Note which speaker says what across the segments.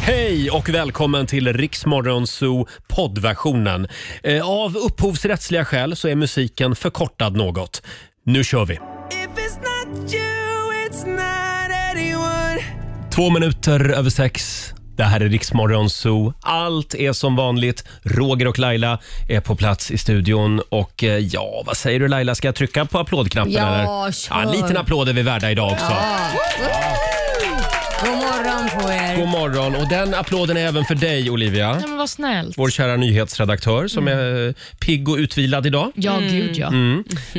Speaker 1: Hej och välkommen till Riksmorgon Zoo poddversionen. Eh, Av upphovsrättsliga skäl så är musiken förkortad något. Nu kör vi! Två minuter över sex. Det här är Riksmorgon Zoo. Allt är som vanligt. Roger och Laila är på plats i studion. Och eh, ja, vad säger du Laila? Ska jag trycka på applådknappen?
Speaker 2: Ja,
Speaker 1: eller?
Speaker 2: kör.
Speaker 1: Ja, en liten applåd är vi värda idag också.
Speaker 2: God morgon på er.
Speaker 1: God morgon. Och den applåden är även för dig Olivia.
Speaker 3: Nej, men vad snällt.
Speaker 1: Vår kära nyhetsredaktör som
Speaker 2: Mm.
Speaker 1: är eh, pigg och utvilad idag.
Speaker 3: Ja, gud ja.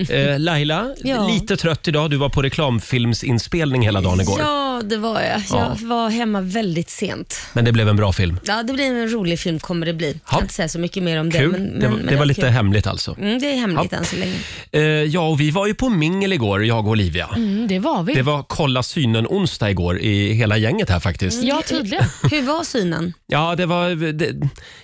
Speaker 1: Eh, Laila,
Speaker 2: Ja.
Speaker 1: lite trött idag. Du var på reklamfilmsinspelning hela dagen igår.
Speaker 2: Ja, det var jag. Jag var hemma väldigt sent.
Speaker 1: Men det blev en bra film.
Speaker 2: Ja, det blir en rolig film kommer det bli. Jag
Speaker 1: Ja.
Speaker 2: kan inte säga så mycket mer om det.
Speaker 1: Kul.
Speaker 2: Men,
Speaker 1: det,
Speaker 2: men,
Speaker 1: var-
Speaker 2: men
Speaker 1: det var lite
Speaker 2: kul.
Speaker 1: hemligt alltså.
Speaker 2: Mm, det är hemligt
Speaker 1: Ja.
Speaker 2: än så länge.
Speaker 1: Eh, ja, och vi var ju på mingel igår, jag och Olivia.
Speaker 3: Mm, det var vi.
Speaker 1: Det var kolla synen-onsdag igår i hela gänget här faktiskt.
Speaker 3: Ja, tydligen.
Speaker 2: Hur var synen?
Speaker 3: Mm.
Speaker 1: Ja, det var, det,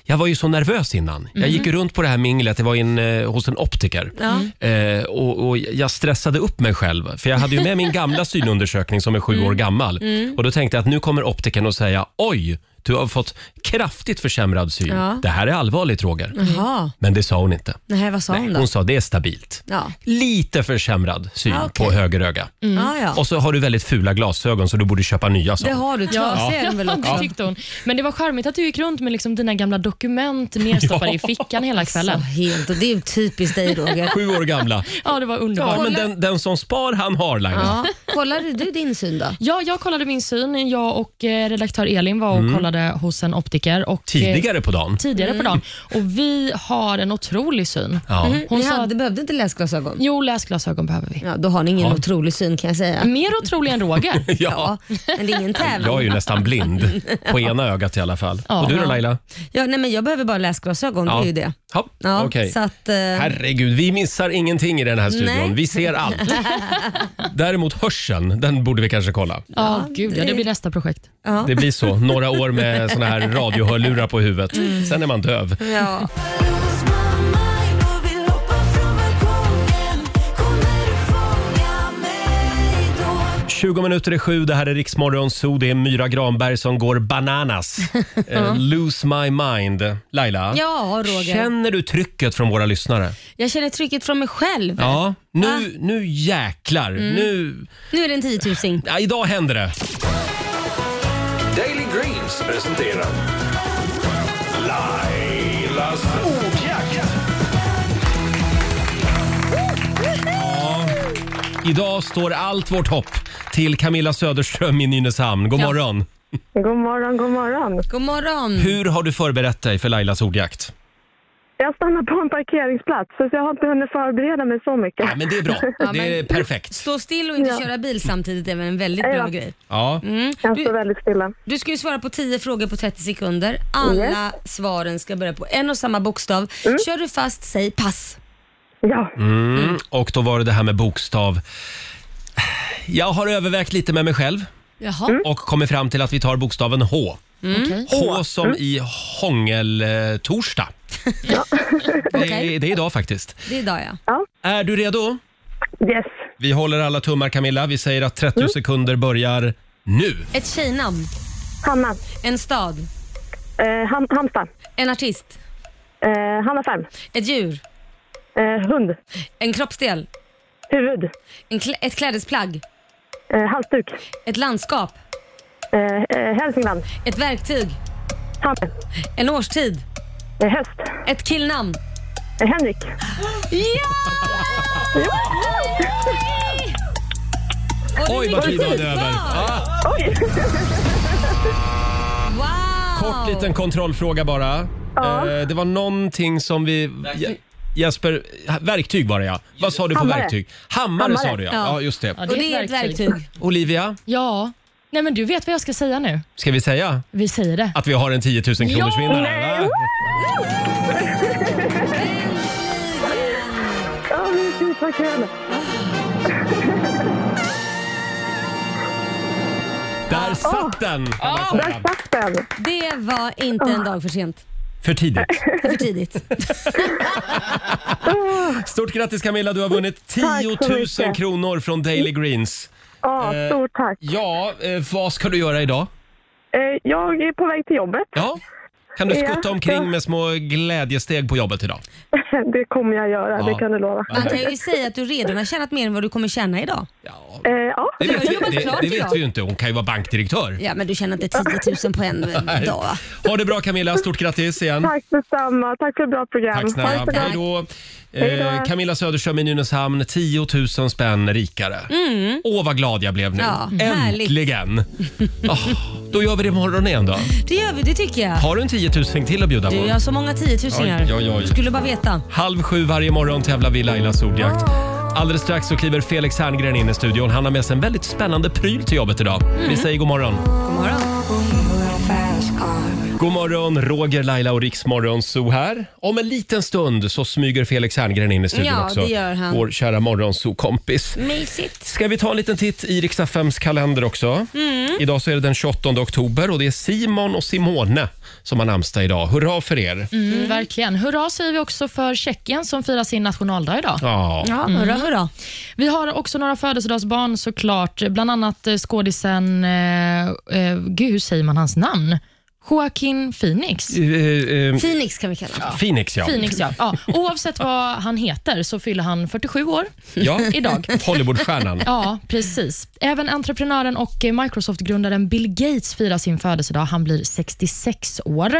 Speaker 1: jag var ju så nervös innan. Jag gick ju runt på det här minglet, det var in, eh, hos en optiker.
Speaker 2: Mhm. Ja.
Speaker 1: Eh, och, och jag stressade upp mig själv, för jag hade ju med min gamla synundersökning som är sju
Speaker 2: Mm.
Speaker 1: år gammal. Och Då tänkte jag att nu kommer optiken och säga oj, du har fått kraftigt försämrad syn.
Speaker 2: Ja.
Speaker 1: Det här är allvarligt Roger.
Speaker 2: Jaha.
Speaker 1: Men det sa hon inte.
Speaker 2: Nej, vad sa hon då?
Speaker 1: Hon sa det är stabilt.
Speaker 2: Ja.
Speaker 1: Lite försämrad syn
Speaker 2: Ah, okej.
Speaker 1: på höger öga.
Speaker 3: Mm.
Speaker 2: Ja, ja.
Speaker 1: Och så har du väldigt fula glasögon så du borde köpa nya. sa
Speaker 2: Det
Speaker 1: hon.
Speaker 2: har du, trasiga är de väl också?
Speaker 3: det tyckte hon. Men det var charmigt att du gick runt med liksom dina gamla dokument nerstoppade i fickan hela
Speaker 1: Alltså.
Speaker 2: Så
Speaker 3: kvällen.
Speaker 2: helt, och det är ju typiskt dig Roger.
Speaker 1: Sju år gamla.
Speaker 3: Ja, det var
Speaker 1: Ja,
Speaker 3: underbart.
Speaker 1: men den, den som spar han har Laila.
Speaker 2: Ja. Kollade du din syn då?
Speaker 3: Ja, jag kollade min syn. Jag och eh, redaktör Elin var och kollade hos en optiker. Och, eh,
Speaker 1: Mm. Tidigare Mm. på dagen.
Speaker 3: tidigare på dagen. Och vi har en otrolig syn.
Speaker 1: Ja.
Speaker 3: Hon
Speaker 2: Ni
Speaker 3: sa
Speaker 2: hade,
Speaker 3: att,
Speaker 2: behövde inte läsglasögon?
Speaker 3: jo, läsglasögon behöver vi.
Speaker 2: Ja, då har ni ingen
Speaker 1: Ja.
Speaker 2: otrolig syn kan jag säga.
Speaker 3: Mer otrolig än Roger.
Speaker 2: Ja,
Speaker 1: Ja.
Speaker 2: men det är ingen tävling.
Speaker 1: Jag är ju nästan blind på ena ögat i alla fall.
Speaker 3: Ja.
Speaker 1: Och du då Laila?
Speaker 2: Ja, nej, men jag behöver bara läsglasögon, det är ju det.
Speaker 1: Ja.
Speaker 2: Ja,
Speaker 1: okej.
Speaker 2: så att, eh,
Speaker 1: Herregud, vi missar ingenting i den här studion.
Speaker 2: Nej.
Speaker 1: Vi ser allt. Däremot hörseln, den borde vi kanske kolla.
Speaker 3: Ja, gud ja. Det blir nästa projekt.
Speaker 2: ja.
Speaker 1: Det blir så. Några år med såna här radiohörlurar på huvudet.
Speaker 2: Mm.
Speaker 1: Sen är man döv.
Speaker 2: Ja.
Speaker 4: Kommer du fånga mig då?
Speaker 1: 20 minuter i sju, det här är Riksmorgon Zoo. Det är Myra Granberg som går bananas. Eh, lose my mind. Laila,
Speaker 2: Ja, Roger.
Speaker 1: känner du trycket från våra lyssnare?
Speaker 2: Jag känner trycket från mig själv.
Speaker 1: Ja, nu, nu jäklar. Nu,
Speaker 2: Nu är det en tiotusing.
Speaker 1: ja, idag händer det.
Speaker 5: Daily Greens presenterar Lailas ordjakt.
Speaker 1: Idag står allt vårt hopp till Camilla Söderström i Nynäshamn. God morgon.
Speaker 6: God morgon, god morgon.
Speaker 2: God morgon.
Speaker 1: Hur har du förberett dig för Lailas ordjakt?
Speaker 6: Jag stannar på en parkeringsplats så jag har inte hunnit förbereda mig så mycket.
Speaker 1: Ja, men det är bra. Det är
Speaker 2: men-
Speaker 1: perfekt.
Speaker 2: Stå still och inte köra bil samtidigt är väl en väldigt bra
Speaker 6: Ja.
Speaker 2: grej.
Speaker 1: Ja.
Speaker 6: Jag
Speaker 2: Du-
Speaker 6: står väldigt stilla.
Speaker 2: Du ska ju svara på 10 frågor på 30 sekunder. Alla svaren ska börja på en och samma bokstav. Kör du fast, säg pass.
Speaker 6: Ja,
Speaker 1: Mm. Och då var det det här med bokstav. Jag har övervägt lite med mig själv
Speaker 3: Jaha.
Speaker 2: Mm.
Speaker 1: och kommit fram till att vi tar bokstaven H.
Speaker 3: Okej.
Speaker 1: H som i hångeltorsdag. Det, är- det är idag faktiskt.
Speaker 2: Det är idag ja.
Speaker 1: Är du redo?
Speaker 6: yes.
Speaker 1: Vi håller alla tummar Camilla. Vi säger att 30 sekunder börjar nu.
Speaker 2: Ett tjejnamn,
Speaker 6: Hanna.
Speaker 2: en stad,
Speaker 6: Eh, ham, Hamsta.
Speaker 2: en artist,
Speaker 6: Eh, Hanna Färm.
Speaker 2: ett djur,
Speaker 6: Eh, hund.
Speaker 2: en kroppsdel,
Speaker 6: Huvud.
Speaker 2: en klä- ett klädesplagg,
Speaker 6: Eh, halsduk.
Speaker 2: ett landskap,
Speaker 6: Eh, eh, Hälsingland.
Speaker 2: ett verktyg,
Speaker 6: Hammen.
Speaker 2: en årstid,
Speaker 6: Eh, häst.
Speaker 2: ett killnamn.
Speaker 6: Eh, Henrik.
Speaker 1: Oj, vad tiden är över. Ah.
Speaker 6: Oj!
Speaker 2: Wow!
Speaker 1: Kort liten kontrollfråga bara. Eh, det var någonting som vi... Je- Jesper, verktyg var det ja. Vad sa du på
Speaker 6: Hammare.
Speaker 1: verktyg? Hammare, sa du ja. ja.
Speaker 2: Ja.
Speaker 1: just det.
Speaker 3: Ja,
Speaker 2: Och det är ett verktyg.
Speaker 1: Olivia,
Speaker 3: Ja. Nej, men du vet vad jag ska säga nu.
Speaker 1: ska vi säga
Speaker 3: Vi säger det.
Speaker 1: att vi har en 10 000 kronors vinnare? va?
Speaker 6: Åh, men gud vad kul!
Speaker 1: Där
Speaker 6: Oh.
Speaker 1: satt den! kan man säga.
Speaker 6: Där satt den!
Speaker 2: Det var inte en dag för sent.
Speaker 1: För tidigt.
Speaker 2: Det är För tidigt.
Speaker 1: Stort grattis Camilla, du har vunnit 10
Speaker 6: Tack så
Speaker 1: 000
Speaker 6: mycket.
Speaker 1: kronor från Daily Greens. eh,
Speaker 6: Ja, stort tack.
Speaker 1: Ja, eh, vad ska du göra idag?
Speaker 6: Eh, Jag är på väg till jobbet.
Speaker 1: Ja. Kan du
Speaker 6: Ja,
Speaker 1: skutta omkring
Speaker 6: ja.
Speaker 1: med små glädjesteg på jobbet idag?
Speaker 6: Det kommer jag göra, det kan du lova.
Speaker 2: Man kan ju säga att du redan har tjänat mer än vad du kommer tjäna idag.
Speaker 1: Ja.
Speaker 6: Eh, ja.
Speaker 1: Det vet,
Speaker 2: har
Speaker 1: vi,
Speaker 2: jobbat
Speaker 1: det,
Speaker 2: klart
Speaker 1: det vet
Speaker 2: idag.
Speaker 1: vi ju inte. Hon kan ju vara bankdirektör.
Speaker 2: Ja, men du tjänar inte 10 000 på en
Speaker 1: Nej.
Speaker 2: dag va?
Speaker 1: Ha det bra Camilla, stort grattis igen.
Speaker 6: Tack detsamma. Tack för ett bra program.
Speaker 1: Tack
Speaker 6: Ha det så
Speaker 1: snälla.
Speaker 6: bra.
Speaker 1: Hej då. Eh,
Speaker 6: Hej då.
Speaker 1: Camilla Söderström i Nynäshamn, 10 000 spänn rikare. Åh, vad glad jag blev nu.
Speaker 2: Mm. Ja, härligt.
Speaker 1: Äntligen! Ah, då gör vi det imorgon igen då.
Speaker 2: Det gör vi, det tycker jag.
Speaker 1: Har du en 10 000 till att bjuda
Speaker 2: Du,
Speaker 1: på?
Speaker 2: jag har så många 10 000
Speaker 1: Oj, oj, oj.
Speaker 2: här. Skulle bara veta.
Speaker 1: Halv sju varje morgon tävlar vi i Lailas ordjakt.
Speaker 2: Ah.
Speaker 1: Alldeles strax så kliver Felix Herngren in i studion. Han har med sig en väldigt spännande pryl till jobbet idag.
Speaker 2: Mm.
Speaker 1: Vi säger god morgon.
Speaker 2: God morgon.
Speaker 1: God morgon, Roger, Laila och Riksmorgon Zoo här. Om en liten stund så smyger Felix Herngren in i studion
Speaker 2: Ja,
Speaker 1: också.
Speaker 2: det gör han.
Speaker 1: Vår kära morgonzoo-kompis.
Speaker 2: Mysigt.
Speaker 1: Ska vi ta en liten titt i Riksaffems kalender också?
Speaker 3: Mm.
Speaker 1: Idag så är det den 28 oktober och det är Simon och Simone som har namnsdag idag. Hurra för er!
Speaker 3: Mm, verkligen. Hurra säger vi också för Tjeckien som firar sin nationaldag idag.
Speaker 1: Ja.
Speaker 2: Ja, hurra hurra.
Speaker 3: Vi har också några födelsedagsbarn såklart, bland annat eh, skådisen, eh, eh, gud hur säger man hans namn? Joaquin Phoenix.
Speaker 1: Eh, eh,
Speaker 2: Phoenix kan vi kalla honom.
Speaker 1: Phoenix ja.
Speaker 3: Phoenix ja. ja. Oavsett vad han heter så fyller han 47 år.
Speaker 1: ja.
Speaker 3: Idag.
Speaker 1: Hollywoodstjärnan.
Speaker 3: Ja, precis. Även entreprenören och eh, Microsoft-grundaren Bill Gates firar sin födelsedag. Han blir 66 år.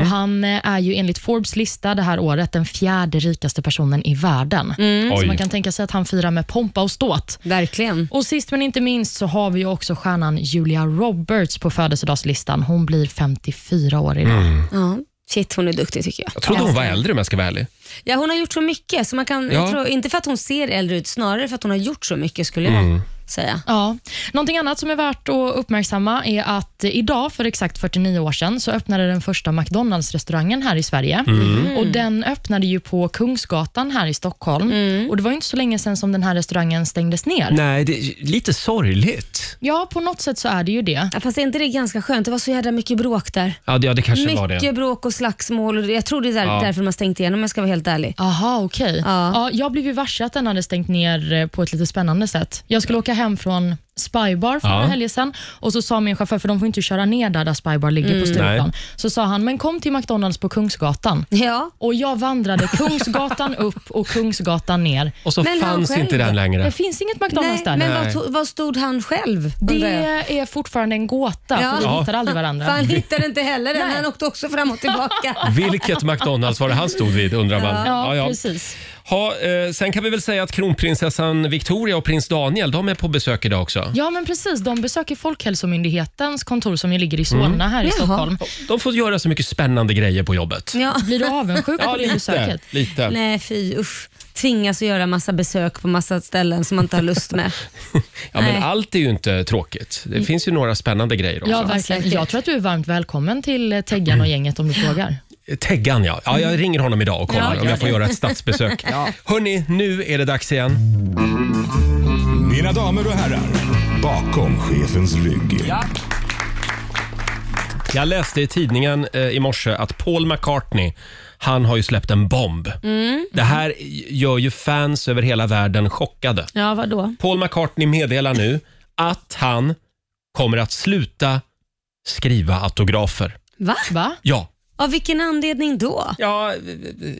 Speaker 3: Och han eh, är ju enligt Forbes lista det här året den fjärde rikaste personen i världen. Så man
Speaker 1: Oj.
Speaker 3: kan tänka sig att han firar med pompa och ståt.
Speaker 2: Verkligen.
Speaker 3: Och Sist men inte minst så har vi ju också stjärnan Julia Roberts på födelsedagslistan. Hon blir 54 år idag.
Speaker 2: Ja. Shit, hon är duktig tycker jag.
Speaker 1: Jag trodde hon var äldre om jag ska vara ärlig.
Speaker 2: Ja, hon har gjort så mycket. Så man kan,
Speaker 1: Ja.
Speaker 2: jag tror, inte för att hon ser äldre ut, snarare för att hon har gjort så mycket skulle jag
Speaker 1: Mm.
Speaker 2: säga.
Speaker 3: Ja. Någonting annat som är värt att uppmärksamma är att idag för exakt 49 år sedan så öppnade den första McDonalds-restaurangen här i Sverige. Och Den öppnade ju på Kungsgatan här i Stockholm. Och Det var ju inte så länge sedan som den här restaurangen stängdes ner.
Speaker 1: Nej, det är lite sorgligt.
Speaker 3: Ja, på något sätt så är det ju det.
Speaker 2: Ja, fast är inte det ganska skönt? Det var så jävla mycket bråk där.
Speaker 1: Ja, det, ja, det kanske var
Speaker 2: Mycket
Speaker 1: det.
Speaker 2: bråk och slagsmål. Och det- jag tror det är där,
Speaker 1: Ja.
Speaker 2: därför de har stängt igen om jag ska vara helt ärlig.
Speaker 3: Aha, okej.
Speaker 2: Ja.
Speaker 3: Ja. jag blev ju varse att den hade stängt ner eh, på ett lite spännande sätt. Jag skulle åka hem från Spybar för
Speaker 1: Ja.
Speaker 3: några helger sedan och så sa min chaufför, för de får inte köra ner där, där Spybar ligger på
Speaker 1: Nej.
Speaker 3: Stureplan, så sa han, men kom till McDonalds på Kungsgatan.
Speaker 2: Ja,
Speaker 3: Och jag vandrade Kungsgatan upp och Kungsgatan ner.
Speaker 1: Och så
Speaker 2: Men han
Speaker 1: fanns
Speaker 2: själv
Speaker 1: inte den
Speaker 2: då?
Speaker 1: längre.
Speaker 3: Det finns inget
Speaker 2: nej,
Speaker 3: McDonalds där.
Speaker 2: men
Speaker 1: Nej.
Speaker 2: vad, to- vad stod han själv? undrar jag?
Speaker 3: Det är fortfarande en gåta,
Speaker 2: Ja.
Speaker 3: för vi
Speaker 1: Ja.
Speaker 3: hittar aldrig
Speaker 2: För
Speaker 3: varandra.
Speaker 2: han hittade inte heller den. Han åkte också fram och tillbaka.
Speaker 1: Vilket McDonalds var det han stod vid undrar man.
Speaker 3: Ja, precis.
Speaker 1: Ha, eh, sen kan vi väl säga att kronprinsessan Victoria och prins Daniel, de är på besök idag också.
Speaker 3: Ja, men precis. De besöker Folkhälsomyndighetens kontor som ju ligger i Solna här i
Speaker 2: Jaha.
Speaker 3: Stockholm.
Speaker 1: De får göra så mycket spännande grejer på jobbet.
Speaker 2: ja.
Speaker 3: Blir du avundsjuk på det besöket?
Speaker 1: lite.
Speaker 2: Nej, fy usch. Tvingas att göra massa besök på massa ställen som man inte har lust med.
Speaker 1: Ja, men
Speaker 2: Nej.
Speaker 1: allt är ju inte tråkigt. Det finns ju några spännande grejer också.
Speaker 3: Ja,
Speaker 2: säkert.
Speaker 3: verkligen. Jag tror att du är varmt välkommen till eh, Teggan och gänget om du frågar.
Speaker 1: Teggan, ja. ja. Jag ringer honom idag och kollar
Speaker 3: Ja, gör
Speaker 1: om jag får
Speaker 3: det.
Speaker 1: göra ett statsbesök. Hörni, nu är det dags igen.
Speaker 5: Mina damer och herrar, bakom chefens rygg.
Speaker 1: Jag läste i tidningen eh, i morse att Paul McCartney han har ju släppt en bomb. Det här gör ju fans över hela världen chockade.
Speaker 2: Ja, vadå?
Speaker 1: Paul McCartney meddelar nu att han kommer att sluta skriva autografer.
Speaker 2: Va?
Speaker 3: Va?
Speaker 1: Ja,
Speaker 2: Av vilken anledning då?
Speaker 1: ja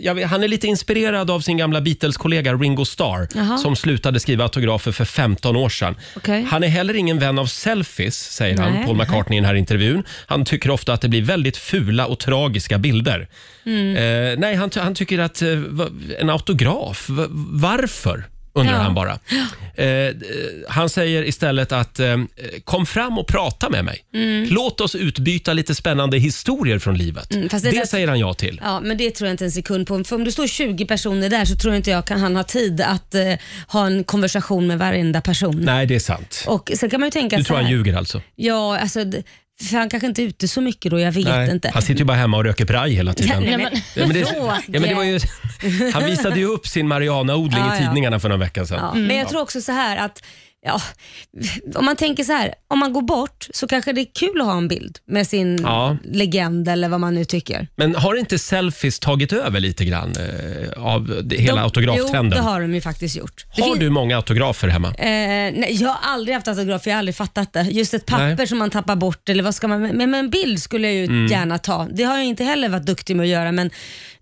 Speaker 1: jag vet, han är lite inspirerad av sin gamla Beatles-kollega Ringo Starr
Speaker 2: Jaha.
Speaker 1: som slutade skriva autografer för 15 år sedan.
Speaker 2: Okej.
Speaker 1: Han är heller ingen vän av selfies, säger han,
Speaker 2: Nej.
Speaker 1: Paul McCartney i den här intervjun. Han tycker ofta att det blir väldigt fula och tragiska bilder.
Speaker 2: Mm.
Speaker 1: Eh, nej, han, ty- han tycker att eh, va- en autograf, va- varför? Undrar
Speaker 2: Ja.
Speaker 1: han bara. Eh, eh, han säger istället att eh, kom fram och prata med mig.
Speaker 2: Mm.
Speaker 1: Låt oss utbyta lite spännande historier från livet.
Speaker 2: Mm, fast
Speaker 1: det
Speaker 2: det där-
Speaker 1: säger han ja till.
Speaker 2: Ja, men det tror jag inte en sekund på. För om det står 20 personer där så tror inte jag kan han ha tid att eh, ha en konversation med varenda person.
Speaker 1: Nej, det är sant.
Speaker 2: Och sen kan man ju tänka
Speaker 1: Du
Speaker 2: så
Speaker 1: tror han
Speaker 2: här,
Speaker 1: ljuger alltså?
Speaker 2: Ja, alltså, d- för han kanske inte är ute så mycket då, jag vet inte.
Speaker 1: Han sitter ju bara hemma och röker braj hela tiden.
Speaker 2: Nej, men-
Speaker 1: Ja, men det,
Speaker 2: Roger.
Speaker 1: ja, men det var ju, han visade ju upp sin marijuanaodling
Speaker 2: Ja,
Speaker 1: i
Speaker 2: ja.
Speaker 1: tidningarna för någon vecka sedan.
Speaker 2: Ja, Men jag tror också så här att ja, om man tänker så här, om man går bort så kanske det är kul att ha en bild med sin
Speaker 1: Ja.
Speaker 2: legend eller vad man nu tycker.
Speaker 1: Men har inte selfies tagit över lite grann eh, av det, hela
Speaker 2: De- Jo,
Speaker 1: autograftrenden?
Speaker 2: det
Speaker 1: har
Speaker 2: har de ju faktiskt gjort. Det finns-
Speaker 1: du många autografer hemma?
Speaker 2: Eh, nej, jag har aldrig haft autograf, jag har aldrig fattat det. Just ett papper
Speaker 1: Nej. Mm.
Speaker 2: som man tappar bort eller vad ska man... Men, men en bild skulle jag ju gärna ta. Det har jag inte heller varit duktig med att göra men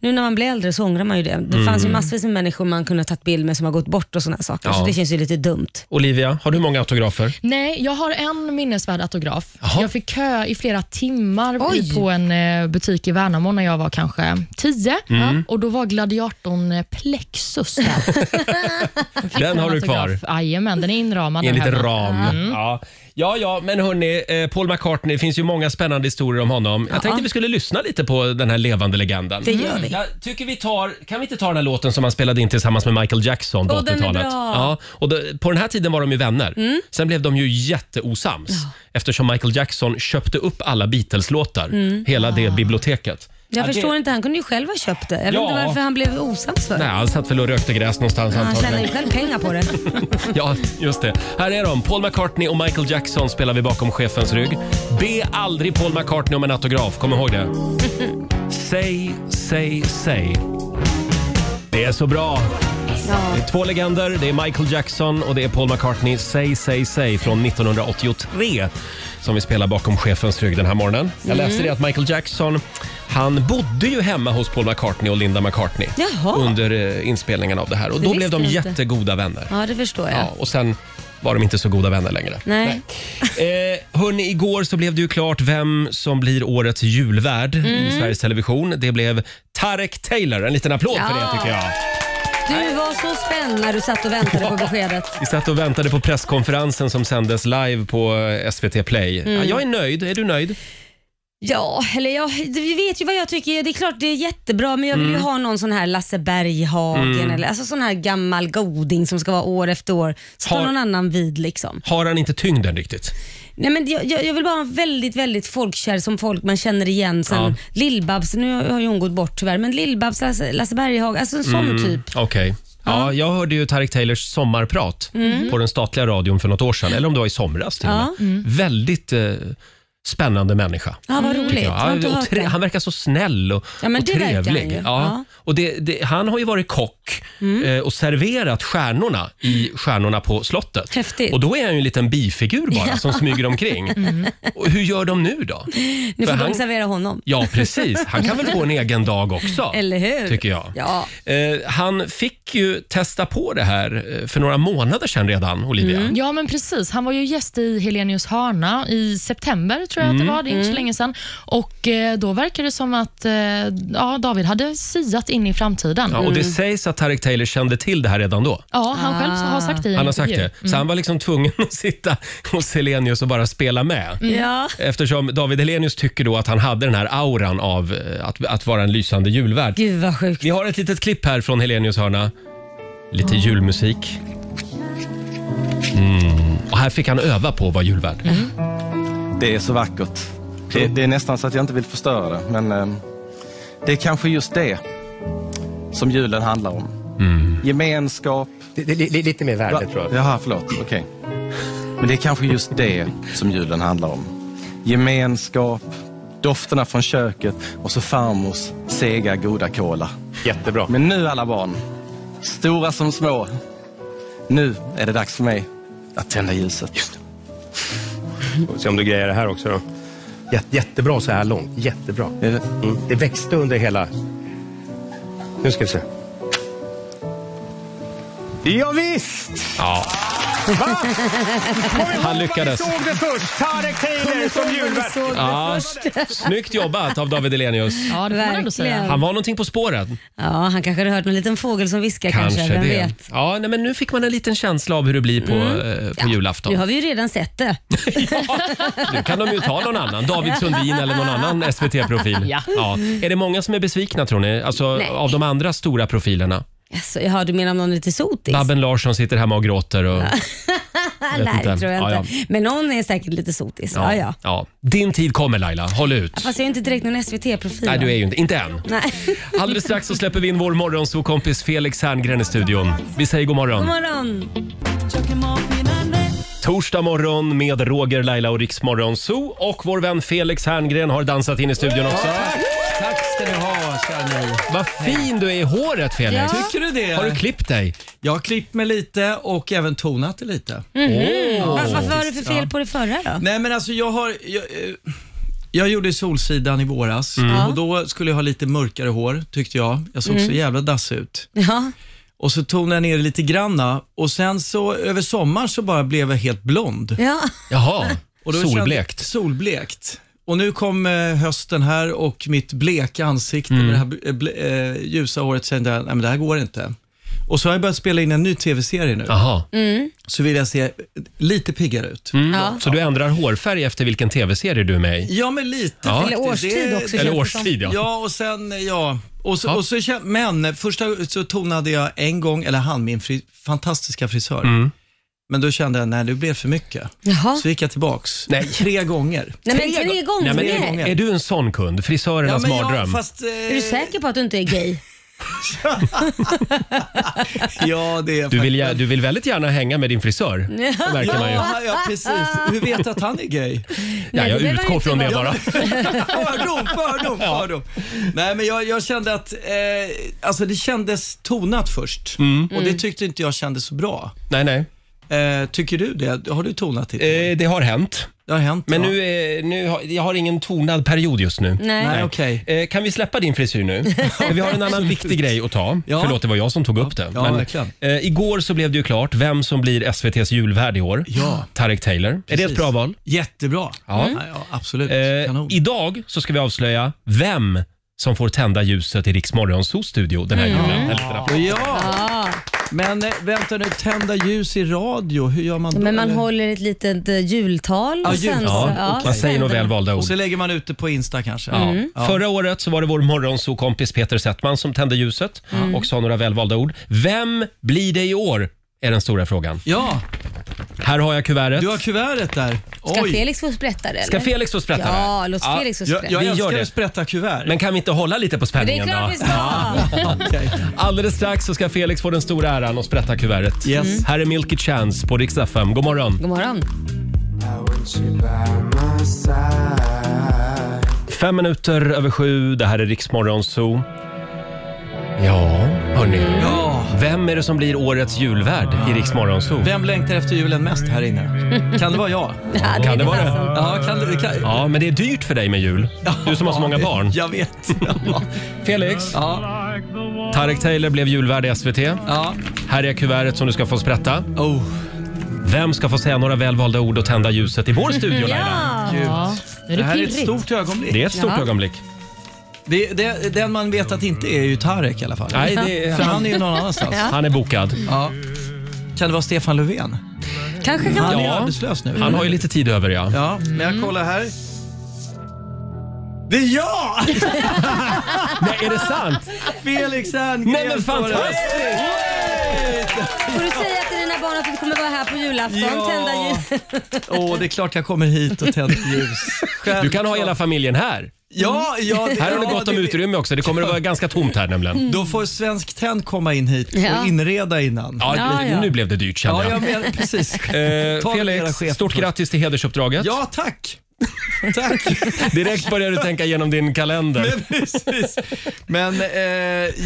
Speaker 2: nu när man blir äldre så ångrar man ju det. Det fanns ju massvis med människor man kunde ha tagit bild med som har gått bort och sådana saker.
Speaker 1: Mm. Ja.
Speaker 2: Så det känns ju lite dumt.
Speaker 1: Olivia, har du många autografer?
Speaker 3: Nej, jag har en minnesvärd autograf.
Speaker 1: Jaha.
Speaker 3: Jag fick kö i flera timmar
Speaker 2: Oj.
Speaker 3: på en eh, butik i Värnamo när jag var kanske tio.
Speaker 1: Mm.
Speaker 3: Och Då var gladiatorn eh, Plexus där. Jag fick
Speaker 1: Den
Speaker 3: en
Speaker 1: har du
Speaker 3: autograf. Jajamän, den är inramad.
Speaker 1: I en
Speaker 3: där
Speaker 1: liten
Speaker 3: hemma.
Speaker 1: ram.
Speaker 2: Mm.
Speaker 1: Ja. ja, ja, men hörni, eh, Paul McCartney, det finns ju många spännande historier om honom. Jag tänkte vi skulle lyssna lite på den här levande legenden. Mm.
Speaker 2: Det gör vi.
Speaker 1: Jag tycker vi tar, kan vi inte ta den här låten som han spelade in tillsammans med Michael Jackson på
Speaker 2: Åh, den är
Speaker 1: 80-talet?
Speaker 2: bra. Mm.
Speaker 1: Ja, och då, på den här tiden var de ju vänner. Sen blev de ju jätteosams eftersom Michael Jackson köpte upp alla Beatles-låtar, hela det biblioteket.
Speaker 2: Mm. Ah. Jag
Speaker 1: Ja,
Speaker 2: förstår
Speaker 1: det,
Speaker 2: inte, han kunde ju själv ha köpt det. Jag
Speaker 1: Ja.
Speaker 2: vet inte varför han blev osams för.
Speaker 1: Nej, han satt väl och rökte gräs någonstans
Speaker 2: Han tjänar
Speaker 1: antagligen.
Speaker 2: ju själv pengar på det.
Speaker 1: Ja, just det. Här är de. Paul McCartney och Michael Jackson spelar vi bakom chefens rygg. Be aldrig Paul McCartney om en autograf, kom ihåg det. Säg, säg, säg. Det är så bra. Det är två legender. Det är Michael Jackson och det är Paul McCartney. Säg, säg, säg från 1983 som vi spelar bakom chefens rygg den här morgonen. Jag
Speaker 2: Mm.
Speaker 1: läste det att Michael Jackson han bodde ju hemma hos Paul McCartney och Linda McCartney
Speaker 2: Jaha.
Speaker 1: under eh, inspelningen av det här. Och då
Speaker 2: visste
Speaker 1: blev de
Speaker 2: jag inte.
Speaker 1: jättegoda vänner.
Speaker 2: Ja, Mm. det förstår jag.
Speaker 1: Ja, och sen var de inte så goda vänner längre.
Speaker 2: Nej.
Speaker 1: Eh, hörni, igår så blev det ju klart vem som blir årets julvärd i Sveriges Television. Det blev Tarek Taylor. En liten applåd för det
Speaker 2: Ja.
Speaker 1: tycker jag.
Speaker 2: Du var så spänd när du satt och väntade på beskedet.
Speaker 1: Vi satt och väntade på presskonferensen som sändes live på eh, SVT Play. Ja, jag är nöjd. Är du nöjd?
Speaker 2: Ja, eller jag, vi vet ju vad jag tycker. Det är klart det är jättebra men jag vill
Speaker 1: Mm.
Speaker 2: ju ha någon sån här Lasse Berghagen eller alltså sån här gammal goding som ska vara år efter år. Så
Speaker 1: Har-
Speaker 2: tar någon annan vid liksom.
Speaker 1: Har han inte tyngden riktigt?
Speaker 2: Nej, men jag, jag jag vill bara ha en väldigt, väldigt folkkär som folk man känner igen sen
Speaker 1: Ja.
Speaker 2: Lill-Babs, nu har- har ju hon gått bort tyvärr, men Lill-Babs, Lasse, Lasse Berghagen, alltså en sån typ.
Speaker 1: Okej. Ja, jag hörde ju Tareq Taylors sommarprat på den statliga radion för något år sedan, eller om det var i somras till och med.
Speaker 2: Ja.
Speaker 1: Väldigt eh, spännande människa.
Speaker 2: Ja, vad roligt.
Speaker 1: Mm. Ja,
Speaker 2: Jag har inte
Speaker 1: och
Speaker 2: hört
Speaker 1: tre,
Speaker 2: det.
Speaker 1: han verkar så snäll och,
Speaker 2: Ja, men
Speaker 1: och
Speaker 2: det verkar han
Speaker 1: trevlig.
Speaker 2: ju.
Speaker 1: ja.
Speaker 2: Ja. Mm.
Speaker 1: Och det, det, han har ju varit kock eh, och serverat stjärnorna i Stjärnorna på slottet.
Speaker 2: Häftigt. Mm.
Speaker 1: Och då är han ju en liten bifigur bara som smyger omkring. Och hur gör de nu då?
Speaker 2: Nu
Speaker 1: För
Speaker 2: får
Speaker 1: han-
Speaker 2: de servera honom.
Speaker 1: Ja, precis. Han kan väl få en egen dag också.
Speaker 2: Eller hur?
Speaker 1: Tycker jag.
Speaker 2: Ja.
Speaker 1: Eh, han fick ju testa på det här eh, för några månader sedan redan, Olivia.
Speaker 2: Mm.
Speaker 3: Ja, men precis. Han var ju gäst i Helenius hörna i september, tror jag
Speaker 1: Mm.
Speaker 3: att det var. Det är inte så länge sedan. Och eh, Då verkar det som att eh, ja, David hade siat in i framtiden.
Speaker 1: Ja,
Speaker 3: Ja,
Speaker 1: och
Speaker 2: Mm.
Speaker 1: det sägs att Tareq Taylor kände till det här redan då.
Speaker 3: han själv har sagt det i en
Speaker 1: Ah. Han har sagt
Speaker 3: intervju.
Speaker 1: det. Så han
Speaker 2: Mm.
Speaker 1: var liksom tvungen att sitta hos Helenius och bara spela med.
Speaker 2: Ja. Mm.
Speaker 1: Eftersom David Helenius tycker då att han hade den här auran av eh, att, att vara en lysande julvärd.
Speaker 2: Gud vad sjukt.
Speaker 1: Vi har ett litet klipp här från Helenius hörna. Lite julmusik. Mm. Och här fick han öva på att vara julvärd.
Speaker 2: Mm.
Speaker 7: Det är så vackert. Det, det är nästan så att jag inte vill förstöra det, men eh, det är kanske just det som julen handlar om. Gemenskap.
Speaker 8: Mm. Det, det, li- lite mer värde
Speaker 7: Va-
Speaker 8: tror jag.
Speaker 7: Jaha, förlåt. Okej. Men det är kanske just det som julen handlar om. Gemenskap, dofterna från köket och så farmors sega goda kola.
Speaker 8: Jättebra.
Speaker 7: Men nu alla barn, stora som små, nu är det dags för mig att tända ljuset.
Speaker 8: Får Se om du grejer det här också då. Jätte, jättebra så här långt. Jättebra.
Speaker 7: Är det-
Speaker 8: Mm. Det växte under hela... Nu ska vi se. Ja, visst!
Speaker 1: Ja. Han lyckades.
Speaker 8: Såg det först! Tarek Taylor som julvärd.
Speaker 2: Såg det
Speaker 1: Ja.
Speaker 2: först.
Speaker 1: Snyggt jobbat av David Helenius.
Speaker 3: Ja, det får man ändå säga.
Speaker 2: Verkligen.
Speaker 1: Han var någonting på spåren.
Speaker 2: Ja, han kanske hade hört någon liten fågel som viskar kanske,
Speaker 1: Kanske
Speaker 2: vem
Speaker 1: det.
Speaker 2: vet. Mm.
Speaker 1: Ja, nej, men nu fick man en liten känsla av hur det blir på, eh, på julafton.
Speaker 2: Nu har vi ju redan sett det.
Speaker 1: Nu kan de ju ta någon annan. David Sundin eller någon annan SVT-profil.
Speaker 3: Ja.
Speaker 1: Är det många som är besvikna tror ni? Alltså
Speaker 2: Nej.
Speaker 1: av de andra stora profilerna?
Speaker 2: Alltså, jag hörde mer om någon är lite sotis.
Speaker 1: Babben Larsson sitter hemma och gråter. Och, vet
Speaker 2: Nej,
Speaker 1: inte.
Speaker 2: det tror jag inte.
Speaker 1: Ja,
Speaker 2: Men någon är säkert lite sotis. Ja.
Speaker 1: ja.
Speaker 2: Ja,
Speaker 1: Ja. Din tid kommer Laila, håll ut.
Speaker 2: Fast jag är inte direkt någon SVT-profil.
Speaker 1: Nej, du är ju inte, inte än.
Speaker 2: Nej.
Speaker 1: Alldeles strax så släpper vi in vår morgonsåkompis Felix Herngren i studion. Vi säger god morgon.
Speaker 2: God morgon.
Speaker 4: Chocke mor, mina nej
Speaker 1: Torsdag morgon med Roger, Laila och Riksmorgon Zoo. Och vår vän Felix Herngren har dansat in i studion också.
Speaker 7: Tack ska ni ha, kära ni.
Speaker 1: Vad fin du är i håret Felix!
Speaker 2: Ja.
Speaker 7: Tycker du det?
Speaker 1: Har du klippt dig?
Speaker 7: Jag har klippt mig lite och även tonat det lite. Mm.
Speaker 2: Var, varför var det för fel på det förra då?
Speaker 7: Nej men alltså jag har... Jag, eh, jag gjorde Solsidan i våras och då skulle jag ha lite mörkare hår tyckte jag. Jag såg så jävla dassig ut.
Speaker 2: Ja.
Speaker 7: Och så tonade jag ner det lite granna och sen så över sommaren så bara blev jag helt blond.
Speaker 2: ja.
Speaker 1: Jaha,
Speaker 7: Och då
Speaker 1: solblekt.
Speaker 7: kände- solblekt. Och nu kom eh, hösten här och mitt bleka ansikte med det här eh, ble- eh, ljusa håret kände jag, nej men det här går inte. Och så har jag börjat spela in en ny tv-serie nu,
Speaker 1: Jaha.
Speaker 2: Mm.
Speaker 7: så vill jag se lite piggare ut.
Speaker 2: Ja.
Speaker 1: Så du ändrar hårfärg efter vilken tv-serie du är med i?
Speaker 7: Ja, men lite
Speaker 1: Ja.
Speaker 7: faktiskt.
Speaker 2: Eller årstid
Speaker 7: Det-
Speaker 2: också.
Speaker 1: Eller
Speaker 2: känns det
Speaker 1: årstid ja.
Speaker 7: Ja, och sen, ja. Och så,
Speaker 1: Ja.
Speaker 7: Och så, kän- men första så tonade jag en gång, eller han, min fri, fantastiska frisör.
Speaker 1: Mm.
Speaker 7: Men då kände jag, nej det blev för mycket.
Speaker 2: som. Jaha.
Speaker 7: Så gick jag tillbaks
Speaker 1: Nej.
Speaker 7: tre gånger.
Speaker 2: Nej, men tre gånger.
Speaker 1: Nej, men
Speaker 7: tre
Speaker 1: är,
Speaker 7: gånger.
Speaker 1: är du en sån kund? Frisörernas
Speaker 7: men
Speaker 1: mardröm?
Speaker 7: fast, eh,
Speaker 2: Är du säker på att du inte är gay?
Speaker 7: Ja, det
Speaker 1: Du vill,
Speaker 7: är faktiskt-
Speaker 1: gär- du vill väldigt gärna hänga med din frisör. Det märker man ju.
Speaker 7: Ja, ja, precis. Hur vet du att han är gay?
Speaker 1: Ja,
Speaker 2: Nej,
Speaker 1: jag
Speaker 2: det behöver
Speaker 1: utgår
Speaker 2: inte
Speaker 1: från det
Speaker 2: vara.
Speaker 1: bara.
Speaker 7: Fördom, fördom, fördom. Nej, men jag, jag kände att eh, alltså det kändes tonat först
Speaker 1: Mm.
Speaker 7: och det tyckte inte jag kändes så bra.
Speaker 1: Nej, nej.
Speaker 7: Eh, tycker du det? Har du tonat ditt hår?
Speaker 1: Eh, det har hänt.
Speaker 7: Det har hänt.
Speaker 1: Men
Speaker 7: ja.
Speaker 1: nu, är, nu har, jag har ingen tonad period just nu.
Speaker 2: Nej.
Speaker 7: Nej, okej.
Speaker 1: Eh, kan vi släppa din frisyr nu? För vi har en annan viktig grej att ta.
Speaker 7: Ja.
Speaker 1: Förlåt, det var jag som tog upp det.
Speaker 7: Ja, verkligen.
Speaker 1: eh, igår så blev det ju klart vem som blir SVTs julvärd i år.
Speaker 7: Ja.
Speaker 1: Tarek Taylor. Är det ett
Speaker 7: Precis.
Speaker 1: bra val?
Speaker 7: Jättebra. Mm.
Speaker 1: Ja.
Speaker 7: Ja, ja, absolut.
Speaker 1: Eh,
Speaker 7: Kanon.
Speaker 1: idag så ska vi avslöja vem som får tända ljuset i Rix Morgonzoos studio den här julen. En liten applåd.
Speaker 7: Ja,
Speaker 2: Ja.
Speaker 7: men eh, vänta nu, tända ljus i radio, hur gör man då?
Speaker 2: Men man
Speaker 7: Eller-
Speaker 2: håller ett litet eh, jultal.
Speaker 7: Ja,
Speaker 2: och sen
Speaker 7: jultal.
Speaker 2: så-
Speaker 1: Ja,
Speaker 2: ja,
Speaker 1: Man säger
Speaker 2: sen-
Speaker 1: nog välvalda ord.
Speaker 7: Och så lägger man ut det på Insta kanske?
Speaker 1: Ja. Förra året så var det vår morgonsokompis Peter Settman som tände ljuset och sa några välvalda ord. Vem blir det i år? Är den stora frågan.
Speaker 7: Ja,
Speaker 1: Här har jag kuvertet.
Speaker 7: du har kuvertet där.
Speaker 2: Ska
Speaker 7: Oj.
Speaker 2: Felix få sprätta det?
Speaker 1: Ska
Speaker 2: eller?
Speaker 1: Felix få sprätta det?
Speaker 2: Ja, låt Felix få
Speaker 7: Jag,
Speaker 2: sprätta.
Speaker 7: jag
Speaker 1: Vi gör
Speaker 7: älskar
Speaker 1: det.
Speaker 7: att sprätta kuvert.
Speaker 1: Men kan vi inte hålla lite på
Speaker 2: Det är
Speaker 1: spänningen
Speaker 2: klart
Speaker 1: då?
Speaker 2: vi ska!
Speaker 7: Okej.
Speaker 1: Alldeles strax så ska Felix få den stora äran att sprätta kuvertet.
Speaker 7: Yes. Mm.
Speaker 1: Här är Milky Chance på Rix FM. God morgon.
Speaker 2: God morgon.
Speaker 1: Fem minuter över sju. Det här är Rix Morgon Zoo. Ja, hörni.
Speaker 7: Ja.
Speaker 1: Vem är det som blir årets julvärd i Rix Morgon Zoo?
Speaker 7: Vem längtar efter julen mest här inne? Kan det vara jag?
Speaker 2: Ja,
Speaker 1: Kan det vara det?
Speaker 7: Ja, kan det, kan...
Speaker 1: Ja, men det är dyrt för dig med jul. Du som har så många barn.
Speaker 7: Jag vet. Ja.
Speaker 1: Felix,
Speaker 7: Ja.
Speaker 1: Tarek Taylor blev julvärd i SVT.
Speaker 7: ja.
Speaker 1: Här är kuvertet som du ska få sprätta.
Speaker 7: Oh,
Speaker 1: Vem ska få säga några välvalda ord och tända ljuset i vår studio, Laila?
Speaker 2: Ja.
Speaker 7: gud.
Speaker 3: Ja, nu är
Speaker 7: Det
Speaker 3: det
Speaker 7: här är ett
Speaker 3: pirrigt.
Speaker 7: stort ögonblick.
Speaker 1: Det är ett stort
Speaker 2: Ja.
Speaker 1: ögonblick.
Speaker 7: Det, det, den man vet att inte är ju Tarek i alla fall.
Speaker 1: Nej, det är,
Speaker 7: För han är ju någon annanstans. Ja.
Speaker 1: han är bokad.
Speaker 7: Kan det vara Stefan Löfven?
Speaker 2: Kanske kan
Speaker 7: Han
Speaker 1: Ja.
Speaker 7: är ju arbetslös nu.
Speaker 1: Han har ju lite tid över, ja.
Speaker 7: Ja, men jag kollar här. Det är jag!
Speaker 1: Nej, är det sant?
Speaker 7: Felix Herngren.
Speaker 1: Nej, men fantastiskt!
Speaker 2: Får du säga till dina barn att du kommer vara här på julafton?
Speaker 7: Ja.
Speaker 2: Tända ljus.
Speaker 7: Åh, det är klart jag kommer hit och tänder ljus.
Speaker 1: Du kan ha hela familjen här.
Speaker 7: Ja, ja. det-
Speaker 1: Här har
Speaker 7: ja,
Speaker 1: du gott om
Speaker 7: det-
Speaker 1: utrymme också. Det kommer att vara ganska tomt här
Speaker 2: Mm.
Speaker 1: nämligen.
Speaker 7: Då får Svensk Tenn komma in hit och
Speaker 2: Ja.
Speaker 7: inreda innan.
Speaker 1: Ja,
Speaker 2: Ja, ja.
Speaker 1: nu blev det dyrt kände
Speaker 7: Ja,
Speaker 1: jag.
Speaker 7: jag menar precis.
Speaker 1: Eh,
Speaker 7: Ta era
Speaker 1: Felix,
Speaker 7: chefer
Speaker 1: stort
Speaker 7: först.
Speaker 1: grattis till hedersuppdraget.
Speaker 7: Ja, tack. Tack.
Speaker 1: Direkt börjar du tänka igenom din kalender.
Speaker 7: precis. Men eh,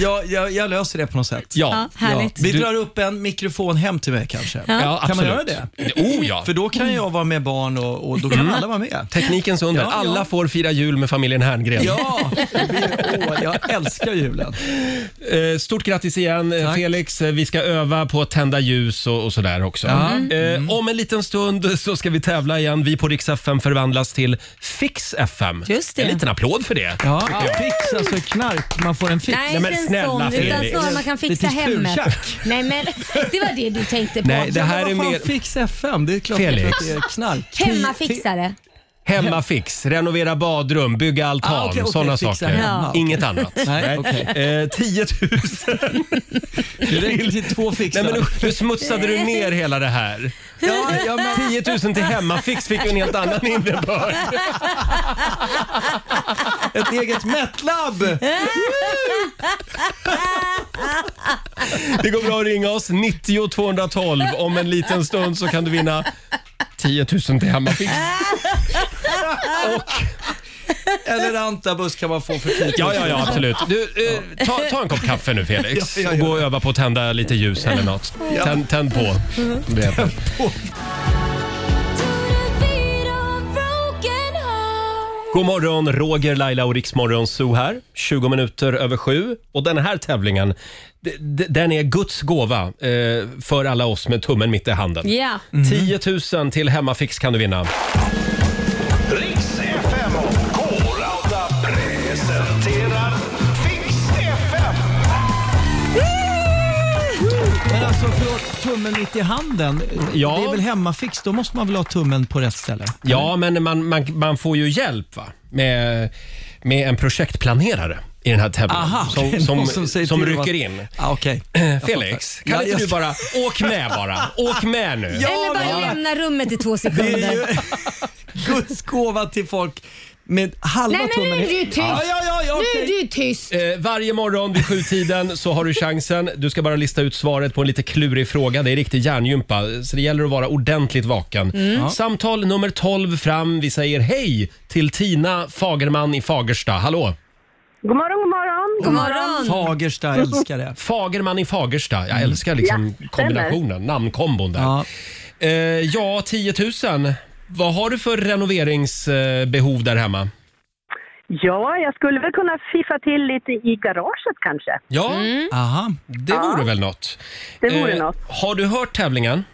Speaker 7: jag, jag, jag löser det på något sätt.
Speaker 1: Ja.
Speaker 2: Ja, härligt.
Speaker 7: Vi
Speaker 1: Du-
Speaker 7: drar upp en mikrofon hem till mig kanske.
Speaker 1: Ja,
Speaker 7: Kan man
Speaker 1: absolut. Mm.
Speaker 7: göra
Speaker 1: Oh ja!
Speaker 7: För då kan jag vara med barn och, och då kan alla vara med.
Speaker 1: Teknikens under.
Speaker 7: Ja, ja.
Speaker 1: Alla får fira jul med familjen Herngren.
Speaker 7: Ja, det blir, åh, jag älskar julen.
Speaker 1: Eh, Stort grattis igen eh,
Speaker 7: Tack.
Speaker 1: Felix. Eh, Vi ska öva på att tända ljus och, och sådär också.
Speaker 7: Ja. Mm.
Speaker 1: Eh, om en liten stund så ska vi tävla igen. Vi på Rix FM förvandlas till Fix FM.
Speaker 2: Just det.
Speaker 1: En liten applåd för det.
Speaker 7: Ja, fix, alltså knark, man får en fix.
Speaker 2: Nej,
Speaker 1: Nej, men
Speaker 2: inte en
Speaker 1: snälla,
Speaker 2: sån, utan
Speaker 1: Felix.
Speaker 2: snarare man kan fixa
Speaker 7: Lite
Speaker 2: hemmet.
Speaker 7: tjurtjack.
Speaker 2: Nej, men det var det du tänkte på.
Speaker 1: Nej, det
Speaker 7: Ja, men
Speaker 1: här är
Speaker 7: vad fan,
Speaker 1: mer-
Speaker 7: Fix FM, det är klart
Speaker 1: Felix.
Speaker 7: att det är knark.
Speaker 2: Hemmafixare.
Speaker 1: Hemmafix, renovera badrum, bygga altan,
Speaker 7: Ah, okej, okej,
Speaker 1: sådana
Speaker 7: fixa
Speaker 1: saker.
Speaker 7: hemma.
Speaker 1: Inget annat.
Speaker 7: Nej, okej.
Speaker 1: Eh, 10 000.
Speaker 7: Det räcker till två fixar.
Speaker 1: Nej, men nu, nu smutsade du ner hela det här.
Speaker 7: ja, ja,
Speaker 1: 10
Speaker 7: men...
Speaker 1: 000 till hemmafix fick ju en helt annan innebörd.
Speaker 7: Ett eget metlab!
Speaker 1: Det går bra att ringa oss, 90 212. Om en liten stund så kan du vinna 10 000 till Hemmafix.
Speaker 9: Eller antabus kan man få för 10 000.
Speaker 1: Ja, ja, ja, absolut. Du, eh, ta, ta en kopp kaffe nu Felix
Speaker 9: Ja, ja,
Speaker 1: och
Speaker 9: ja.
Speaker 1: gå och öva på att tända lite ljus eller något. Tänd, tänd på. Du vet. God morgon, Roger, Laila och Riksmorgon Zoo här. 20 minuter över sju. Och den här tävlingen, d- d- den är Guds gåva eh, för alla oss med tummen mitt i handen.
Speaker 2: Ja.
Speaker 1: 10 000 till Hemmafix kan du vinna.
Speaker 5: Riks FM och K-Rauta presenterar Fix FM.
Speaker 9: Men alltså förlåt, tummen mitt i handen.
Speaker 1: Ja.
Speaker 9: Det är väl hemmafix? Då måste man väl ha tummen på rätt ställe?
Speaker 1: Ja, men man, man, man får ju hjälp va? Med, med en projektplanerare i den här tävlingen
Speaker 9: Aha, det är
Speaker 1: som,
Speaker 9: någon
Speaker 1: som,
Speaker 9: säger
Speaker 1: som
Speaker 9: till
Speaker 1: rycker
Speaker 9: vad-
Speaker 1: in. Eh,
Speaker 9: Ah, Okej.
Speaker 1: Felix,
Speaker 9: Ja,
Speaker 1: kan inte
Speaker 9: jag
Speaker 1: du
Speaker 9: ska-
Speaker 1: bara åk med bara? Åk med nu.
Speaker 9: Ja,
Speaker 2: Eller bara
Speaker 9: men-
Speaker 2: lämna rummet i två
Speaker 9: Det är
Speaker 2: sekunder.
Speaker 9: ju Guds gåva till folk med halva
Speaker 2: Nej, men nu
Speaker 9: tummen
Speaker 2: är
Speaker 9: i-
Speaker 2: det ju tyst.
Speaker 9: Ja, ja, ja, ja,
Speaker 2: Nu
Speaker 9: okej.
Speaker 2: är du tyst.
Speaker 1: Eh, varje morgon vid sjutiden så har du chansen. Du ska bara lista ut svaret på en lite klurig fråga. Det är riktig hjärngympa, så det gäller att vara ordentligt vaken.
Speaker 9: Mm.
Speaker 1: Samtal nummer 12 fram. Vi säger hej till Tina Fagerman i Fagersta. Hallå!
Speaker 6: God morgon, god morgon.
Speaker 2: God morgon.
Speaker 9: Fagersta, jag älskar det.
Speaker 1: Fagerman i Fagersta. Jag älskar liksom
Speaker 6: Mm. Ja,
Speaker 1: kombinationen, namnkombon där.
Speaker 9: Ja.
Speaker 1: Eh, ja, 10 000. Vad har du för renoveringsbehov där hemma?
Speaker 6: Ja, jag skulle väl kunna fiffa till lite i garaget kanske.
Speaker 1: Ja,
Speaker 9: Aha.
Speaker 1: det vore väl något.
Speaker 6: Mm.
Speaker 1: Eh,
Speaker 6: Det vore något.
Speaker 1: Har du hört tävlingen?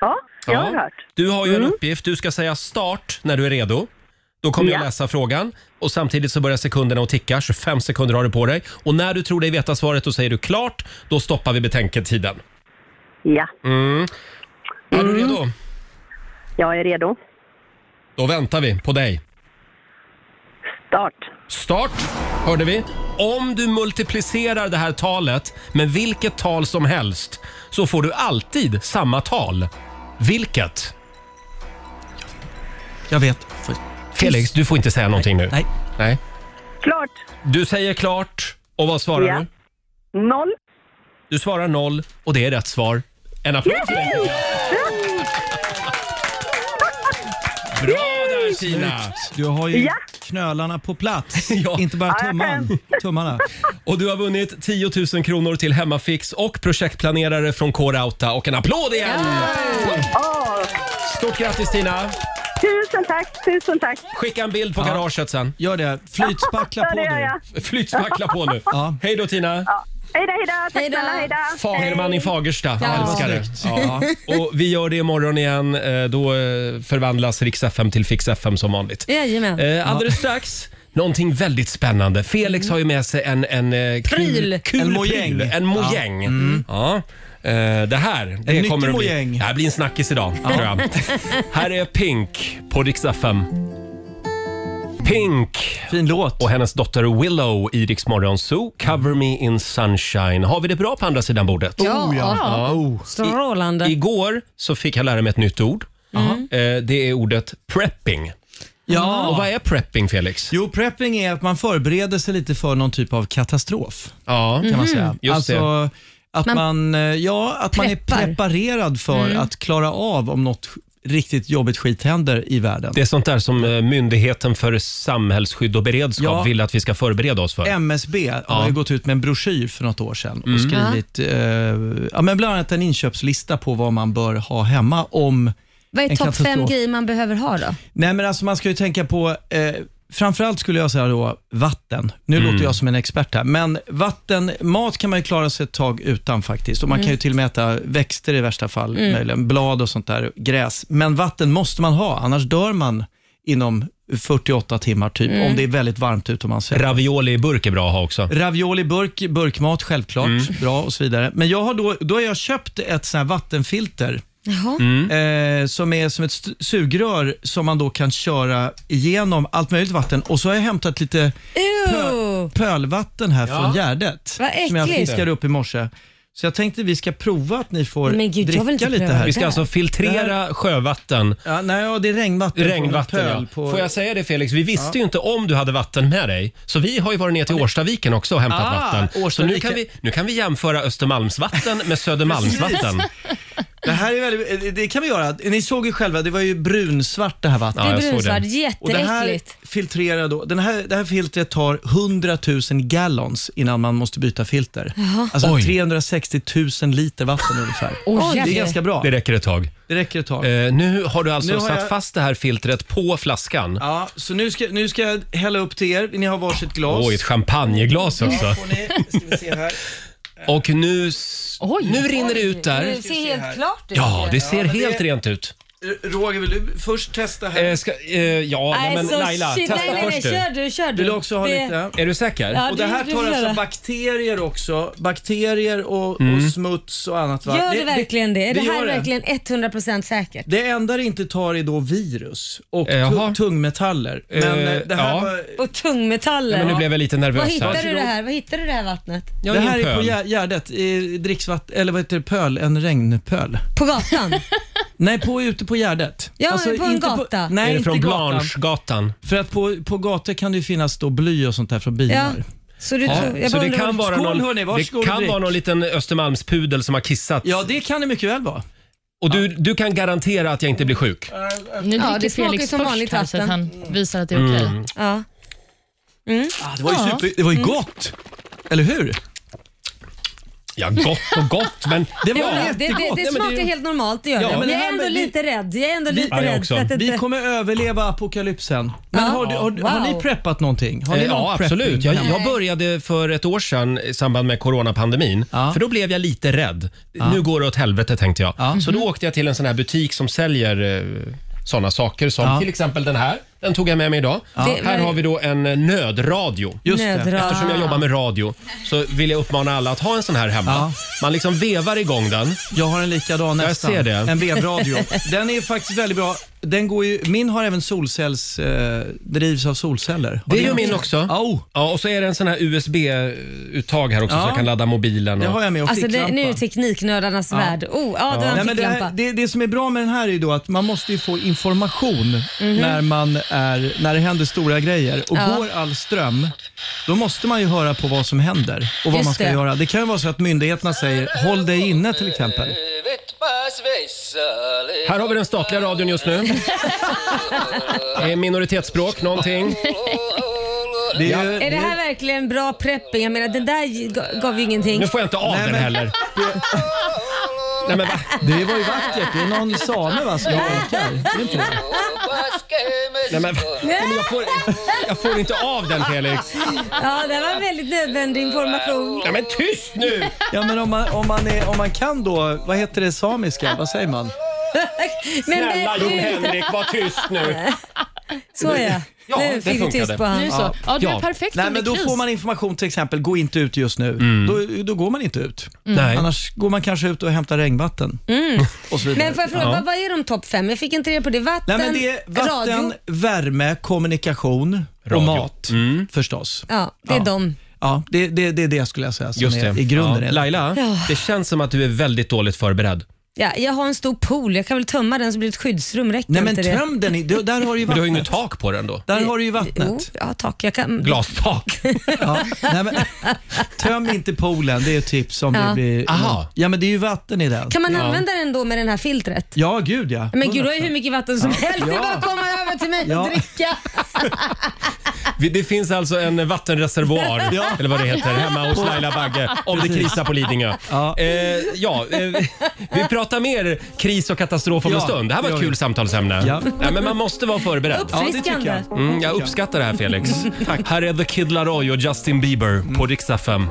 Speaker 6: Ja, jag har hört. Mm.
Speaker 1: Du har ju en uppgift. Du ska säga start när du är redo. Då kommer jag
Speaker 6: Ja.
Speaker 1: läsa frågan och samtidigt så börjar sekunderna att ticka. 25 sekunder har du på dig. Och när du tror dig veta svaret då säger du klart. Då stoppar vi betänketiden.
Speaker 6: Ja,
Speaker 1: Är
Speaker 6: Mm.
Speaker 1: du redo?
Speaker 6: jag är redo.
Speaker 1: Då väntar vi på dig.
Speaker 6: Start.
Speaker 1: Start, hörde vi. Om du multiplicerar det här talet med vilket tal som helst så får du alltid samma tal. Vilket?
Speaker 9: Jag vet. För-
Speaker 1: Felix, du får inte säga någonting nu.
Speaker 9: Nej.
Speaker 1: Nej.
Speaker 6: Klart.
Speaker 1: Du säger klart och vad svarar
Speaker 6: Ja.
Speaker 1: du?
Speaker 6: Noll.
Speaker 1: Du svarar noll och det är rätt svar. En applåd för dig. Bra där Tina!
Speaker 9: Du har ju
Speaker 6: Ja.
Speaker 9: knölarna på plats.
Speaker 1: Ja.
Speaker 9: Inte bara
Speaker 6: jag
Speaker 9: tumman, tummarna.
Speaker 1: Och du har vunnit 10 000 kronor till Hemmafix och projektplanerare från K-Rauta och en applåd igen!
Speaker 6: Åh,
Speaker 1: Stort grattis Tina!
Speaker 6: tusen tack, tusen tack.
Speaker 1: Skicka en bild på garaget sen.
Speaker 9: Gör det. Flytspackla på
Speaker 6: det gör
Speaker 9: du.
Speaker 6: jag.
Speaker 1: Flytspackla på nu.
Speaker 9: Ja.
Speaker 1: Hej då Tina.
Speaker 6: Hej då, hej då. Tack
Speaker 2: Hej då.
Speaker 6: snälla, hej då.
Speaker 1: Fagerman i Fagersta. Jag älskar det.
Speaker 9: Snyggt.
Speaker 1: Ja. Och vi gör det imorgon igen. Eh, Då eh, förvandlas Rix FM till Fix FM som vanligt.
Speaker 2: Jajamän.
Speaker 1: Eh, Alldeles strax. Någonting väldigt spännande. Felix har ju med sig en, en eh, kul,
Speaker 2: Pryl.
Speaker 1: kul
Speaker 9: En mojäng. Mm.
Speaker 1: pryl. En mojäng. Ja. Eh, Det här det
Speaker 9: nyttig
Speaker 1: kommer att bli,
Speaker 9: mojäng.
Speaker 1: det här blir en snackis idag. Tror jag. här är Pink på Rix FM. Pink
Speaker 9: Fin låt.
Speaker 1: och hennes dotter Willow i Rix Morgon Zoo. Cover me in sunshine. Har vi det bra på andra sidan bordet?
Speaker 2: Ja,
Speaker 1: Ja.
Speaker 2: strålande.
Speaker 1: Igår så fick jag lära mig ett nytt ord. Eh, Det är ordet prepping. Och
Speaker 9: Mm. Ja.
Speaker 1: vad är prepping, Felix?
Speaker 9: Jo, prepping är att man förbereder sig lite för någon typ av katastrof.
Speaker 1: Ja.
Speaker 9: kan man säga.
Speaker 1: Mm. Just
Speaker 9: alltså, Att man,
Speaker 2: Man
Speaker 9: eh, ja, att man är
Speaker 2: preppar. Mm.
Speaker 9: preparerad för att klara av om något sk- riktigt jobbigt skit händer i världen.
Speaker 1: Det är sånt där som eh, Myndigheten för samhällsskydd och beredskap
Speaker 9: Ja.
Speaker 1: vill att vi ska förbereda oss för.
Speaker 9: MSB har ju gått ut med en broschyr för något år sedan och skrivit eh, ja, men bland annat en inköpslista på vad man bör ha hemma om
Speaker 2: Vad är
Speaker 9: en
Speaker 2: topp fem
Speaker 9: katastrof.
Speaker 2: grejer man behöver ha då?
Speaker 9: Nej, men alltså man ska ju tänka på, eh, framförallt skulle jag säga då, vatten. Nu
Speaker 1: Mm.
Speaker 9: låter jag som en expert här, men vatten, mat kan man ju klara sig ett tag utan faktiskt. Och man
Speaker 1: Mm.
Speaker 9: kan ju till och med äta växter i värsta fall, möjligen blad och sånt där, gräs. Men vatten måste man ha, annars dör man inom 48 timmar typ,
Speaker 1: Mm.
Speaker 9: om det är väldigt varmt ute om man säger.
Speaker 1: Ravioli i burk är bra att ha också.
Speaker 9: Ravioli burk, burkmat självklart,
Speaker 1: Mm.
Speaker 9: bra och så vidare. Men jag har då, då har jag köpt ett sånt här vattenfilter
Speaker 2: Jaha.
Speaker 1: Mm.
Speaker 9: eh, som är som ett st- sugrör som man då kan köra igenom allt möjligt vatten. Och så har jag hämtat lite
Speaker 2: Ew.
Speaker 9: pölvatten här från Gärdet
Speaker 2: Vad
Speaker 9: som jag
Speaker 2: äckligt.
Speaker 9: fiskade upp i morse. Så jag tänkte vi ska prova att ni får
Speaker 2: Men gud, jag
Speaker 9: dricka
Speaker 2: vill inte
Speaker 9: lite
Speaker 2: pröva
Speaker 9: här.
Speaker 1: Vi ska alltså filtrera sjövatten
Speaker 9: Ja, nej, ja, det är regnvatten. från en
Speaker 1: Regnvatten,
Speaker 9: pöl
Speaker 1: ja.
Speaker 9: På...
Speaker 1: Får jag säga det Felix? Vi visste ju inte om du hade vatten med dig. Så vi har ju varit ner till Årstaviken också och hämtat
Speaker 9: Ah,
Speaker 1: vatten. Så nu
Speaker 9: Årstaviken.
Speaker 1: kan, vi, nu kan vi jämföra Östermalmsvatten med Södermalmsvatten.
Speaker 9: Det här är väldigt, eh, det kan vi göra. Ni såg ju själva, det var ju brunsvart det här vattnet.
Speaker 2: Det
Speaker 1: Ja,
Speaker 2: är
Speaker 1: jag såg
Speaker 2: brunsvart,
Speaker 1: det.
Speaker 9: Och det här,
Speaker 2: jätteäckligt.
Speaker 9: filtrerar då, den här, det här filtret tar 100 000 gallons innan man måste byta filter. Alltså
Speaker 1: Oj.
Speaker 9: 360 000 liter vatten ungefär.
Speaker 2: Oj,
Speaker 9: det är
Speaker 2: jävlar.
Speaker 9: ganska bra.
Speaker 1: Det räcker ett tag.
Speaker 9: Det räcker ett tag.
Speaker 1: Eh, nu har du alltså
Speaker 9: Nu har
Speaker 1: satt
Speaker 9: jag-
Speaker 1: fast det här filtret på flaskan.
Speaker 9: Ja, så nu ska, nu ska jag hälla upp till er. Ni har varsitt glas.
Speaker 1: Oj, ett alltså. champagneglas också.
Speaker 9: Får ni, ska vi se här.
Speaker 1: Och nu, s-
Speaker 3: Oj.
Speaker 1: nu rinner det ut där.
Speaker 2: Det ser helt klart ut.
Speaker 1: Ja, det ser
Speaker 9: men det-
Speaker 1: helt rent ut.
Speaker 9: Roger, vill du först testa här?
Speaker 1: Eh, ska, eh, ja, nej,
Speaker 2: Nej,
Speaker 1: men
Speaker 2: så
Speaker 1: Laila,
Speaker 2: shit.
Speaker 1: testa
Speaker 2: nej, nej, nej,
Speaker 1: först
Speaker 2: kör du, kör du.
Speaker 9: Vill du också ha
Speaker 2: Det-
Speaker 9: lite?
Speaker 1: du. Är du säker?
Speaker 2: Ja,
Speaker 9: Och det här
Speaker 2: du-
Speaker 9: tar
Speaker 2: du
Speaker 9: alltså
Speaker 2: gör det.
Speaker 9: bakterier också. Bakterier och,
Speaker 1: Mm.
Speaker 9: och smuts och annat. Va?
Speaker 2: Gör det verkligen det? Är det
Speaker 9: vi
Speaker 2: här
Speaker 9: gör
Speaker 2: verkligen 100% säkert?
Speaker 9: Det enda det inte tar är då virus och
Speaker 1: Eh, jaha.
Speaker 9: tu- tungmetaller. Men
Speaker 1: Eh,
Speaker 9: eh, det här
Speaker 1: ja.
Speaker 9: var...
Speaker 2: Och tungmetaller.
Speaker 1: Nej, men nu blev jag lite nervös
Speaker 2: Vad
Speaker 1: här.
Speaker 2: hittar du det här? Vad hittar du det här vattnet?
Speaker 1: Jag
Speaker 9: det
Speaker 1: är
Speaker 9: här
Speaker 1: en
Speaker 9: är på
Speaker 1: pöl.
Speaker 9: Gär- Gärdet, i dricksvatten, eller vad heter det, pöl, en regnpöl.
Speaker 2: På gatan?
Speaker 9: Nej, på, ute på Gärdet.
Speaker 2: Ja, på en gata.
Speaker 9: På, nej,
Speaker 1: Är det
Speaker 9: inte
Speaker 1: från
Speaker 9: gatan.
Speaker 1: Blanchegatan?
Speaker 9: För att på, på gator kan det ju finnas då bly och sånt där från
Speaker 2: ja.
Speaker 9: bilar.
Speaker 2: Så, du,
Speaker 1: Ja,
Speaker 2: tror- jag
Speaker 1: så
Speaker 2: bara
Speaker 1: det
Speaker 2: undrar
Speaker 1: kan,
Speaker 2: vad-
Speaker 1: vara
Speaker 9: Skål,
Speaker 1: någon,
Speaker 9: hörni,
Speaker 1: det
Speaker 9: varsågod och
Speaker 1: kan
Speaker 9: drick.
Speaker 1: vara någon liten Östermalmspudel som har kissat.
Speaker 9: Ja, det kan det mycket väl vara.
Speaker 1: Och du, du kan garantera att jag inte blir sjuk.
Speaker 3: Nu
Speaker 2: Ja,
Speaker 3: dricker
Speaker 2: det smakar
Speaker 3: Felix
Speaker 2: som
Speaker 3: först
Speaker 2: vanligt
Speaker 3: här så att han visar att det är okej.
Speaker 7: Mm.
Speaker 2: Ja.
Speaker 9: Ah, det var ju super, det var
Speaker 2: Mm.
Speaker 9: ju gott. Eller hur?
Speaker 1: Ja, gott och gott, men...
Speaker 9: Det var
Speaker 2: Ja, det, det,
Speaker 9: jättegott.
Speaker 2: det,
Speaker 9: Ja, men
Speaker 2: smakar helt normalt, det gör
Speaker 9: Ja,
Speaker 2: det.
Speaker 9: men
Speaker 2: Men
Speaker 9: det
Speaker 2: jag
Speaker 9: här
Speaker 2: är ändå
Speaker 9: med- vi-
Speaker 2: lite rädd. Jag är ändå lite
Speaker 1: Ja, jag
Speaker 2: rädd.
Speaker 1: också.
Speaker 2: För att
Speaker 9: Vi
Speaker 2: inte... Ah,
Speaker 9: kommer överleva apokalypsen. Men har, du, har, du- har
Speaker 2: Wow.
Speaker 9: ni preppat någonting? Har ni
Speaker 1: Eh,
Speaker 9: någon
Speaker 1: Ja,
Speaker 9: prepping?
Speaker 1: absolut. Jag, jag började för ett år sedan i samband med coronapandemin.
Speaker 9: Ja.
Speaker 1: För då blev jag lite rädd. Nu går det åt helvete tänkte jag.
Speaker 9: Ja. Mm-hmm.
Speaker 1: Så då åkte jag till en sån här butik som säljer eh, såna saker som
Speaker 9: Ja.
Speaker 1: till exempel den här. Den tog jag med mig idag.
Speaker 2: Det-
Speaker 1: Här har vi då en eh, nödradio.
Speaker 9: Just det.
Speaker 2: Nödra-
Speaker 1: Eftersom jag jobbar
Speaker 9: Ah.
Speaker 1: med radio så vill jag uppmana alla att ha en sån här hemma.
Speaker 9: Ja.
Speaker 1: Man liksom vevar igång den.
Speaker 9: Jag har en likadan
Speaker 1: Jag
Speaker 9: nästan.
Speaker 1: ser det.
Speaker 9: En vevradio. Den är faktiskt väldigt bra. Den går ju, min har även solcells, eh, drivs av solceller. Har
Speaker 1: Det är
Speaker 9: ni
Speaker 1: ju
Speaker 9: någon?
Speaker 1: min också.
Speaker 9: Au.
Speaker 1: Ja, och så är det en sån här USB-uttag här också så
Speaker 9: Ja.
Speaker 1: jag kan ladda mobilen.
Speaker 9: Ah. Det
Speaker 1: Och...
Speaker 9: har jag med och
Speaker 2: Alltså det,
Speaker 9: ficklampa.
Speaker 2: nu är det tekniknördarnas värld. Oh, ja, du har
Speaker 9: Nej,
Speaker 2: en
Speaker 9: men det,
Speaker 2: ficklampa.
Speaker 9: här, det, det som är bra med den här är ju då att man måste ju få information när, man är, när det händer stora grejer. Och
Speaker 2: Mhm. Ja.
Speaker 9: går all ström, då måste man ju höra på vad som händer och vad
Speaker 2: Just
Speaker 9: man ska
Speaker 2: det.
Speaker 9: göra. Det kan ju vara så att myndigheterna säger “håll dig inne” till exempel.
Speaker 1: Här har vi den statliga radion just nu. Det är minoritetsspråk, någonting.
Speaker 9: Det är, ju-
Speaker 2: Är det här verkligen bra prepping? Jag menar den där ga- gav ju ingenting.
Speaker 1: Nu får jag inte av den heller. Nej, men va?
Speaker 9: det var ju vackert. Det är någon same va, som orkar. Det är inte det?
Speaker 1: Nej, men, va? Nej, men jag, får, jag får inte av den Felix.
Speaker 2: Ja, det var väldigt nödvändig information.
Speaker 1: Nej, men tyst nu!
Speaker 9: Ja, men om man, om, man är, om man kan då, vad heter det samiska? Vad säger man?
Speaker 2: Men
Speaker 1: Snälla
Speaker 2: men-
Speaker 1: Jon-Henrik, var tyst nu.
Speaker 2: Så ja.
Speaker 1: Ja, det
Speaker 2: Nu fick du
Speaker 1: funkade.
Speaker 2: tyst på honom.
Speaker 3: Nu så. Ja, du
Speaker 1: Ja.
Speaker 3: är perfekt
Speaker 9: Nej,
Speaker 3: under
Speaker 9: men då
Speaker 3: kris.
Speaker 9: får man information till exempel, gå inte ut just nu. Då, då går man inte ut.
Speaker 1: Mm.
Speaker 2: Mm.
Speaker 1: Nej.
Speaker 9: Annars går man kanske ut och hämtar regnvatten. Och så vidare.
Speaker 2: Men får jag fråga, vad, vad är de topp fem? Jag fick inte reda på det. Vatten,
Speaker 9: Nej, men det är vatten,
Speaker 2: radio.
Speaker 9: värme, kommunikation
Speaker 1: Radio. Mm.
Speaker 9: och mat förstås.
Speaker 2: Ja, det är
Speaker 9: Ja.
Speaker 2: de.
Speaker 9: Ja, det, det, det är det skulle jag säga som
Speaker 1: Just
Speaker 9: är
Speaker 1: det.
Speaker 9: i grunden.
Speaker 1: Ja.
Speaker 9: är det.
Speaker 1: Laila, det känns som att du är väldigt dåligt förberedd.
Speaker 2: Ja, jag har en stor pool. Jag kan väl tömma den så blir det ett skyddsrum. Räcker
Speaker 9: Nej men
Speaker 2: inte det?
Speaker 9: töm den, i, då- där har du ju
Speaker 1: Men du har ju inget
Speaker 9: vattnet.
Speaker 1: tak på den då?
Speaker 9: Där har du ju
Speaker 2: Jo,
Speaker 9: vattnet.
Speaker 2: ja tack. Jag kan...
Speaker 1: Glastak?
Speaker 9: Ja. Nej, men, töm inte poolen, det är ett tips om det
Speaker 2: Ja.
Speaker 9: blir...
Speaker 1: Aha.
Speaker 9: Ja men det är ju vatten i den.
Speaker 2: Kan man använda den då med det här filtret?
Speaker 9: Ja, gud ja.
Speaker 2: Men gud, du har ju hur mycket vatten som helst. Det är bara att komma över till mig
Speaker 9: Ja.
Speaker 2: och dricka.
Speaker 1: Vi- Det finns alltså en vattenreservoar,
Speaker 9: Ja.
Speaker 1: eller vad det heter, hemma hos Laila Bagge om det krisar på Lidingö.
Speaker 9: Ja.
Speaker 1: Eh, ja, eh, vi pratar mer kris och katastrof om en
Speaker 9: Ja,
Speaker 1: stund. Det här var
Speaker 9: det
Speaker 1: ett
Speaker 9: gör
Speaker 1: kul
Speaker 9: vi.
Speaker 1: samtalsämne.
Speaker 9: Ja.
Speaker 1: Nej, men man måste vara förberedd.
Speaker 9: Ja, det tycker
Speaker 2: Uppfriskande.
Speaker 9: jag.
Speaker 1: Mm, jag uppskattar det här Felix.
Speaker 9: Mm,
Speaker 1: Här är The Kid Laroi och Justin Bieber på Rix FM.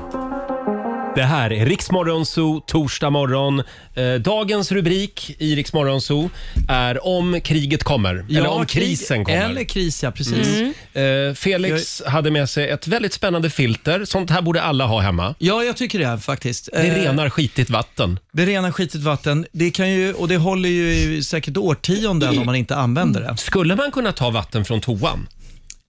Speaker 1: Det här är Riksmorgon Zoo, torsdag morgon. Eh, dagens rubrik i Riksmorgon Zoo är om kriget kommer. eller om
Speaker 9: krig-
Speaker 1: krisen kommer.
Speaker 9: Eller kris, ja precis.
Speaker 2: Mm.
Speaker 1: Eh, Felix hade med sig ett väldigt spännande filter. Sånt här borde alla ha hemma.
Speaker 9: Ja, jag tycker det här, faktiskt.
Speaker 1: Det
Speaker 9: Eh,
Speaker 1: renar skitigt vatten.
Speaker 9: det renar skitigt vatten. Det kan ju, och det håller ju i säkert årtionden om man inte använder det.
Speaker 1: Skulle man kunna ta vatten från toan?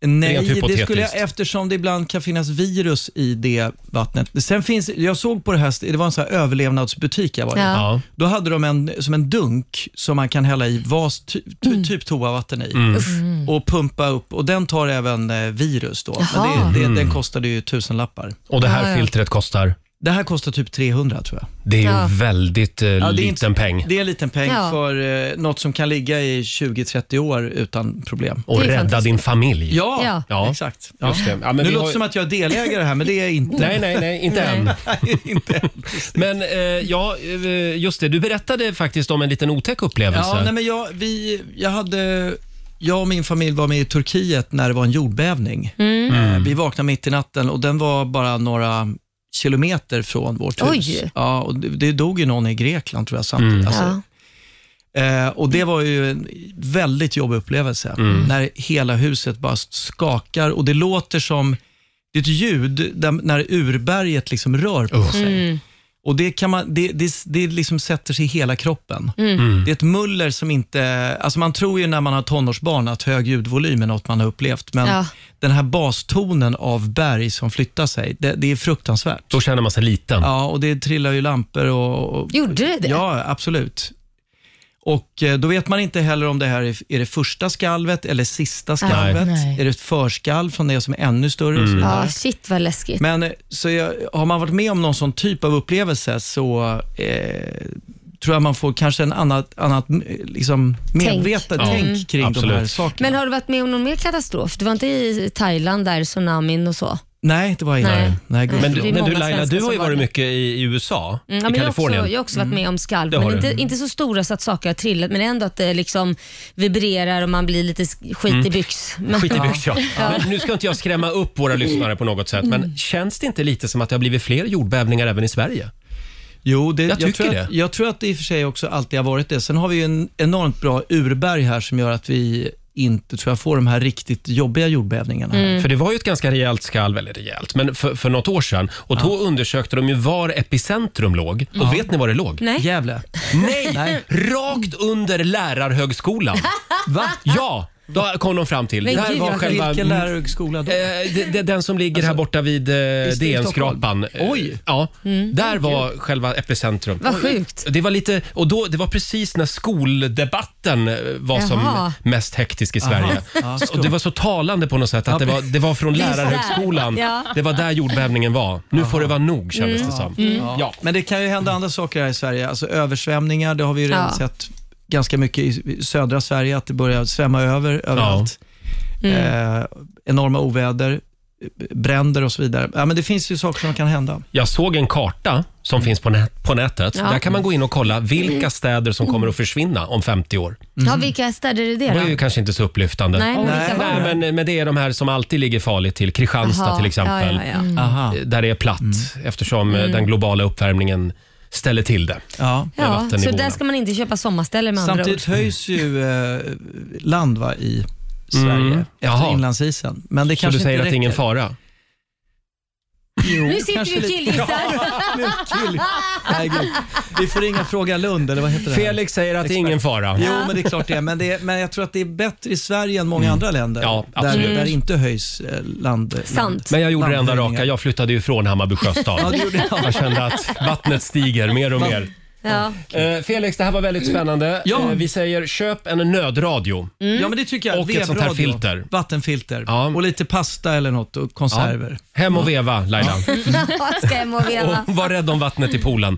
Speaker 1: Mm. Rent
Speaker 9: Nej, det
Speaker 1: hypotetiskt.
Speaker 9: skulle jag, eftersom det ibland kan finnas virus i det vattnet. Sen finns, jag såg på det här, det var en sån här överlevnadsbutik jag var i.
Speaker 2: Ja.
Speaker 1: Ja.
Speaker 9: Då hade de en, som en dunk som man kan hälla i vas, ty, ty, typ toavatten i
Speaker 1: Mm.
Speaker 9: och pumpa upp. Och Den
Speaker 1: Mm.
Speaker 9: tar även eh, virus. Då. Men det, det, den kostade ju tusenlappar.
Speaker 1: Och det här filtret kostar?
Speaker 9: Det här kostar typ 300 tror jag.
Speaker 1: Det är ju
Speaker 2: Ja.
Speaker 1: väldigt eh,
Speaker 9: Ja, det är
Speaker 1: liten
Speaker 9: inte-
Speaker 1: peng.
Speaker 9: Det är en liten peng
Speaker 2: Ja.
Speaker 9: för eh, något som kan ligga i 20-30 år utan problem.
Speaker 1: Och
Speaker 2: Det är
Speaker 1: rädda
Speaker 2: fantastiskt.
Speaker 1: din familj.
Speaker 9: Ja,
Speaker 2: Ja.
Speaker 1: Ja.
Speaker 9: exakt. Ja.
Speaker 1: Just det. Ja, men vi
Speaker 9: nu låter
Speaker 1: har
Speaker 9: det
Speaker 1: ju-
Speaker 9: som att jag är delägare här, men det är jag inte.
Speaker 1: Nej, nej, nej, inte
Speaker 2: Nej.
Speaker 1: än.
Speaker 9: inte.
Speaker 1: Men eh, ja, eh, just det. Du berättade faktiskt om en liten otäck upplevelse.
Speaker 9: Ja, nej, men jag, vi, jag, hade, jag och min familj var med i Turkiet när det var en jordbävning.
Speaker 2: Mm.
Speaker 1: Mm.
Speaker 9: Eh, Vi vaknade mitt i natten och den var bara några kilometer från vårt hus.
Speaker 2: Oj.
Speaker 9: Ja, och det, det dog ju någon i Grekland tror jag samtidigt.
Speaker 1: Mm.
Speaker 9: Alltså,
Speaker 2: Ja.
Speaker 9: Eh, och Det var ju en väldigt jobbig upplevelse, när hela huset bara skakar och det låter som det är ett ljud där, när urberget liksom rör på sig. Och det, kan man, det, det, det liksom sätter sig i hela kroppen. Det är ett muller som inte... Alltså man tror ju när man har tonårsbarn att hög ljudvolym är något man har upplevt, men
Speaker 2: Ja.
Speaker 9: den här bastonen av berg som flyttar sig, det, det är fruktansvärt.
Speaker 1: Då känner man sig liten.
Speaker 9: Ja, och det trillar ju lampor och... och
Speaker 2: Gjorde det det?
Speaker 9: Ja, absolut. Och eh, då vet man inte heller om det här är, är det första skalvet eller sista skalvet.
Speaker 3: Nej.
Speaker 9: Är det ett förskalv från det som är ännu större?
Speaker 1: Mm.
Speaker 9: Och så vidare.
Speaker 2: Ja, shit vad läskigt.
Speaker 9: Men eh, så jag, har man varit med om någon sån typ av upplevelse så eh, tror jag man får kanske en annat, annat eh, liksom medvetet
Speaker 1: Ja,
Speaker 9: tänk kring de här
Speaker 1: absolut.
Speaker 9: sakerna.
Speaker 2: Men har du varit med om någon mer katastrof? Du var inte i Thailand där, tsunamin och så?
Speaker 9: Nej, det var inget.
Speaker 2: Nej.
Speaker 9: Nej. Nej, gud,
Speaker 1: Men,
Speaker 2: Mm. Det är
Speaker 1: du- men
Speaker 9: förlåt.
Speaker 1: du
Speaker 2: många
Speaker 1: Laila,
Speaker 2: svenskar
Speaker 1: du har ju
Speaker 2: som
Speaker 1: varit
Speaker 2: var-
Speaker 1: mycket i, i USA,
Speaker 2: Mm, ja,
Speaker 1: i
Speaker 2: men jag, har också,
Speaker 1: Kalifornien. Mm.
Speaker 2: jag har också varit med om skalv,
Speaker 1: Det har
Speaker 2: men
Speaker 1: du.
Speaker 2: inte, inte så stora så att saker har trillat, men ändå att det liksom vibrerar och man blir lite sk- skit i byx. Men,
Speaker 1: Mm. Skit i byx, ja. Men nu ska inte jag skrämma upp våra lyssnare på något sätt, men känns det inte lite som att det har blivit fler jordbävningar även i Sverige?
Speaker 9: Jo, det,
Speaker 1: Jag tycker
Speaker 9: tror
Speaker 1: det.
Speaker 9: Att, jag tror att det i och för sig också alltid har varit det. Sen har vi ju en enormt bra urberg här som gör att vi inte tror jag får de här riktigt jobbiga jordbävningarna. här.
Speaker 1: För det var ju ett ganska rejält skalv, eller rejält, men för, för något år sedan. Och då undersökte de ju var epicentrum låg. Och vet ni var det låg?
Speaker 2: nej.
Speaker 9: Gävle.
Speaker 1: Nej!
Speaker 9: Nej.
Speaker 1: Rakt under lärarhögskolan.
Speaker 9: Va?
Speaker 1: Ja, då kom de fram till.
Speaker 2: Men
Speaker 1: Där
Speaker 2: gud,
Speaker 1: var
Speaker 2: vad-
Speaker 1: själva... Mm.
Speaker 9: Vilken lärarhögskola då?
Speaker 1: Eh, det- det- Den som ligger här borta vid eh,
Speaker 9: Visst, i
Speaker 1: DN-skrapan.
Speaker 9: Stockholm? Oj.
Speaker 1: Ja, där var själva epicentrum.
Speaker 2: Vad sjukt.
Speaker 1: Det var, lite, och då, det var precis när skoldebatten eh, var
Speaker 2: Jaha.
Speaker 1: som mest hektisk i Sverige.
Speaker 9: Ja,
Speaker 1: Så- och det var så talande på något sätt att
Speaker 9: Ja,
Speaker 1: det var, det var från
Speaker 2: är så här.
Speaker 1: lärarhögskolan.
Speaker 2: Ja. Mm.
Speaker 1: Det var där jordbävningen var. Nu får det vara nog kändes det som. Ja.
Speaker 9: Men det kan ju hända andra saker här i Sverige. Alltså översvämningar, det har vi ju redan
Speaker 2: Ja.
Speaker 9: sett ganska mycket i i södra Sverige, att det börjar svämma över överallt. Eh, enorma oväder, bränder och så vidare. Ja, men det finns ju saker som kan hända.
Speaker 1: Jag såg en karta som finns på, nä- på nätet.
Speaker 2: Ja. Mm.
Speaker 1: Där kan man gå in och kolla vilka städer som kommer att försvinna om 50 år.
Speaker 2: Ja, vilka städer är det
Speaker 1: Det var ju
Speaker 2: då?
Speaker 1: kanske inte så upplyftande.
Speaker 2: Nej, men
Speaker 9: Nej.
Speaker 2: vilka var
Speaker 1: Mm. Nej,
Speaker 2: det?
Speaker 1: men, men det är de här som alltid ligger farligt till. Kristianstad
Speaker 2: Jaha,
Speaker 1: till exempel. Mm.
Speaker 2: Ja, ja, ja. Mm.
Speaker 9: Aha.
Speaker 1: Där det är platt eftersom eh, den globala uppvärmningen ställer till det.
Speaker 9: Ja.
Speaker 2: ja så
Speaker 1: vattennivåerna.
Speaker 2: där ska man inte köpa sommarställe med andra ord.
Speaker 9: Samtidigt höjs ju eh, land va, i Sverige
Speaker 1: Mm. Jaha.
Speaker 9: efter inlandsisen. Men det
Speaker 1: Så
Speaker 9: kanske
Speaker 1: du säger
Speaker 9: inte
Speaker 1: att det är ingen
Speaker 9: räcker.
Speaker 1: fara?
Speaker 9: Jo,
Speaker 2: Nu sitter vi
Speaker 9: kanske
Speaker 2: och
Speaker 9: lite-
Speaker 2: killgissar.
Speaker 9: Nu kill- Nej, gud. Vi får ringa Fråga Lund, eller vad heter det? här?
Speaker 1: Felix säger att det är ingen fara.
Speaker 9: Jo, men det är klart det är. Men, det är, men jag tror att det är bättre i Sverige än många andra länder.
Speaker 1: Mm. Ja,
Speaker 9: där,
Speaker 1: absolut.
Speaker 2: Mm.
Speaker 9: där inte höjs eh, land... land.
Speaker 2: Sant.
Speaker 1: Men jag gjorde det enda
Speaker 9: Landhöjningar.
Speaker 1: raka. Jag flyttade ju från Hammarby
Speaker 9: Ja,
Speaker 1: sjöstad.
Speaker 9: det gjorde jag.
Speaker 1: Jag kände att vattnet stiger mer och mer.
Speaker 2: Ja.
Speaker 1: Eh, Felix, det här var väldigt spännande.
Speaker 9: Ja. Mm.
Speaker 1: Eh, vi säger köp en nödradio.
Speaker 9: Ja, men det tycker jag.
Speaker 1: Och ett sånt här
Speaker 9: Vevradio,
Speaker 1: filter.
Speaker 9: Vattenfilter.
Speaker 1: Ja.
Speaker 9: Och lite pasta eller något och konserver.
Speaker 1: Hem och veva, Laila.
Speaker 2: Jag ska hem och veva.
Speaker 1: Och var rädd om vattnet i poolen.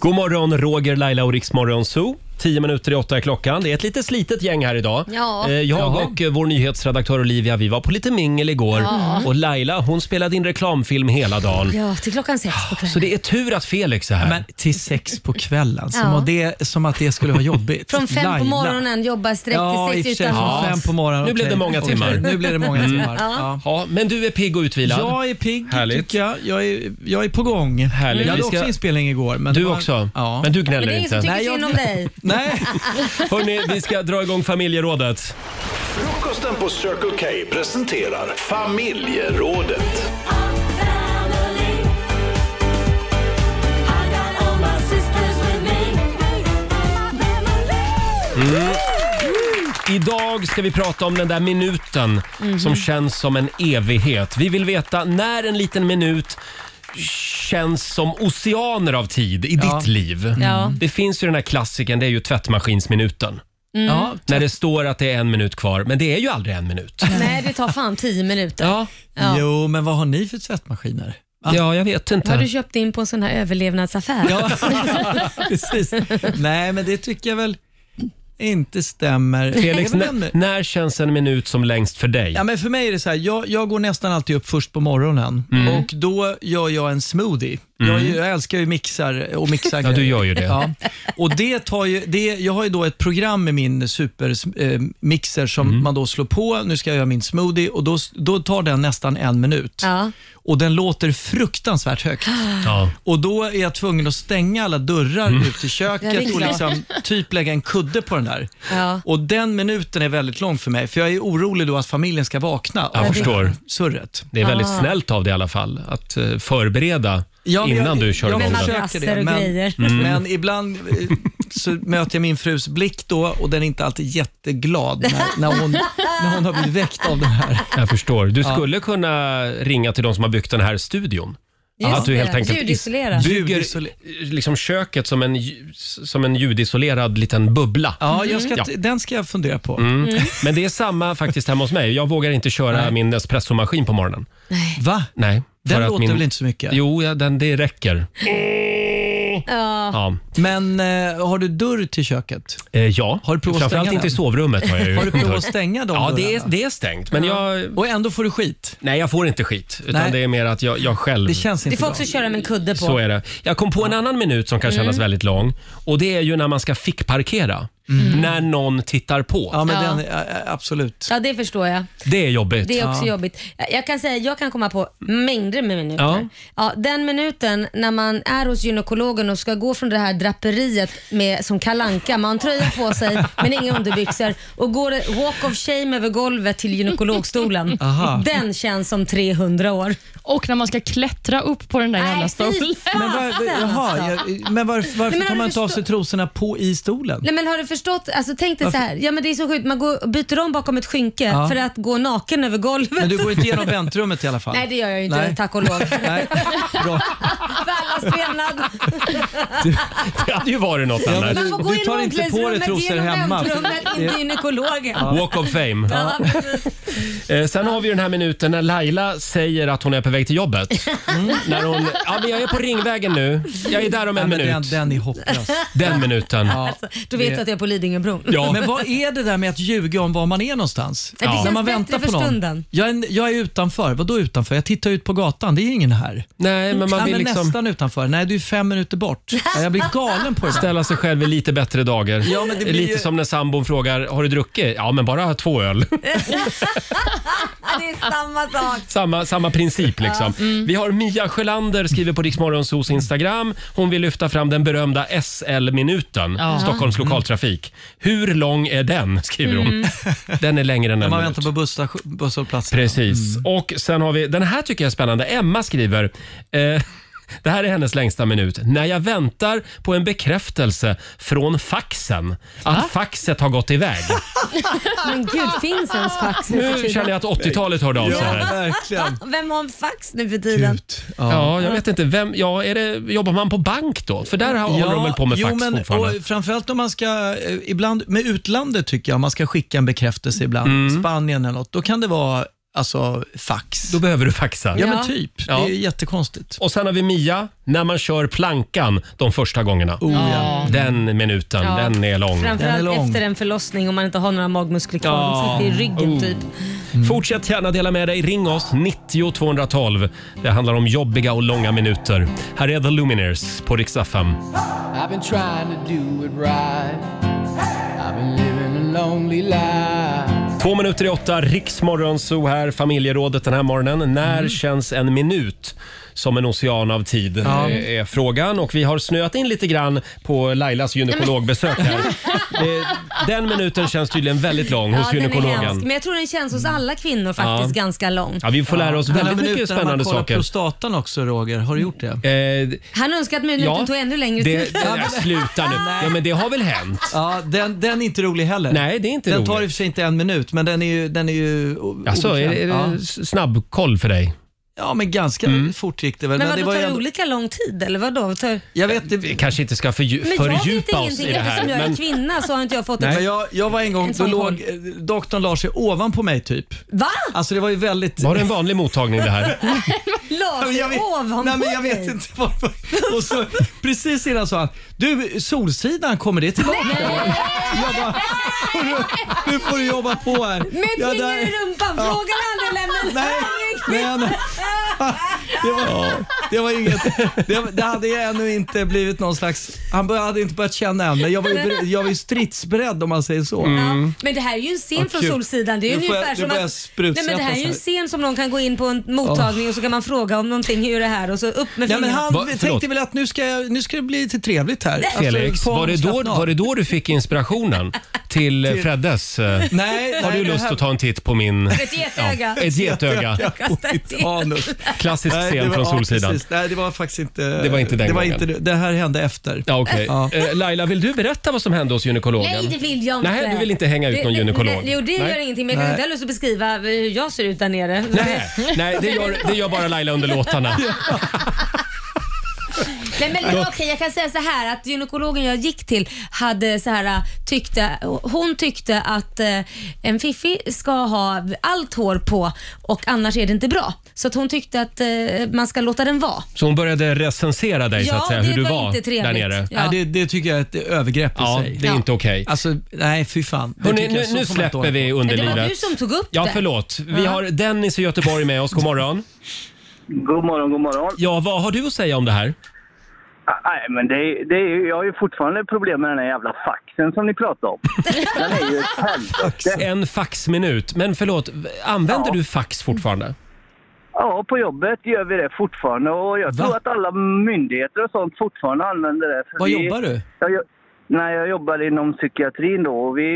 Speaker 1: God morgon, Roger, Laila och Riksmorgon Zoo. 10 minuter i åtta är klockan. Det är ett lite slitet gäng här idag.
Speaker 2: Ja.
Speaker 1: Eh, Jag och eh, vår nyhetsredaktör Olivia vi var på lite mingel igår. Och Laila hon spelade in reklamfilm hela dagen.
Speaker 2: Ja, till klockan sex på
Speaker 1: Så
Speaker 2: kvällen.
Speaker 1: det är tur att Felix är här.
Speaker 9: Men till sex på kvällen, som,
Speaker 2: Ja.
Speaker 9: att det, som att det skulle vara jobbigt.
Speaker 2: Från fem
Speaker 9: Laila.
Speaker 2: på morgonen, jobba streck
Speaker 9: Ja, i och
Speaker 2: till
Speaker 9: för
Speaker 2: sex
Speaker 9: sig.
Speaker 2: utan
Speaker 9: från
Speaker 2: mat.
Speaker 9: Fem på morgonen.
Speaker 1: Nu blev det
Speaker 9: okej.
Speaker 1: många
Speaker 9: Okej,
Speaker 1: timmar. Mm.
Speaker 9: Nu blev det många timmar. Ja.
Speaker 1: Ja, men du är pigg och utvilad.
Speaker 9: Jag är pigg
Speaker 1: Härligt.
Speaker 9: tycker jag. Jag är, jag är på gång.
Speaker 1: Härligt.
Speaker 9: Jag hade
Speaker 1: Vi ska-
Speaker 9: också inspelning igår. Men
Speaker 1: Du
Speaker 9: det var-
Speaker 1: också.
Speaker 9: Ja.
Speaker 1: Men du
Speaker 2: Men
Speaker 1: gnäller
Speaker 2: det är ingen som
Speaker 1: inte.
Speaker 2: tycker
Speaker 9: Nej, jag-
Speaker 2: synd om dig.
Speaker 9: Nej.
Speaker 1: Hörni, vi ska dra igång familjerådet.
Speaker 5: Frukosten på Circle K presenterar Familjerådet.
Speaker 1: Idag ska vi prata om den där minuten som känns som en evighet. Vi vill veta när en liten minut känns som oceaner av tid i ditt liv.
Speaker 2: Ja.
Speaker 1: Det finns ju den här klassikern, det är ju tvättmaskinsminuten.
Speaker 9: Ja,
Speaker 1: När det står att det är en minut kvar, men det är ju aldrig en minut.
Speaker 2: Nej, det tar fan tio minuter.
Speaker 1: Ja,
Speaker 2: Ja.
Speaker 9: Jo, men vad har ni för tvättmaskiner?
Speaker 1: ja jag vet
Speaker 2: Har du
Speaker 1: inte.
Speaker 2: köpt in på en sån här överlevnadsaffär?
Speaker 9: Ja, precis. Nej, men det tycker jag väl inte stämmer.
Speaker 1: Felix,
Speaker 9: Det är väl
Speaker 1: när,
Speaker 9: en-
Speaker 1: när känns en minut som längst för dig?
Speaker 9: Ja, men för mig är det så här, jag, jag går nästan alltid upp först på morgonen
Speaker 1: Mm.
Speaker 9: och då gör jag en smoothie. Jag, är ju- jag älskar ju mixar och mixar
Speaker 1: Ja, du gör ju det.
Speaker 9: Ja. Och det tar ju, det, jag har ju då ett program med min supermixer som
Speaker 1: Mm.
Speaker 9: man då slår på. Nu ska jag göra min smoothie och då, då tar den nästan en minut.
Speaker 2: Ja.
Speaker 9: Och den låter fruktansvärt högt.
Speaker 1: Ja.
Speaker 9: Och då är jag tvungen att stänga alla dörrar
Speaker 1: Mm.
Speaker 9: ut i
Speaker 2: Ja, det är
Speaker 9: köket och
Speaker 2: klart.
Speaker 9: liksom typ lägga en kudde på den där.
Speaker 2: Ja.
Speaker 9: Och den minuten är väldigt lång för mig, för jag är orolig då att familjen ska vakna
Speaker 1: Jag
Speaker 9: av
Speaker 1: förstår.
Speaker 9: surret.
Speaker 1: Det är väldigt snällt av dig i alla fall att eh, förbereda
Speaker 9: Ja, men
Speaker 1: innan
Speaker 9: jag-
Speaker 1: du kör
Speaker 9: jag
Speaker 1: igång Mm.
Speaker 2: Med
Speaker 1: den.
Speaker 9: försöker
Speaker 2: madrasser
Speaker 9: det,
Speaker 2: och
Speaker 9: men- Mm.
Speaker 2: grejer.
Speaker 9: Men ibland eh, så möter jag min frus blick då och den är inte alltid jätteglad när, när, hon, när hon har blivit väckt av den här.
Speaker 1: Jag förstår. Du skulle kunna ringa till de som har byggt den här studion.
Speaker 2: Just
Speaker 1: att du helt
Speaker 2: det.
Speaker 1: enkelt
Speaker 2: Ljudisolera.
Speaker 1: bygger
Speaker 9: Ljudisoler-
Speaker 1: liksom köket som en, lju- som en ljudisolerad liten bubbla.
Speaker 9: Ja, jag ska,
Speaker 1: Ja.
Speaker 9: den ska jag fundera på.
Speaker 1: Mm.
Speaker 2: Mm.
Speaker 1: Men det är samma faktiskt hemma hos mig. Jag vågar inte köra
Speaker 9: Nej.
Speaker 1: min espressomaskin på morgonen.
Speaker 9: Va?
Speaker 1: Nej.
Speaker 9: Den
Speaker 1: för att
Speaker 9: låter
Speaker 1: min-
Speaker 9: väl inte så mycket?
Speaker 1: Jo, ja, den, det räcker. Ja.
Speaker 9: Men eh, har du dörr till köket?
Speaker 1: Eh, ja.
Speaker 9: Har du provat att
Speaker 1: Framförallt
Speaker 9: stänga
Speaker 1: inte i
Speaker 9: den?
Speaker 1: sovrummet har jag ju
Speaker 9: Har du provat att
Speaker 1: hört.
Speaker 9: stänga de
Speaker 1: Ja, det är,
Speaker 9: dörrarna?
Speaker 1: det är stängt. Men jag,
Speaker 9: Och ändå får du skit?
Speaker 1: nej, jag får inte skit. Utan
Speaker 9: Nej.
Speaker 1: det är mer att jag, jag själv
Speaker 9: Det känns
Speaker 2: Du
Speaker 9: inte
Speaker 2: får
Speaker 9: bra.
Speaker 2: också köra med en kudde på.
Speaker 1: Så är det. Jag kom på en annan minut som kan
Speaker 9: Mm.
Speaker 1: kännas väldigt lång. Och Det är ju när man ska fickparkera. När någon tittar på.
Speaker 9: Mm. Ja, men
Speaker 2: Ja.
Speaker 9: Den, ja, ja, absolut.
Speaker 2: Ja, det förstår jag.
Speaker 1: Det är jobbigt.
Speaker 2: Det är också jobbigt. Jag kan säga, jag kan komma på mängder med minuter.
Speaker 1: Ja.
Speaker 2: Ja. den minuten när man är hos gynekologen och ska gå från det här draperiet med, som kalanka man har en tröja på sig men inga underbyxor och går walk of shame över golvet till gynekologstolen.
Speaker 9: Aha.
Speaker 2: Den känns som 300 år.
Speaker 3: Och när man ska klättra upp på den där jävla
Speaker 2: Nej,
Speaker 3: stolen.
Speaker 2: fy
Speaker 9: Men, var,
Speaker 2: fasen
Speaker 9: jaha,
Speaker 2: alltså.
Speaker 9: jag, men varför, varför
Speaker 2: Nej, men
Speaker 9: tar
Speaker 2: har
Speaker 9: man
Speaker 2: du
Speaker 9: inte av sig trosorna på i stolen?
Speaker 2: Nej men har du förstått? Alltså tänk dig så här. Ja men det är så sjukt. Man går, och byter om bakom ett skynke för att gå naken över golvet.
Speaker 9: Men du går inte igenom väntrummet i alla fall?
Speaker 2: Nej det gör jag ju inte,
Speaker 9: Nej.
Speaker 2: tack och lov. För
Speaker 9: Nej, bra.
Speaker 2: allas trevnad.
Speaker 1: Det hade ju varit något
Speaker 9: Ja,
Speaker 1: annat.
Speaker 9: men-
Speaker 2: Man får gå
Speaker 9: Du tar
Speaker 2: genom
Speaker 9: inte på dig
Speaker 2: omklädningsrummet,
Speaker 9: trosor
Speaker 2: genom
Speaker 9: hemma.
Speaker 2: väntrummet, in till gynekologen.
Speaker 1: Walk of fame.
Speaker 2: Ja, precis.
Speaker 1: Eh, sen har vi den här minuten när Laila säger att hon är på väg till jobbet.
Speaker 9: Mm.
Speaker 1: När hon, ja, men jag är på Ringvägen nu. Jag är där om en
Speaker 9: Nej, men den,
Speaker 1: minut. Den,
Speaker 9: den är hopplös.
Speaker 1: minuten. Ja.
Speaker 9: Ja.
Speaker 2: Alltså, Då vet
Speaker 9: Det-
Speaker 2: du att jag är på Lidingöbron.
Speaker 9: Men vad är det där med att ljuga om var man är någonstans?
Speaker 2: Det känns
Speaker 9: När man
Speaker 2: bättre
Speaker 9: väntar
Speaker 2: för
Speaker 9: på någon.
Speaker 2: stunden.
Speaker 9: Jag är, jag är utanför. Vadå utanför? Jag tittar ut på gatan. Det är ingen här.
Speaker 1: Nej, men man
Speaker 9: Nej,
Speaker 1: vill
Speaker 9: men
Speaker 1: liksom
Speaker 9: Nästan utanför. Nej, du är fem minuter bort. Ja, Jag blir galen på det där.
Speaker 1: ställa sig själv i lite bättre dagar.
Speaker 9: Ja, men det blir
Speaker 1: lite
Speaker 9: ju-
Speaker 1: som när sambon frågar, har du druckit? Ja, men bara två öl.
Speaker 2: Ja, det är samma sak.
Speaker 1: Samma, samma princip liksom. Vi har Mia Sjölander skriver på Riksmorgonsos Instagram. Hon vill lyfta fram den berömda SL-minuten,
Speaker 3: Ja.
Speaker 1: Stockholms lokaltrafik. Hur lång är den? skriver hon. Den är längre än en
Speaker 9: Man
Speaker 1: minut.
Speaker 9: väntar på busstation- busshållplatsen.
Speaker 1: Precis. Och sen har vi, den här tycker jag är spännande. Emma skriver, eh, det här är hennes längsta minut. När jag väntar på en bekräftelse från faxen att faxet har gått iväg.
Speaker 2: Men gud, finns ens fax nu för
Speaker 1: Nu känner
Speaker 2: tiden?
Speaker 1: jag att 80-talet hörde av sig
Speaker 9: Ja,
Speaker 1: här.
Speaker 9: verkligen.
Speaker 2: Vem har en fax nu för tiden?
Speaker 1: Ja, jag vet inte. Vem, ja, är det, jobbar man på bank då? För där har, håller de väl på med
Speaker 9: jo,
Speaker 1: fax
Speaker 9: men,
Speaker 1: fortfarande?
Speaker 9: och framförallt om man ska, eh, ibland, med utlandet tycker jag, om man ska skicka en bekräftelse ibland, Spanien eller något, då kan det vara alltså, fax.
Speaker 1: Mm. Då behöver du faxa.
Speaker 9: ja,
Speaker 2: Ja.
Speaker 9: men typ.
Speaker 1: Ja.
Speaker 9: Det är jättekonstigt.
Speaker 1: Och sen har vi Mia, när man kör plankan de första gångerna.
Speaker 9: Oh.
Speaker 1: Den minuten,
Speaker 3: Ja.
Speaker 1: den är lång.
Speaker 9: Den är
Speaker 2: Framförallt
Speaker 9: lång.
Speaker 2: efter en förlossning om man inte har några magmuskler kvar.
Speaker 1: Ja.
Speaker 2: De sitter i ryggen
Speaker 1: Oh.
Speaker 2: typ.
Speaker 9: Mm.
Speaker 1: Fortsätt gärna dela med dig. Ring oss, 90 212. Det handlar om jobbiga och långa minuter. Här är The Lumineers på Rix FM.
Speaker 10: I've been trying to do it right. I've been living a lonely life.
Speaker 1: Två minuter i åtta, Riksmorgon så här, familjerådet den här morgonen. När
Speaker 2: Mm.
Speaker 1: känns en minut som en ocean av tid? eh, är frågan. Och vi har snöat in lite grann på Lailas gynekologbesök här. Eh, den minuten känns tydligen väldigt lång hos
Speaker 2: den är hemsk.
Speaker 1: gynekologen.
Speaker 2: Men jag tror den känns hos alla kvinnor faktiskt
Speaker 1: Ja.
Speaker 2: ganska lång.
Speaker 1: Ja, vi får lära oss
Speaker 9: Den här
Speaker 1: väldigt
Speaker 9: minuten
Speaker 1: mycket
Speaker 9: när man
Speaker 1: spännande
Speaker 9: kollar
Speaker 1: saker.
Speaker 9: prostatan också, Roger. Har du gjort det?
Speaker 1: Eh,
Speaker 2: Han önskar att minuten
Speaker 1: ja,
Speaker 2: tog ännu längre
Speaker 1: det,
Speaker 2: tid.
Speaker 1: det, ja, sluta nu. Ja, men det har väl hänt?
Speaker 9: Ja, den, den är inte rolig heller.
Speaker 1: Nej, det är inte
Speaker 9: den
Speaker 1: roligt.
Speaker 9: tar i och för sig inte en minut, men den är ju... Den är ju o-
Speaker 1: Alltså, är,
Speaker 9: obekväm.
Speaker 1: är det Mm.
Speaker 9: Ja.
Speaker 1: s- snabbkoll för dig?
Speaker 9: Ja, men ganska fort gick det väl.
Speaker 2: Men
Speaker 9: det
Speaker 2: vadå,
Speaker 9: var
Speaker 2: tar
Speaker 9: ju
Speaker 2: det
Speaker 9: ändå-
Speaker 2: olika lång tid eller vadå? Tar...
Speaker 9: Jag vet det... Vi
Speaker 1: kanske inte ska förju-
Speaker 2: Men jag vet
Speaker 1: fördjupa oss
Speaker 2: ingenting
Speaker 1: i det här.
Speaker 2: eftersom jag är
Speaker 1: Men
Speaker 2: kvinna så har inte jag fått
Speaker 9: Nej.
Speaker 2: ett...
Speaker 9: Men jag, jag var en gång,
Speaker 2: En
Speaker 9: då
Speaker 2: sån
Speaker 9: låg eh, doktorn la sig ovanpå mig typ.
Speaker 2: Va?
Speaker 9: Alltså det var ju väldigt...
Speaker 1: var det en vanlig mottagning det här?
Speaker 2: La sig
Speaker 9: Jag vet-
Speaker 2: ovanpå
Speaker 9: Nej, men jag
Speaker 2: dig.
Speaker 9: vet inte varför. Och så, precis innan sa han, du Solsidan, kommer det tillbaka? Jag bara, "Nu- nu får du jobba på här.
Speaker 2: Med ett
Speaker 9: Ja,
Speaker 2: finger
Speaker 9: där-
Speaker 2: i rumpan,
Speaker 9: Ja.
Speaker 2: fråga den andra lämna
Speaker 9: Nej, nej, nej. Det var, det var inget. Det, det hade jag ännu inte blivit någon slags... Han bör- hade inte börjat känna än, men jag var ju, ber- jag var ju stridsberedd om man säger så.
Speaker 1: Mm.
Speaker 2: Men det här är ju en scen
Speaker 9: Vad
Speaker 2: från
Speaker 9: Mm. kul.
Speaker 2: Solsidan. Det är ju
Speaker 9: Nu får jag-
Speaker 2: ungefär
Speaker 9: nu
Speaker 2: som
Speaker 9: börjar jag
Speaker 2: att... Nej,
Speaker 9: sprutsätta
Speaker 2: men det här är ju
Speaker 9: så
Speaker 2: en
Speaker 9: här.
Speaker 2: scen som någon kan gå in på en mottagning och så kan man fråga om någonting, hur är det här? Och så upp med
Speaker 9: Ja, men
Speaker 2: fingrarna.
Speaker 9: han
Speaker 1: Va, förlåt?
Speaker 9: tänkte väl att nu ska, jag, nu ska det bli lite trevligt här. Alltså,
Speaker 1: Felix,
Speaker 9: på-
Speaker 1: var det, då,
Speaker 9: slappna av.
Speaker 1: var det då du fick inspirationen till eh, Freddes? eh,
Speaker 9: Nej,
Speaker 1: Har
Speaker 9: nej,
Speaker 1: du
Speaker 9: det
Speaker 1: lust
Speaker 9: här-
Speaker 1: att ta en titt på min...
Speaker 2: Ett getöga.
Speaker 1: Ja, ett getöga.
Speaker 2: Kasta ett gete.
Speaker 9: Anus.
Speaker 1: Klassisk
Speaker 9: Nej, det
Speaker 1: scen
Speaker 9: var-
Speaker 1: från
Speaker 9: ja,
Speaker 1: Solsidan.
Speaker 9: precis. Nej, det var faktiskt inte...
Speaker 1: Det var inte den
Speaker 9: det, var
Speaker 1: gången.
Speaker 9: inte, det det här hände efter.
Speaker 1: Ja, okay.
Speaker 9: Ja.
Speaker 1: Laila, vill du berätta vad som hände hos gynekologen?
Speaker 2: Nej, det vill jag inte.
Speaker 1: Nej, du vill inte hänga ut
Speaker 2: Det-
Speaker 1: någon
Speaker 2: det-
Speaker 1: gynekolog?
Speaker 2: det- Jo, det gör
Speaker 1: Nej.
Speaker 2: ingenting, men jag kan
Speaker 9: Nej.
Speaker 2: inte heller lust att beskriva hur jag ser ut där nere.
Speaker 1: Nej, nej det, gör, det gör bara Laila under låtarna.
Speaker 2: Nej men okej, jag kan säga så här att gynekologen jag gick till hade så här äh, tyckte, hon tyckte att eh, en fiffi ska ha allt hår på och annars är det inte bra. Så att hon tyckte att eh, man ska låta den vara.
Speaker 1: Så hon började recensera dig så
Speaker 2: Ja,
Speaker 1: att säga,
Speaker 2: det
Speaker 1: hur du
Speaker 2: var
Speaker 1: var
Speaker 2: inte trevligt.
Speaker 1: där nere.
Speaker 2: Ja.
Speaker 9: Nej, det, det tycker jag är ett övergrepp i
Speaker 1: Ja,
Speaker 9: sig.
Speaker 1: det är
Speaker 2: Ja.
Speaker 1: inte okej.
Speaker 9: Alltså, nej fy fan. Det
Speaker 1: Hörrni,
Speaker 9: tycker jag-
Speaker 1: nu,
Speaker 9: så
Speaker 1: nu
Speaker 9: får man inte
Speaker 1: släpper vi
Speaker 9: hålla på.
Speaker 2: det
Speaker 1: underlivet.
Speaker 2: var du som tog upp
Speaker 1: Ja,
Speaker 2: det.
Speaker 1: förlåt. Vi har Dennis i Göteborg med oss. God morgon.
Speaker 11: God morgon, god morgon.
Speaker 1: Ja, vad har du att säga om det här?
Speaker 11: Ah, Nej, men det, är- det är, ju- jag har ju fortfarande problem med den här jävla faxen som ni pratade om. Den är ju ett helvete.
Speaker 1: En faxminut. Men förlåt, använder
Speaker 11: Ja.
Speaker 1: du fax fortfarande?
Speaker 11: Ja, på jobbet gör vi det fortfarande och jag
Speaker 9: Va?
Speaker 11: tror att alla myndigheter och sånt fortfarande använder det. För
Speaker 9: Vad
Speaker 11: vi,
Speaker 9: jobbar du?
Speaker 11: Jag, jo- nej, jag jobbar inom psykiatrin då och vi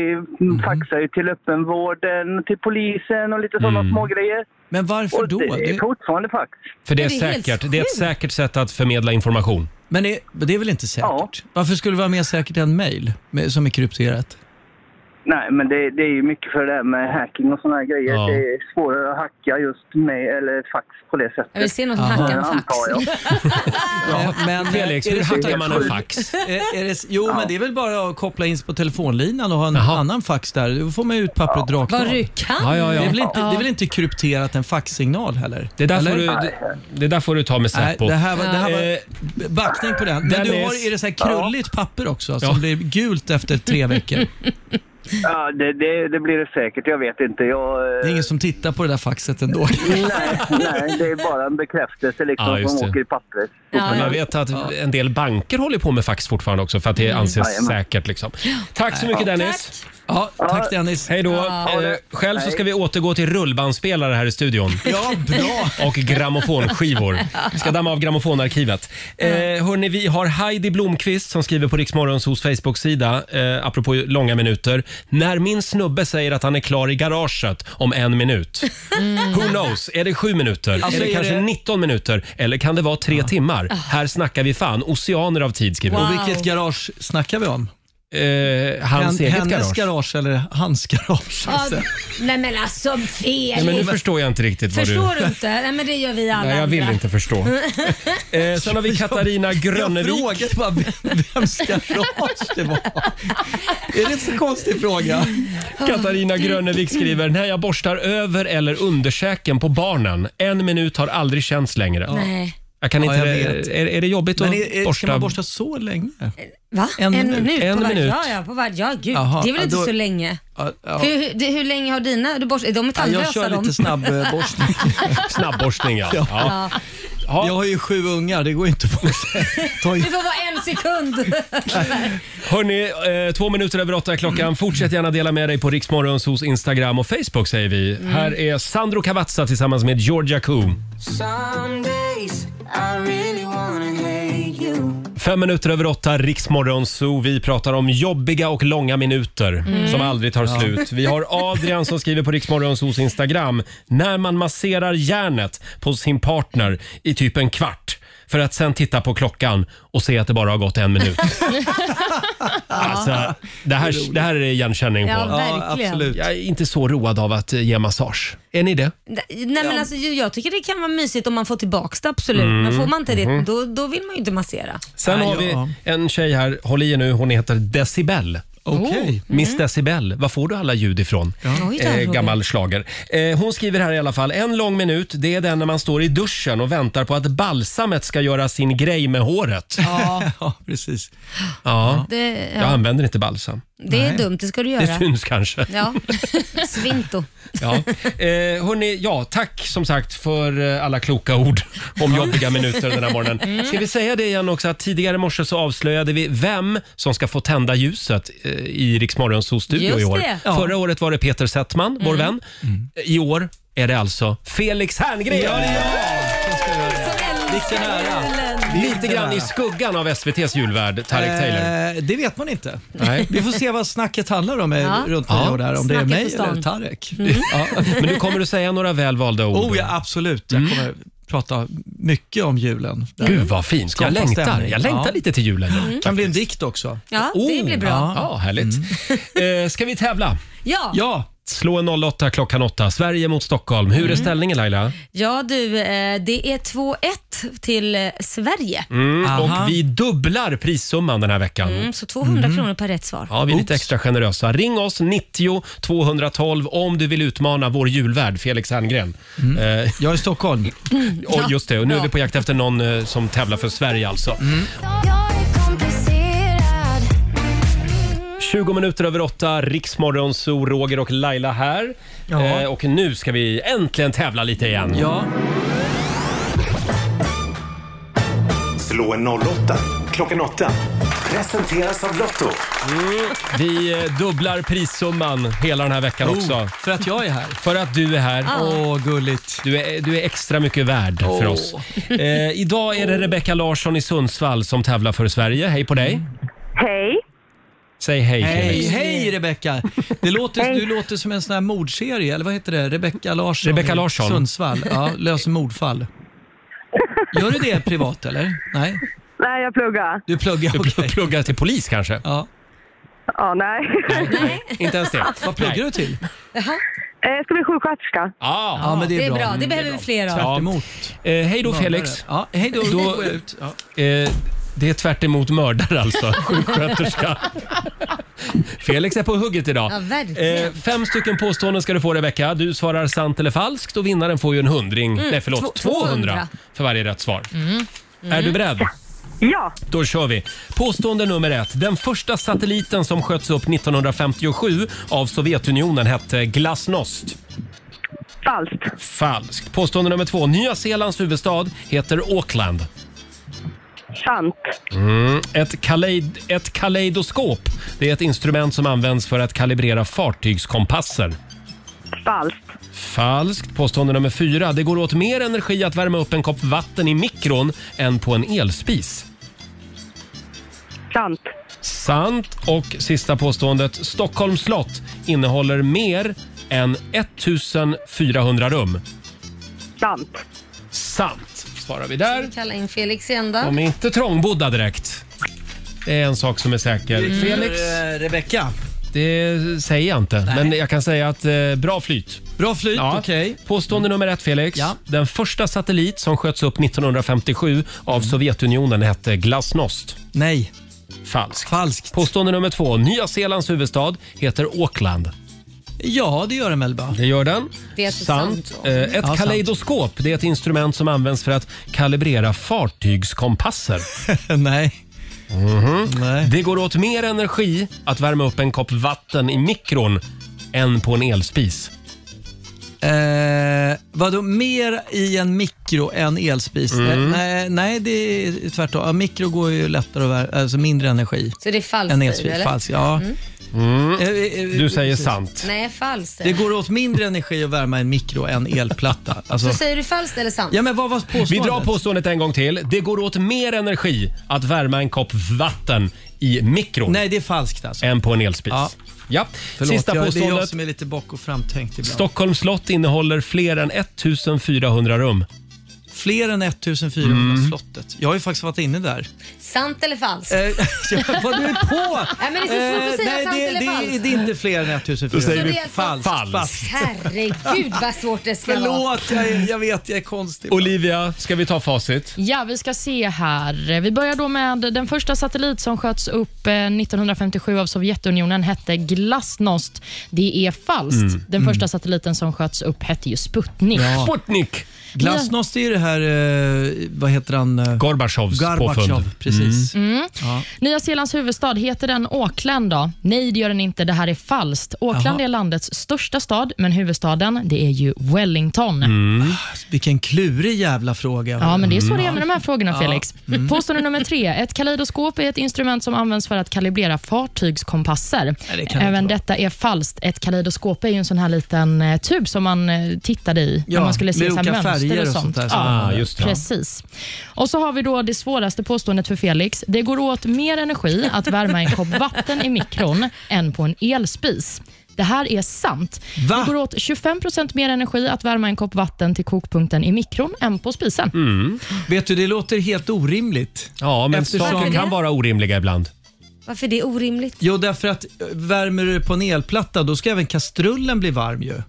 Speaker 9: Mhm.
Speaker 11: faxar ju till öppenvården, till polisen och lite sådana
Speaker 1: Mm.
Speaker 11: små grejer.
Speaker 9: Men varför
Speaker 11: Och
Speaker 9: då?
Speaker 11: det är
Speaker 9: Det,
Speaker 11: fortfarande fax.
Speaker 1: För det är,
Speaker 2: Men det är helt
Speaker 1: säkert. Det är ett
Speaker 2: sjukt.
Speaker 1: säkert sätt att förmedla information.
Speaker 9: men det, men det är väl inte säkert?
Speaker 11: Ja.
Speaker 9: Varför skulle det vara mer säkert än mail med- som är krypterat?
Speaker 11: Nej, men det, det är ju mycket för det här med hacking och sådana här grejer.
Speaker 1: Ja.
Speaker 11: Det är svårare att hacka just med eller fax på det sättet.
Speaker 2: Jag vill se någon som hackar en fax.
Speaker 11: Antar jag.
Speaker 9: Ja, Eh, men,
Speaker 1: Felix,
Speaker 9: är
Speaker 1: hur
Speaker 9: det så-
Speaker 1: hackar man en fax?
Speaker 9: Är, är det, jo, men det är väl bara att koppla in sig på telefonlinan och ha en
Speaker 1: Jaha.
Speaker 9: annan fax där. Då får man ju ut pappret rakt
Speaker 2: Vad
Speaker 9: av.
Speaker 2: du
Speaker 9: Det
Speaker 2: kan.
Speaker 1: Ja, ja,
Speaker 9: är,
Speaker 1: ja.
Speaker 9: väl inte, det är väl inte krypterat en faxsignal heller?
Speaker 1: Det där, får
Speaker 9: Eller?
Speaker 1: du, det, det där får du ta med
Speaker 9: Nej,
Speaker 1: Säpo.
Speaker 9: det här var, det här
Speaker 1: Eh,
Speaker 9: var backning på den. Men
Speaker 1: Dennis.
Speaker 9: du har, är det så här krulligt papper också som
Speaker 1: Ja.
Speaker 9: blir gult efter tre veckor?
Speaker 11: Ja, det, det, det blir det säkert. Jag vet inte. Jag, eh,
Speaker 9: Det är ingen som tittar på det där faxet ändå.
Speaker 11: nej, nej, det är bara en bekräftelse liksom,
Speaker 1: Ja, just
Speaker 11: som
Speaker 1: det.
Speaker 11: åker i pappret.
Speaker 1: Men jag
Speaker 2: Ja,
Speaker 1: vet att en del banker håller på med fax fortfarande också för att det anses
Speaker 11: Jajamän.
Speaker 1: säkert. Liksom. Tack så mycket Dennis.
Speaker 9: Ja, tack Dennis.
Speaker 1: Hej då.
Speaker 2: Ja.
Speaker 1: Eh, själv så ska vi återgå till rullbandspelare här i studion.
Speaker 9: Ja, bra.
Speaker 1: Och grammofonskivor. Vi ska damma av grammofonarkivet. Eh,
Speaker 9: Mm.
Speaker 1: hörni, vi har Heidi Blomqvist som skriver på Riksmorgonsos Facebook-sida, eh, apropå långa minuter. När min snubbe säger att han är klar i garaget om en minut. Who knows? Är det sju minuter?
Speaker 9: Mm. Alltså,
Speaker 1: är det
Speaker 9: är
Speaker 1: kanske
Speaker 9: det- Ah.
Speaker 1: 19 minuter? Eller kan det vara tre timmar? Här snackar vi fan oceaner av tid, skriver hon.
Speaker 9: Och vilket garage snackar vi om?
Speaker 1: eh, Hans
Speaker 9: Hen-
Speaker 1: eget
Speaker 9: hennes
Speaker 1: garage.
Speaker 9: garage. eller hans garage?
Speaker 2: Ja,
Speaker 9: Alltså.
Speaker 2: nej men alltså
Speaker 1: Nej, men nu
Speaker 2: Felix.
Speaker 1: förstår jag inte riktigt vad du...
Speaker 2: Förstår du inte? Nej men det gör vi alla
Speaker 1: Nej, jag vill
Speaker 2: andra.
Speaker 1: inte förstå. eh, sen har vi Katarina
Speaker 9: Jag
Speaker 1: Grönevik.
Speaker 9: frågade bara vem- vems garage det var. Är det en så konstig fråga?
Speaker 1: Katarina Grönevik skriver “När jag borstar över eller undersäken på barnen. En minut har aldrig känts längre.”
Speaker 2: Nej.
Speaker 1: Jag kan inte...
Speaker 9: Ja, jag vet.
Speaker 1: är, är det jobbigt att
Speaker 9: Men är, är,
Speaker 1: borsta?
Speaker 9: ska man borsta så länge?
Speaker 2: Va?
Speaker 9: En minut.
Speaker 1: En
Speaker 2: på varje-
Speaker 1: minut.
Speaker 2: Ja, ja, på varje, ja gud.
Speaker 9: Jaha,
Speaker 2: det är väl
Speaker 9: ja,
Speaker 2: inte
Speaker 9: då-
Speaker 2: så länge?
Speaker 9: Ja, ja.
Speaker 2: Hur, hur, det- hur länge har dina... Du borst, är de är
Speaker 9: Ja,
Speaker 2: tandlösa
Speaker 9: jag kör
Speaker 2: de.
Speaker 9: lite snabb eh, borstning.
Speaker 1: Snabbborstning, ja. ja. Ja.
Speaker 9: Jag har ju sju ungar, det går inte på Ta
Speaker 2: Det får vara en sekund.
Speaker 1: Hörni, eh, två minuter över åtta är klockan. Fortsätt gärna dela med dig på Riksmorgonsos Instagram och Facebook säger vi.
Speaker 2: Mm.
Speaker 1: Här är Sandro Cavazza tillsammans med Georgia Koo. Fem minuter över åtta, Riksmorgon Zoo. Vi pratar om jobbiga och långa minuter som aldrig tar slut. Vi har Adrian som skriver på Riksmorgon Zoos Instagram. När man masserar hjärnet på sin partner i typ en kvart för att sen titta på klockan och se att det bara har gått en minut. Alltså, det, här, det här är igenkänning på.
Speaker 2: Ja, verkligen. Ja, absolut.
Speaker 1: Jag är inte så road av att eh, ge massage. Är ni det?
Speaker 2: Nej nej, men alltså, ju- jag tycker det kan vara mysigt om man får tillbaka det, absolut.
Speaker 1: Mm.
Speaker 2: Men får man inte det,
Speaker 9: Mm-hmm.
Speaker 1: Mhm.
Speaker 2: då, då vill man ju inte massera.
Speaker 1: Sen har vi en tjej här, håll i er nu, hon heter Decibel.
Speaker 2: Okej.
Speaker 1: Mm. Miss Decibel, var får du alla ljud ifrån?
Speaker 2: Oj då, Roger.
Speaker 1: gammal slager. Eh, hon skriver här i alla fall, en lång minut, det är den när man står i duschen och väntar på att balsamet ska göra sin grej med håret.
Speaker 2: Ja.
Speaker 1: precis. Ja.
Speaker 2: Det,
Speaker 1: Jag
Speaker 2: ja.
Speaker 1: använder inte balsam.
Speaker 2: det är dumt, det ska du göra.
Speaker 1: Det syns kanske.
Speaker 2: Ja, svinto.
Speaker 1: Ja. Eh, hörni, ja, tack som sagt för eh, alla kloka ord om jobbiga minuter den här morgonen.
Speaker 2: Mm.
Speaker 1: Ska vi säga det igen också att tidigare i morse så avslöjade vi vem som ska få tända ljuset eh, i Rix Morgonzoos studio
Speaker 12: Just
Speaker 1: i år.
Speaker 12: det. Ja.
Speaker 1: Förra året var det Peter Settman, vår vän. I år är det alltså Felix Herngren!
Speaker 12: Ja, det är
Speaker 9: Vilken ära.
Speaker 1: Lite grann i skuggan av SVTs julvärd, Tarek Taylor.
Speaker 9: Eh, det vet man inte.
Speaker 1: Nej.
Speaker 9: Vi får se vad snacket handlar om eh,
Speaker 1: Ja.
Speaker 9: runt
Speaker 1: Ja.
Speaker 9: nyår där. Om det är
Speaker 1: Snacket
Speaker 9: mig
Speaker 1: på stan.
Speaker 9: eller Tarek.
Speaker 1: Men nu kommer du säga några välvalda ord.
Speaker 9: Oh ja, absolut.
Speaker 1: Mm.
Speaker 9: Jag kommer prata mycket om julen.
Speaker 1: Gud, vad fint. Jag längtar. Jag längtar lite till julen. nu,
Speaker 9: kan bli en dikt också. Oh,
Speaker 2: Ja, det blir bra.
Speaker 1: Ja, ja härligt. Eh, ska vi tävla?
Speaker 2: Ja.
Speaker 1: ja. Slå en 08 klockan 8. Sverige mot Stockholm. Hur är
Speaker 2: Mm.
Speaker 1: ställningen Laila?
Speaker 2: Ja du, eh, det är 2-1 till eh, Sverige.
Speaker 1: Mm.
Speaker 2: Aha.
Speaker 1: Och vi dubblar prissumman den här veckan.
Speaker 2: Mm, så 200 kronor per rätt svar.
Speaker 1: Ja, vi är lite extra generösa. Ring oss 90 212 om du vill utmana vår julvärd Felix Herngren.
Speaker 9: Jag är i Stockholm.
Speaker 1: Mm. Och just det, och nu är
Speaker 9: Ja.
Speaker 1: vi på jakt efter någon eh, som tävlar för Sverige alltså. 20 minuter över åtta, Riksmorgon, så Roger och Laila här. Eh, och nu ska vi äntligen tävla lite igen.
Speaker 9: Ja.
Speaker 5: Slå en 08 klockan 8. Presenteras av Lotto.
Speaker 1: Vi eh, dubblar prissumman hela den här veckan
Speaker 9: Oh,
Speaker 1: också.
Speaker 9: För att jag är här.
Speaker 1: För att du är här.
Speaker 9: Ah. Åh, gulligt.
Speaker 1: Du är, du är extra mycket värd för
Speaker 9: Åh.
Speaker 1: oss. Eh, idag är det Rebecka Larsson i Sundsvall som tävlar för Sverige. Hej på dig!
Speaker 6: Hej.
Speaker 1: Säg hej,
Speaker 9: Mm. Hej,
Speaker 1: Felix.
Speaker 9: hej Rebecka! Det låter, du låter som en sån här mordserie, eller vad heter det? Rebecka Larsson
Speaker 1: Rebecca
Speaker 9: i
Speaker 1: Larsson.
Speaker 9: Sundsvall. Ja, löser mordfall. Gör du det privat eller? Nej?
Speaker 6: Nej, jag pluggar.
Speaker 9: Du pluggar,
Speaker 1: du pl- pluggar till polis kanske?
Speaker 9: Ja.
Speaker 6: Ja, nej.
Speaker 1: Inte ens det.
Speaker 9: Vad pluggar du till?
Speaker 2: Jaha.
Speaker 6: Jag Eh, ska bli sjuksköterska.
Speaker 1: Ja,
Speaker 9: Ja, men det är Det är bra. bra. Det
Speaker 2: Det behöver vi fler av.
Speaker 1: Ja. Ah. Eh, hej då
Speaker 9: Mördare.
Speaker 1: Felix.
Speaker 9: Ja, hej då.
Speaker 1: Då-
Speaker 9: Gå ut. Ja.
Speaker 1: Eh, det är tvärt emot mördare alltså, sjuksköterska. Felix är på hugget idag.
Speaker 2: Ja, verkligen.
Speaker 1: Eh, fem stycken påståenden ska du få Rebecka. Du svarar sant eller falskt och vinnaren får ju en hundring,
Speaker 2: Mm,
Speaker 1: nej förlåt,
Speaker 2: två-
Speaker 1: 200,
Speaker 2: 200
Speaker 1: för varje rätt svar.
Speaker 2: Mm. Mm.
Speaker 1: Är du beredd?
Speaker 6: Ja.
Speaker 1: Då kör vi. Påstående nummer ett. Den första satelliten som sköts upp 1957 av Sovjetunionen hette Glasnost.
Speaker 6: Falskt.
Speaker 1: Falskt. Påstående nummer två. Nya Zeelands huvudstad heter Auckland.
Speaker 6: Sant.
Speaker 1: Mm. Ett, kaleid, ett kaleidoskop det är ett instrument som används för att kalibrera fartygskompasser.
Speaker 6: Falskt.
Speaker 1: Falskt. Påstående nummer fyra. Det går åt mer energi att värma upp en kopp vatten i mikron än på en elspis.
Speaker 6: Sant.
Speaker 1: Sant. Och sista påståendet. Stockholms slott innehåller mer än 1400 rum.
Speaker 6: Sant.
Speaker 1: Sant, svarar vi där.
Speaker 2: Kalla in Felix igen då.
Speaker 1: De är inte trångbodda direkt. Det är en sak som är säker.
Speaker 9: Mm.
Speaker 1: Felix?
Speaker 9: Rebecka.
Speaker 1: Det säger jag inte, men jag kan säga att eh, bra flyt.
Speaker 9: Bra flyt, okej.
Speaker 1: Påstående nummer ett, Felix. Den första satellit som sköts upp 1957 av Sovjetunionen hette Glasnost.
Speaker 9: Nej.
Speaker 1: Falskt.
Speaker 9: Falskt.
Speaker 1: Påstående nummer två. Nya Zeelands huvudstad heter Auckland.
Speaker 9: Ja, det gör den väl bara.
Speaker 1: Det gör den.
Speaker 9: Det är
Speaker 1: sant.
Speaker 9: sant.
Speaker 1: Eh, Ett
Speaker 9: Ja, sant.
Speaker 1: kaleidoskop det är ett instrument som används för att kalibrera fartygskompasser.
Speaker 9: Nej. Nej.
Speaker 1: Mhm. Det går åt mer energi att värma upp en kopp vatten i mikron än på en elspis.
Speaker 9: Eh, vadå, mer i en mikro än elspis?
Speaker 1: Mm.
Speaker 9: Eh, Nej, nej, det är tvärtom. Ja, mikro går ju lättare att värma, alltså mindre energi.
Speaker 2: Så det är falskt
Speaker 9: än
Speaker 2: säger
Speaker 9: elspis.
Speaker 2: du, eller?
Speaker 9: Falskt, ja. Eh,
Speaker 2: Mm.
Speaker 1: Du säger sant.
Speaker 2: Nej, falskt.
Speaker 9: Det går åt mindre energi att värma en mikro än elplatta. Alltså,
Speaker 2: Så säger du falskt eller sant?
Speaker 9: ja, men vad var påståendet?
Speaker 1: Vi drar påståendet en gång till. Det går åt mer energi att värma en kopp vatten i mikron.
Speaker 9: Nej, det är falskt alltså.
Speaker 1: Än på en elspis. Ja.
Speaker 9: Ja. Förlåt,
Speaker 1: Sista
Speaker 9: jag, det är jag
Speaker 1: påståendet.
Speaker 9: som är lite bak och framtänkt ibland.
Speaker 1: Stockholms slott innehåller fler än 1400 rum.
Speaker 9: Fler än 1400 slottet. Jag har ju faktiskt varit inne där.
Speaker 2: Sant eller falskt?
Speaker 9: vad du är på!
Speaker 2: Ja, men det är så svårt att säga
Speaker 9: Eh, nej,
Speaker 2: sant
Speaker 9: det,
Speaker 2: eller
Speaker 9: det,
Speaker 2: falskt.
Speaker 9: det är inte fler än 1400.
Speaker 2: Då säger vi Så det är falskt.
Speaker 9: falskt.
Speaker 2: Herregud vad svårt det ska vara.
Speaker 9: Förlåt, jag, jag vet jag är konstig.
Speaker 1: Olivia, ska vi ta facit?
Speaker 3: Ja, vi ska se här. Vi börjar då med den första satellit som sköts upp eh, 1957 av Sovjetunionen hette Glasnost. Det är falskt.
Speaker 9: Mm.
Speaker 3: Den första
Speaker 9: Mm.
Speaker 3: satelliten som sköts upp hette ju Sputnik.
Speaker 9: Ja.
Speaker 1: Sputnik!
Speaker 9: Glasnost är ju det här, eh, vad heter han? eh,
Speaker 1: Gorbachevs
Speaker 9: Gorbachev,
Speaker 1: påfund.
Speaker 9: precis.
Speaker 3: Mm.
Speaker 9: Ja.
Speaker 3: Nya Zeelands huvudstad, heter den Auckland då? Nej, det gör den inte. Det här är falskt. Auckland
Speaker 9: Jaha.
Speaker 3: är landets största stad, men huvudstaden det är ju Wellington.
Speaker 9: Ah, Vilken klurig jävla fråga.
Speaker 3: Ja, men det är så det är
Speaker 9: Mm.
Speaker 3: med de här frågorna,
Speaker 9: Ja.
Speaker 3: Felix.
Speaker 9: Mm.
Speaker 3: Påstående nummer tre. Ett kaleidoskop är ett instrument som används för att kalibrera fartygskompasser.
Speaker 9: det kan det
Speaker 3: Även detta är falskt. Ett kaleidoskop är ju en sån här liten eh, tub som man eh, tittade i
Speaker 9: Ja,
Speaker 3: när man skulle se
Speaker 9: med
Speaker 3: så här
Speaker 9: olika färger
Speaker 3: mönster och
Speaker 9: och
Speaker 3: sånt.
Speaker 9: sånt där som man
Speaker 1: Ah,
Speaker 3: ja,
Speaker 9: hade. just det.
Speaker 3: precis. Och så har vi då det svåraste påståendet för Felix. Det går åt mer energi att värma en kopp vatten i mikron än på en elspis. Det här är sant. Det går åt 25 mer energi att värma en kopp vatten till kokpunkten i mikron än på spisen.
Speaker 9: Vet du, det låter helt orimligt.
Speaker 1: Ja, men saker kan vara orimliga ibland.
Speaker 2: Varför är det orimligt?
Speaker 9: Jo, därför att eh, värmer du på en elplatta, då ska även kastrullen bli varm ju.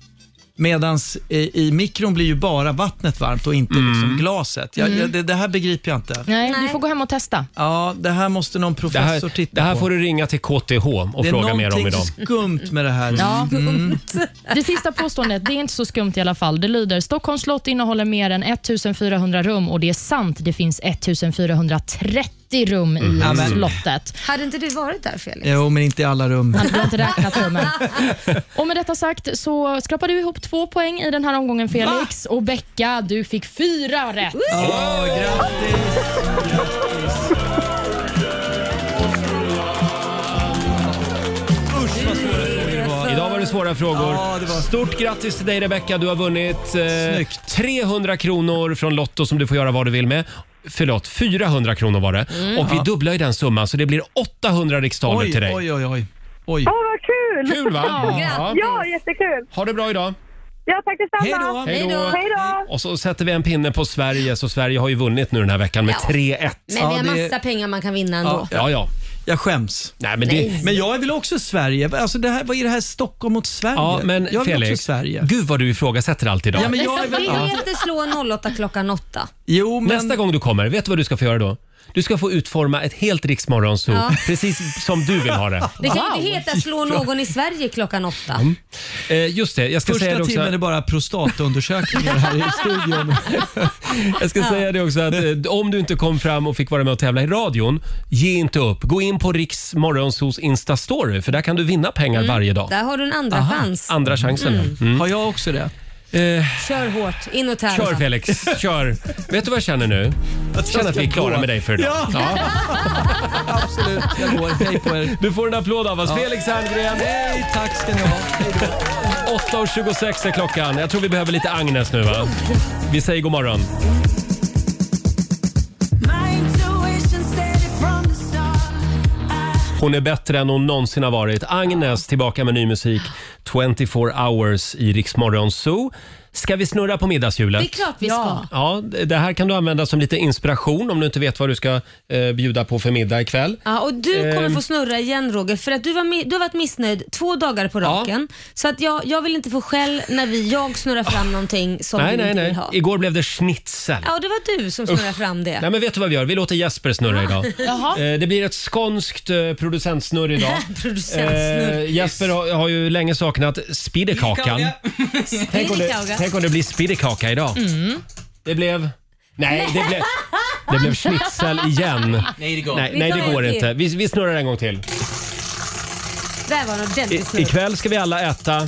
Speaker 9: Medan i, i mikron blir ju bara vattnet varmt och inte
Speaker 1: Mm.
Speaker 9: liksom glaset. Jag,
Speaker 3: Mm.
Speaker 9: jag, det, det här begriper jag inte.
Speaker 3: Nej, du får gå hem och testa.
Speaker 9: Ja, det här måste någon
Speaker 1: Det
Speaker 9: professor
Speaker 1: här,
Speaker 9: titta
Speaker 1: det här
Speaker 9: på.
Speaker 1: får du ringa till KTH och
Speaker 9: det är
Speaker 1: fråga mer om
Speaker 9: någonting
Speaker 1: idag.
Speaker 9: skumt med det här.
Speaker 3: Ja.
Speaker 9: Mm.
Speaker 3: Det sista påståendet, det är inte så skumt i alla fall. Det lyder, Stockholms slott innehåller mer än 1400 rum och det är sant, det finns 1430 rum i
Speaker 9: Mm. Ja, men-
Speaker 3: slottet.
Speaker 2: Hade inte du varit där Felix?
Speaker 9: Jo, men inte i alla rum.
Speaker 3: Du har inte räknat rummen. Och med detta sagt så skrapade du ihop två poäng i den här omgången Felix. Och Becka, du fick fyra rätt.
Speaker 9: Alltså-
Speaker 1: Idag var det svåra frågor. Stort grattis till dig Rebecca. Du har vunnit eh, 300 kronor från Lotto som du får göra vad du vill med. Förlåt, 400 kronor var det.
Speaker 9: Mm.
Speaker 1: Och vi
Speaker 9: Ja.
Speaker 1: dubblar ju den summan så det blir 800 riksdaler
Speaker 9: Oj,
Speaker 1: till dig.
Speaker 9: oj, oj, oj. oj.
Speaker 6: Åh, vad kul!
Speaker 1: Kul, va? Ja.
Speaker 6: Ja, jättekul.
Speaker 1: Ha det bra idag.
Speaker 6: Ja, tack detsamma.
Speaker 1: Hej då.
Speaker 6: Hej då.
Speaker 1: Och så sätter vi en pinne på Sverige, så Sverige har ju vunnit nu den här veckan med
Speaker 2: Ja.
Speaker 1: 3-1.
Speaker 2: Men vi har massa pengar man kan vinna ändå.
Speaker 1: Ja, ja. ja.
Speaker 9: Jag skäms.
Speaker 1: Nej, men, det...
Speaker 9: Men jag är väl också Sverige? Alltså det här, vad är det här Stockholm mot Sverige?
Speaker 1: ja, men
Speaker 9: jag är väl också
Speaker 1: Felix,
Speaker 9: Sverige.
Speaker 1: gud vad du ifrågasätter allt idag.
Speaker 9: Ja, men jag är väl-
Speaker 2: Vi
Speaker 1: Ja.
Speaker 2: vill inte slå 08 klockan 8.
Speaker 9: Jo, men...
Speaker 1: Nästa gång du kommer, vet du vad du ska få göra då? Du ska få utforma ett helt riksmorgonzoo,
Speaker 2: Ja.
Speaker 1: precis som du vill ha det.
Speaker 2: Det kan ju inte heta slå någon i Sverige klockan 8.
Speaker 9: Mm.
Speaker 1: Eh, just det, jag ska
Speaker 9: Första
Speaker 1: säga det också.
Speaker 9: timmen är bara prostatundersökningar här i studion.
Speaker 1: Jag ska säga det också att eh, om du inte kom fram och fick vara med och tävla i radion, ge inte upp. Gå in på Riks Morgonzoos Insta-story för där kan du vinna pengar
Speaker 9: Mm.
Speaker 1: varje dag.
Speaker 2: Där har du en andra chans.
Speaker 1: Andra chansen.
Speaker 2: Mm.
Speaker 1: ja. Mm.
Speaker 9: Har jag också det?
Speaker 1: Eh,
Speaker 2: Kör hårt, in och tävla.
Speaker 1: kör Felix, kör. Vet du vad jag känner nu? Jag känner att vi är klara med dig för idag.
Speaker 9: Ja. Absolut, jag går. Hej på er.
Speaker 1: Du får en applåd av oss.
Speaker 9: Ja.
Speaker 1: Felix Herngren.
Speaker 9: Hej, tack ska ni ha.
Speaker 1: 8.26 är klockan. Jag tror vi behöver lite Agnes nu va? Vi säger god morgon. Hon är bättre än hon någonsin har varit. Agnes tillbaka med ny musik. 24 hours i Rix Morgon Zoo. Ska vi snurra på middagshjulet?
Speaker 2: Det är klart vi ska.
Speaker 1: Ja, det här kan du använda som lite inspiration om du inte vet vad du ska eh, bjuda på för middag ikväll.
Speaker 2: Ja, och du kommer
Speaker 1: Ehm.
Speaker 2: få snurra igen Roger för att du, var mi- du har varit missnöjd två dagar på raken. Så att jag, jag vill inte få skäll när vi, jag snurrar fram någonting som du
Speaker 1: nej, nej,
Speaker 2: inte
Speaker 1: nej.
Speaker 2: vill ha.
Speaker 1: Igår blev det schnitzel.
Speaker 2: Ja, det var du som snurrade
Speaker 1: Usch.
Speaker 2: fram det.
Speaker 1: Nej, men vet du vad vi gör? Vi låter Jesper snurra idag.
Speaker 2: Jaha.
Speaker 1: Eh, Det blir ett skånskt eh, producentsnurr idag.
Speaker 2: Producentsnurr.
Speaker 1: Eh, Jesper har, har ju länge saknat spiddekakan. Tänk om, det, tänk om det blir spiddekaka idag. Det blev... Nej, det blev, det blev schnitzel igen.
Speaker 9: Nej, det går.
Speaker 1: Nej,
Speaker 2: Vi
Speaker 1: nej,
Speaker 2: tar
Speaker 1: det
Speaker 2: en
Speaker 1: går
Speaker 2: till.
Speaker 1: inte. Vi, vi snurrar en gång till.
Speaker 2: Där var en ordentlig
Speaker 1: I,
Speaker 2: snurr.
Speaker 1: ikväll ska vi alla äta...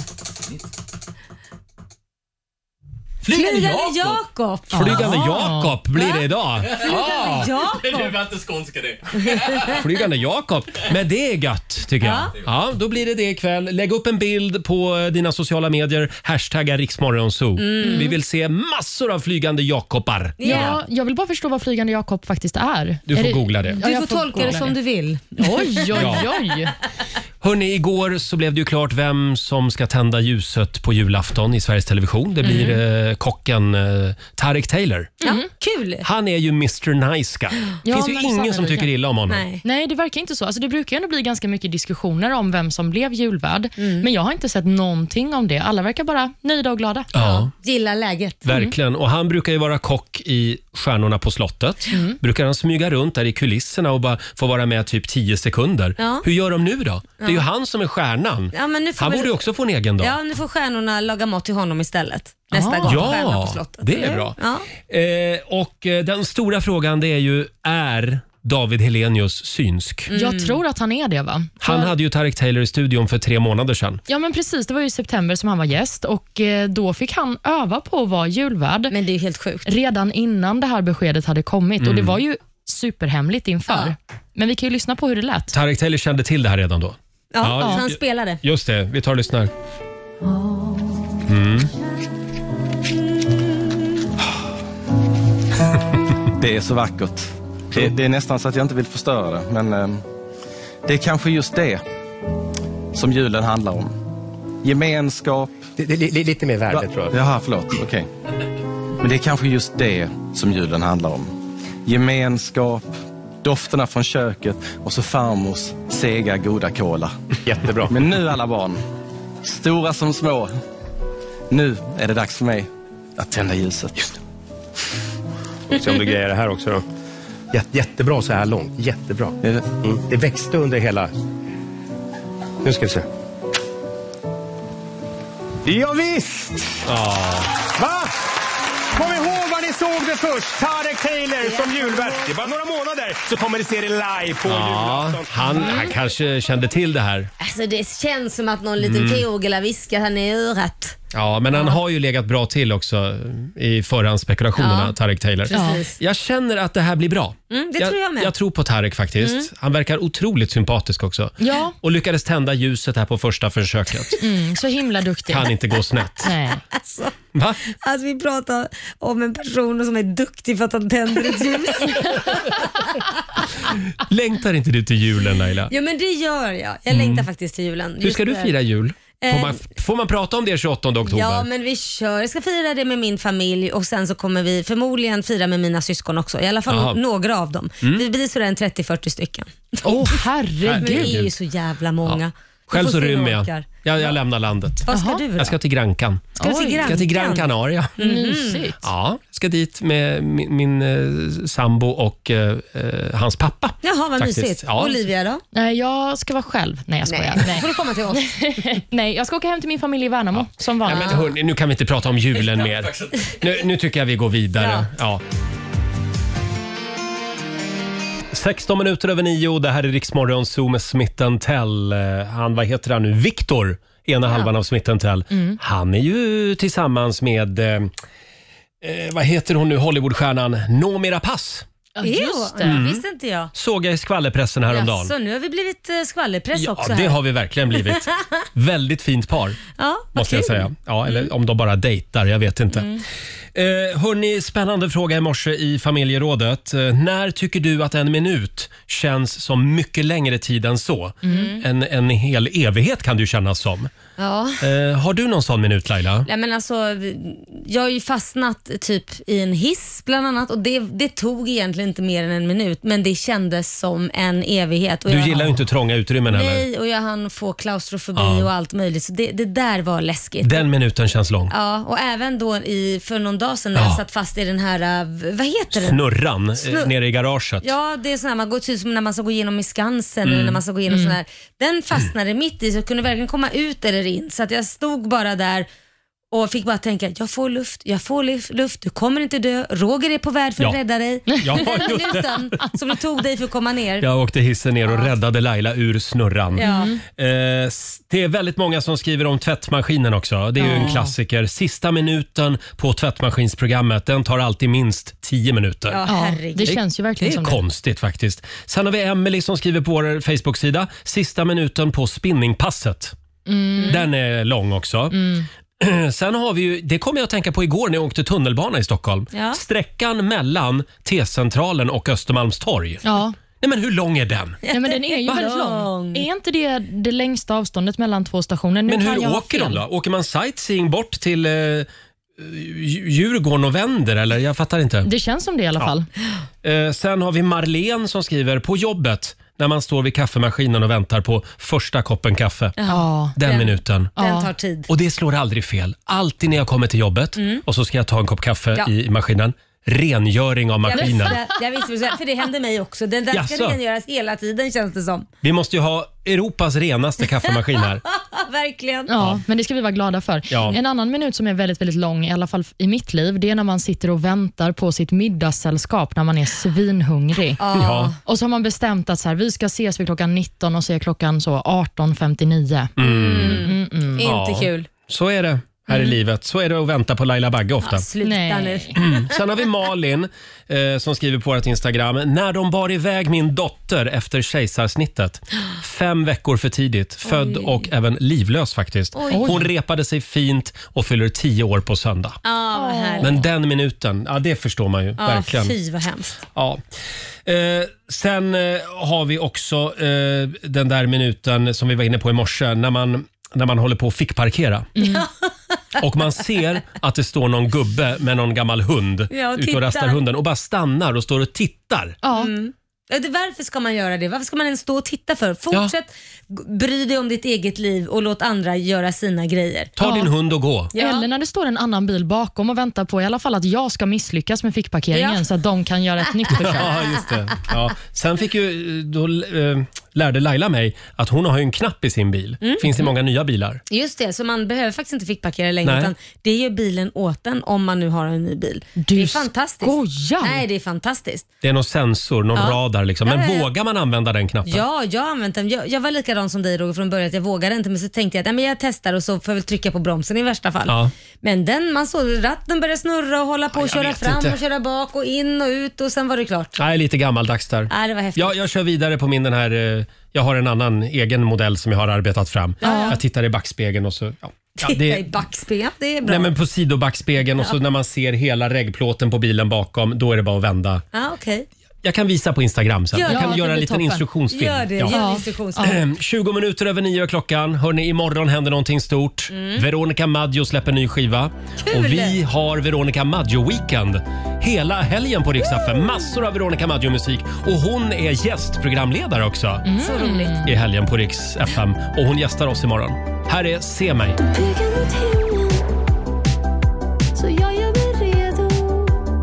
Speaker 2: Flygande Jakob!
Speaker 1: Flygande Jakob blir det idag.
Speaker 2: Flygande Jakob!
Speaker 1: var inte skånska det. Flygande Jakob. Men det är gött tycker jag. Ja.
Speaker 2: Ja.
Speaker 1: då blir det det ikväll. Lägg upp en bild på eh, dina sociala medier. Hashtagga riksmorgonzoo.
Speaker 3: Mm.
Speaker 1: Vi vill se massor av flygande Jakobar.
Speaker 3: Ja, jag vill bara förstå vad flygande Jakob faktiskt är.
Speaker 1: Du
Speaker 3: är
Speaker 1: får googla det.
Speaker 3: Ja,
Speaker 2: Du
Speaker 3: jag
Speaker 2: får tolka det
Speaker 3: googla
Speaker 2: som du vill.
Speaker 3: Oj, oj,
Speaker 1: Ja.
Speaker 3: oj.
Speaker 1: Hörni, igår så blev det ju klart vem som ska tända ljuset på julafton i Sveriges Television. Det blir
Speaker 2: Mm.
Speaker 1: eh, kocken eh, Tarek Taylor.
Speaker 2: Ja,
Speaker 3: Mm-hmm.
Speaker 2: kul!
Speaker 1: Han är ju Mr Nice Guy. Det
Speaker 3: Ja,
Speaker 1: finns
Speaker 3: men
Speaker 1: ju
Speaker 3: det sa
Speaker 1: ingen
Speaker 3: vi
Speaker 1: som
Speaker 3: väl,
Speaker 1: tycker
Speaker 3: ja.
Speaker 1: illa om honom.
Speaker 3: Nej. Nej, det verkar inte så. Alltså, det brukar ju ändå bli ganska mycket diskussioner om vem som blev julvärd,
Speaker 1: Mm.
Speaker 3: men jag har inte sett någonting om det. Alla verkar bara nöjda och glada.
Speaker 1: Ja.
Speaker 2: Gilla läget.
Speaker 1: Verkligen. Och han brukar ju vara kock i Stjärnorna på slottet.
Speaker 2: Mm.
Speaker 1: Brukar han smyga runt där i kulisserna och bara få vara med typ 10 sekunder.
Speaker 2: Ja.
Speaker 1: Hur gör de nu då? Det är ju
Speaker 2: Ja.
Speaker 1: han som är stjärnan.
Speaker 2: Ja, men nu får
Speaker 1: han
Speaker 2: väl-
Speaker 1: borde ju också få en egen dag.
Speaker 2: Ja, nu får stjärnorna laga mat till honom istället. Nästa gång på Stjärnorna på
Speaker 1: Ja,
Speaker 2: slottet.
Speaker 1: det är
Speaker 2: Eller?
Speaker 1: bra.
Speaker 2: Ja.
Speaker 1: Eh, och eh, den stora frågan det är ju, är David Helenius synsk?
Speaker 3: Jag tror att han är det, va?
Speaker 1: Han hade ju Tarek Taylor i studion för tre månader sedan.
Speaker 3: Ja, men precis. Det var ju i september som han var gäst och eh, då fick han öva på att vara julvärd.
Speaker 2: Men det är helt sjukt.
Speaker 3: Redan innan det här beskedet hade kommit och det
Speaker 1: Mm.
Speaker 3: var ju superhemligt inför. Men vi kan ju lyssna på hur det lät.
Speaker 1: Tarek Taylor kände till det här redan då.
Speaker 2: Ja,
Speaker 1: Ja,
Speaker 2: han
Speaker 1: ju-
Speaker 2: spelade.
Speaker 1: Just det, vi tar och lyssnar. Mm.
Speaker 7: Det är så vackert. Det, det är nästan så att jag inte vill förstöra det, men eh, det är kanske just det som julen handlar om. Gemenskap. lite mer värde, tror jag. Jaha, förlåt. Okej. Men det är kanske just det som julen handlar om. Gemenskap, dofterna från köket och så farmors sega goda kola. Jättebra. Men nu alla barn, stora som små, nu är det dags för mig att tända ljuset.
Speaker 8: Se om du grejer det här också då. Jätte, jättebra så här långt. Jättebra. Mm. Det växte under hela... Nu ska vi se. Ja, visst! Va? Kom ihåg var ni såg det först. Tarek Taylor som julvärd. Det är bara några månader så kommer ni se det live på
Speaker 1: Ja,
Speaker 8: julafton.
Speaker 1: han, han kanske kände till det här.
Speaker 2: Alltså det känns som att någon liten
Speaker 1: Mm.
Speaker 2: fågel har viskat han i örat.
Speaker 1: Ja, men han har ju legat bra till också i förhandsspekulationerna,
Speaker 2: Ja,
Speaker 1: Tarek Taylor.
Speaker 2: precis.
Speaker 1: Jag känner att det här blir bra.
Speaker 2: Mm, det tror jag med.
Speaker 1: Jag tror på Tarek faktiskt.
Speaker 2: Mm.
Speaker 1: Han verkar otroligt sympatisk också.
Speaker 3: Ja.
Speaker 1: Och lyckades tända ljuset här på första försöket.
Speaker 3: Mm, så himla duktig.
Speaker 1: Kan inte gå snett.
Speaker 3: Nej.
Speaker 2: Alltså,
Speaker 1: Va?
Speaker 2: alltså vi pratar om en person som är duktig för att han tänder ett ljus.
Speaker 1: Längtar inte du till julen Laila?
Speaker 2: jo men det gör jag. Jag längtar faktiskt till julen.
Speaker 1: Mm. Hur ska du
Speaker 2: Just det.
Speaker 1: fira jul? Får
Speaker 2: Eh,
Speaker 1: man, får man prata om det 28 oktober?
Speaker 2: Ja men vi kör. Jag ska fira det med min familj och sen så kommer vi förmodligen fira med mina syskon också. I alla fall
Speaker 1: Jaha.
Speaker 2: några av dem.
Speaker 1: Mm.
Speaker 2: Vi blir sådär en 30-40 stycken.
Speaker 3: Åh oh,
Speaker 2: Men det är ju
Speaker 1: herregud.
Speaker 2: så jävla många. Vi
Speaker 1: Själv
Speaker 2: får
Speaker 1: så
Speaker 2: se hur
Speaker 1: rymmer jag.
Speaker 2: orkar.
Speaker 1: jag. Jag lämnar landet.
Speaker 2: Vad ska du då?
Speaker 1: Jag ska till Grankan.
Speaker 2: Ska du till
Speaker 1: Jag ska till Gran
Speaker 2: Grankan?
Speaker 1: Canaria.
Speaker 2: Mhm. Mysigt.
Speaker 1: Mm. Ja, jag ska dit med min, min eh, sambo och eh, eh, hans pappa.
Speaker 2: Jaha, vad
Speaker 1: Faktiskt.
Speaker 2: mysigt.
Speaker 1: Ja.
Speaker 2: Olivia då?
Speaker 3: Nej, jag ska vara själv. Nej, jag skojar.
Speaker 2: Nej.
Speaker 3: Nej.
Speaker 2: får du komma till oss.
Speaker 3: Nej, jag ska åka hem till min familj i Värnamo, som vanligt.
Speaker 1: Men hörni, nu kan vi inte prata om julen mer. Nu, nu tycker jag vi går vidare. Ja. 16 minuter över nio, det här är Riksmorgon Zoo med Smitten Tell. Eh, Han, vad heter han nu? Viktor, ena halvan av Smitten Tell.
Speaker 12: Mm.
Speaker 1: Han är ju tillsammans med, eh, eh, vad heter hon nu, Hollywoodstjärnan Noomi Rapace.
Speaker 2: Ja,
Speaker 1: just det.
Speaker 2: Mm. visste inte jag.
Speaker 1: Såg jag i skvallerpressen häromdagen.
Speaker 2: Jaså, nu har vi blivit eh, skvallerpress
Speaker 1: Ja,
Speaker 2: också.
Speaker 1: det
Speaker 2: här.
Speaker 1: har vi verkligen blivit. Väldigt fint par,
Speaker 2: ja, vad
Speaker 1: måste jag
Speaker 2: kul.
Speaker 1: säga. Ja, eller om de bara dejtar, jag vet inte.
Speaker 2: Mm.
Speaker 1: Eh, hörni, spännande fråga i morse i familjerådet. Eh, när tycker du att en minut känns som mycket längre tid än så?
Speaker 2: Mm.
Speaker 1: En, en hel evighet kan det ju kännas som.
Speaker 2: Ja.
Speaker 1: Eh, har du någon sån minut Laila?
Speaker 2: Nej, men alltså, vi- jag har ju fastnat typ i en hiss bland annat och det, det tog egentligen inte mer än en minut men det kändes som en evighet. Och
Speaker 1: Du
Speaker 2: jag,
Speaker 1: gillar ju inte trånga utrymmen heller.
Speaker 2: Nej, och jag hann få klaustrofobi
Speaker 1: Ja.
Speaker 2: och allt möjligt så det, det där var läskigt.
Speaker 1: Den minuten känns lång.
Speaker 2: Ja, och även då i, för någon dag sedan när
Speaker 1: Ja.
Speaker 2: jag satt fast i den här, äh, v- vad heter den?
Speaker 1: Snurran eh,
Speaker 2: Snur-
Speaker 1: nere i garaget.
Speaker 2: Ja, det är sån här, man går typ som när man ska gå igenom i Skansen
Speaker 1: Mm.
Speaker 2: eller när man ska gå igenom
Speaker 1: Mm.
Speaker 2: sån här. Den fastnade mitt i så jag kunde verkligen komma ut eller in. Så att jag stod bara där och fick bara tänka, jag får luft, jag får lif- luft, du kommer inte dö, Roger är på värld för att
Speaker 1: Ja.
Speaker 2: rädda dig.
Speaker 1: Ja,
Speaker 2: Den här
Speaker 1: just det.
Speaker 2: minuten som det tog dig för att komma ner.
Speaker 1: Jag åkte hissen ner och räddade Laila ur snurran.
Speaker 2: Ja.
Speaker 3: Mm.
Speaker 1: Eh, s- det är väldigt många som skriver om tvättmaskinen också. Det är ju
Speaker 2: Ja.
Speaker 1: en klassiker. Sista minuten på tvättmaskinsprogrammet, den tar alltid minst 10 minuter.
Speaker 3: Ja, herregud. det känns ju verkligen
Speaker 1: det är
Speaker 3: som det.
Speaker 1: konstigt faktiskt. Sen har vi Emily som skriver på vår Facebook-sida. Sista minuten på spinningpasset.
Speaker 3: Mm.
Speaker 1: Den är lång också.
Speaker 3: Mm.
Speaker 1: Sen har vi ju, det kommer jag att tänka på igår när jag åkte tunnelbana i Stockholm.
Speaker 3: Ja.
Speaker 1: Sträckan mellan T-centralen och Östermalmstorg.
Speaker 3: Ja.
Speaker 1: Nej men hur lång är den?
Speaker 3: Nej, men den är ju
Speaker 1: Va?
Speaker 3: väldigt lång. Är inte det det längsta avståndet mellan två stationer? Nu
Speaker 1: men
Speaker 3: kan jag
Speaker 1: hur
Speaker 3: ha
Speaker 1: åker
Speaker 3: fel.
Speaker 1: de då? Åker man sightseeing bort till eh, Dju- Djurgården och vänder eller? Jag fattar inte.
Speaker 3: Det känns som det i alla
Speaker 1: Ja.
Speaker 3: fall.
Speaker 1: Eh, sen har vi Marlene som skriver på jobbet när man står vid kaffemaskinen och väntar på första koppen kaffe.
Speaker 3: Ja.
Speaker 1: Den, minuten.
Speaker 2: Den tar tid.
Speaker 1: Och det slår aldrig fel. Alltid när jag kommer till jobbet
Speaker 2: Mm.
Speaker 1: och så ska jag ta en kopp kaffe
Speaker 2: Ja.
Speaker 1: i maskinen. Rengöring av
Speaker 2: Jag
Speaker 1: maskinen.
Speaker 2: visste, jag visste vad du sa, för det hände mig också. Den där
Speaker 1: Jaså?
Speaker 2: ska rengöras hela tiden känns det som.
Speaker 1: Vi måste ju ha Europas renaste kaffemaskin här.
Speaker 2: Verkligen.
Speaker 3: Ja, men det ska vi vara glada för.
Speaker 1: Ja.
Speaker 3: En annan minut som är väldigt, väldigt lång, i alla fall i mitt liv, det är när man sitter och väntar på sitt middagssällskap när man är svinhungrig.
Speaker 4: Ja. Ja.
Speaker 3: Och så har man bestämt att så här, vi ska ses vid klockan 19 och så är klockan så 18.59. Mm, mm.
Speaker 1: Ja, Så är det här i livet. Så är det att vänta på Laila Bagge ofta.
Speaker 2: Sluta nu.
Speaker 1: Mm. Sen har vi Malin eh, som skriver på vårt Instagram. När de bar iväg min dotter efter kejsarsnittet. Fem veckor för tidigt. Född
Speaker 2: Oj.
Speaker 1: och även livlös faktiskt.
Speaker 2: Oj.
Speaker 1: Hon repade sig fint och fyller tio år på söndag.
Speaker 2: Ja, vad härligt.
Speaker 1: Men den minuten, ja det förstår man ju.
Speaker 2: Ja,
Speaker 1: verkligen.
Speaker 2: fy vad hemskt.
Speaker 1: Ja. Eh, sen eh, har vi också eh, den där minuten som vi var inne på i morse när man, när man håller på att fickparkera.
Speaker 2: Mm.
Speaker 1: Och man ser att det står någon gubbe med någon gammal hund
Speaker 2: Ja, och
Speaker 1: ute
Speaker 2: tittar.
Speaker 1: och rastar hunden och bara stannar och står och tittar.
Speaker 3: Ja.
Speaker 2: Mm. Ja, det- Varför ska man göra det? Varför ska man ens stå och titta för? Fortsätt g- bry dig om ditt eget liv och låt andra göra sina grejer.
Speaker 1: Ta din hund och gå.
Speaker 3: Eller när det står en annan bil bakom och väntar på i alla fall att jag ska misslyckas med fickparkeringen
Speaker 2: Ja.
Speaker 3: så att de kan göra ett nytt försök.
Speaker 1: Ja, just det. Ja. Sen fick ju, då eh, lärde Laila mig att hon har ju en knapp i sin bil.
Speaker 2: Mm.
Speaker 1: Finns i många nya bilar.
Speaker 2: Just det, så man behöver faktiskt inte fickparkera längre
Speaker 1: Nej.
Speaker 2: utan det gör bilen åt en om man nu har en ny bil. det är fantastiskt. Nej, det är fantastiskt.
Speaker 1: Det är någon sensor, någon
Speaker 2: Ja.
Speaker 1: radar liksom. Men
Speaker 2: Ja, ja, ja.
Speaker 1: vågar man använda den knappen?
Speaker 2: Ja, jag har använt den. Jag, jag var likadan som dig Roger från början, att jag vågade inte men så tänkte jag att nej, men jag testar och så får jag väl trycka på bromsen i värsta fall.
Speaker 1: Ja.
Speaker 2: Men den, man såg ratten började snurra och hålla på och köra
Speaker 1: vet
Speaker 2: fram
Speaker 1: inte.
Speaker 2: och köra bak och in och ut och sen var det klart.
Speaker 1: Nej, lite gammaldags där.
Speaker 2: Nej, det var häftigt.
Speaker 1: Jag, jag kör vidare på min den här, eh, jag har en annan egen modell som jag har arbetat fram.
Speaker 2: Ja, ja.
Speaker 1: Jag tittar i backspegeln och så, ja. Ja,
Speaker 2: Titta
Speaker 1: det,
Speaker 2: i backspegeln, det är bra.
Speaker 1: nej men på sidobackspegeln och så
Speaker 2: Ja.
Speaker 1: när man ser hela regplåten på bilen bakom, då är det bara att vända.
Speaker 2: Ja, okej.
Speaker 1: Jag kan visa på Instagram sen.
Speaker 2: Gör
Speaker 1: jag
Speaker 2: det.
Speaker 1: kan
Speaker 2: Ja, det
Speaker 1: göra en
Speaker 2: blir
Speaker 1: liten
Speaker 2: toppen.
Speaker 1: instruktionsfilm.
Speaker 2: Gör det, gör en instruktionsfilm.
Speaker 1: Ehm, 20 minuter över nio är klockan. Hörni, imorgon händer någonting stort.
Speaker 2: Mm.
Speaker 1: Veronica Maggio släpper ny skiva.
Speaker 2: Kul!
Speaker 1: Och vi har Veronica Maggio Weekend hela helgen på Rix FM. Massor av Veronica Maggio-musik. Och hon är gästprogramledare också.
Speaker 2: Mm. Så roligt.
Speaker 1: I helgen på Rix FM. Och hon gästar oss imorgon. Här är Se mig.
Speaker 4: Pigga mot himlen, så jag gör mig redo.
Speaker 12: Mm.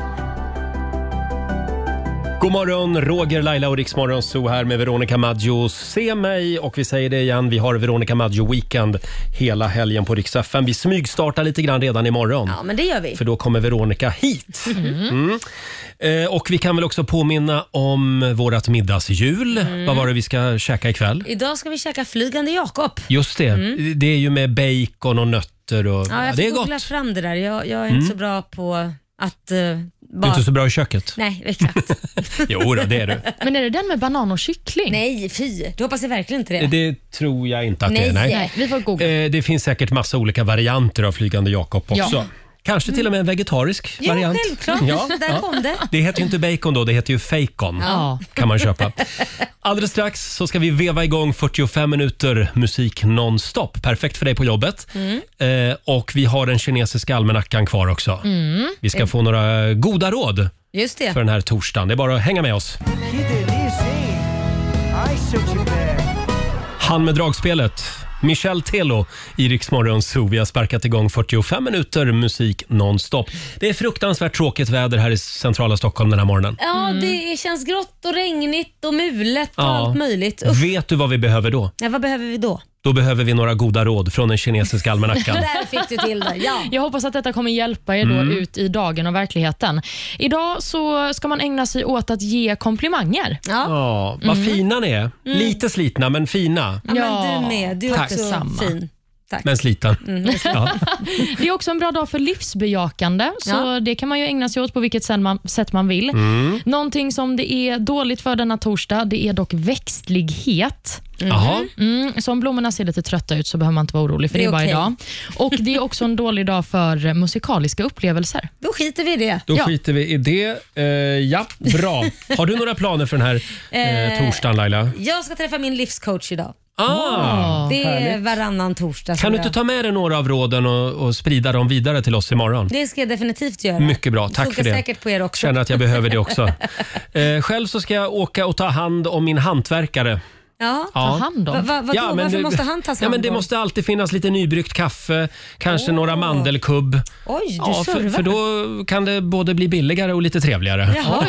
Speaker 1: God morgon, Roger, Laila och Riksmorgon Zoo här med Veronica Maggio. Se mig! Och vi säger det igen, vi har Veronica Maggio Weekend hela helgen på Rix FM. Vi smygstartar lite grann redan imorgon.
Speaker 2: Ja, men det gör vi.
Speaker 1: För då kommer Veronica hit. Mm. Eh, och vi kan väl också påminna om vårat middagshjul.
Speaker 2: Mm.
Speaker 1: Vad var det vi ska käka ikväll?
Speaker 2: Idag ska vi käka flygande Jakob.
Speaker 1: Just det,
Speaker 2: Mm.
Speaker 1: det är ju med bacon och nötter och...
Speaker 2: Ja, jag
Speaker 1: det är
Speaker 2: får
Speaker 1: gott.
Speaker 2: googla fram det där. Jag, jag är
Speaker 1: Mm.
Speaker 2: inte så bra på att... eh,
Speaker 1: Du är
Speaker 2: bara...
Speaker 1: inte så bra i köket.
Speaker 2: Nej, exakt.
Speaker 1: Jo då, det är du.
Speaker 3: Men är det den med banan och kyckling?
Speaker 2: Nej, fy. Du hoppas jag verkligen inte det.
Speaker 1: Det tror jag inte att det är.
Speaker 2: Nej.
Speaker 1: Nej.
Speaker 2: Nej,
Speaker 3: vi får googla.
Speaker 1: Eh, det finns säkert massa olika varianter av Flygande Jakob också.
Speaker 2: Ja.
Speaker 1: Kanske till och med en vegetarisk
Speaker 2: Ja,
Speaker 1: variant.
Speaker 2: självklart. Där kom det.
Speaker 1: Det heter ju inte bacon då, det heter ju fejkon.
Speaker 2: Ja.
Speaker 1: Kan man köpa. Alldeles strax så ska vi veva igång 45 minuter musik nonstop. Perfekt för dig på jobbet.
Speaker 4: Mm.
Speaker 1: Eh, och vi har den kinesiska almanackan kvar också.
Speaker 4: Mm.
Speaker 1: Vi ska få några goda råd
Speaker 2: Just det.
Speaker 1: för den här torsdagen. Det är bara att hänga med oss. Han med dragspelet, Michel Telo i Rix Morgon Zoo. Vi har sparkat igång 45 minuter musik nonstop. Det är fruktansvärt tråkigt väder här i centrala Stockholm den här morgonen.
Speaker 2: Ja, det känns grått och regnigt och mulet och
Speaker 1: Ja.
Speaker 2: allt möjligt. Usch.
Speaker 1: Vet du vad vi behöver då?
Speaker 2: Ja, vad behöver vi då?
Speaker 1: Då behöver vi några goda råd från den kinesiska almanackan.
Speaker 2: Där fick du till det. Ja.
Speaker 3: Jag hoppas att detta kommer hjälpa er då
Speaker 1: Mm.
Speaker 3: ut i dagen och verkligheten. Idag så ska man ägna sig åt att ge komplimanger.
Speaker 1: Ja, vad
Speaker 3: Mm.
Speaker 1: fina ni är. Lite slitna, men fina.
Speaker 3: Ja, men du med. Du är
Speaker 1: Tack.
Speaker 3: också Detsamma. fin.
Speaker 2: Tack.
Speaker 1: Men sliten.
Speaker 3: Mm.
Speaker 1: Ja.
Speaker 3: Det är också en bra dag för livsbejakande, så
Speaker 2: Ja.
Speaker 3: det kan man ju ägna sig åt på vilket sätt man, sätt man vill.
Speaker 1: Mm.
Speaker 3: Någonting som det är dåligt för denna torsdag, det är dock växtlighet.
Speaker 1: Jaha.
Speaker 3: Mm, så om blommorna ser lite trötta ut så behöver man inte vara orolig, för
Speaker 2: Det
Speaker 3: det
Speaker 2: är
Speaker 3: är, bara
Speaker 2: okej.
Speaker 3: idag. Och Det är också en dålig dag för musikaliska upplevelser.
Speaker 2: Då skiter vi i det.
Speaker 1: Då skiter vi i det. Eh, ja, bra. Har du några planer för den här eh,
Speaker 2: Eh,
Speaker 1: torsdagen Laila?
Speaker 2: Jag ska träffa min livscoach idag.
Speaker 1: Ah,
Speaker 2: det är
Speaker 1: härligt.
Speaker 2: varannan torsdag. som
Speaker 1: Kan du
Speaker 2: jag-
Speaker 1: inte ta med dig några av råden och, och sprida dem vidare till oss imorgon?
Speaker 2: Det ska jag definitivt göra.
Speaker 1: Mycket bra, tack
Speaker 2: Funkar
Speaker 1: för det.
Speaker 2: säkert på er också.
Speaker 1: Känner att jag behöver det också. Eh, själv så ska jag åka och ta hand om min hantverkare.
Speaker 2: Ja,
Speaker 1: Ja.
Speaker 2: Va, va, vadå?
Speaker 1: Ja, men
Speaker 2: Varför
Speaker 1: det-
Speaker 2: måste han tas
Speaker 1: ja,
Speaker 2: hand
Speaker 1: men Det
Speaker 2: om?
Speaker 1: måste alltid finnas lite nybryggt kaffe, kanske några mandelkubb.
Speaker 2: Oj, du
Speaker 1: ja, för,
Speaker 2: servar.
Speaker 1: för då kan det både bli billigare och lite trevligare.
Speaker 2: Jaha.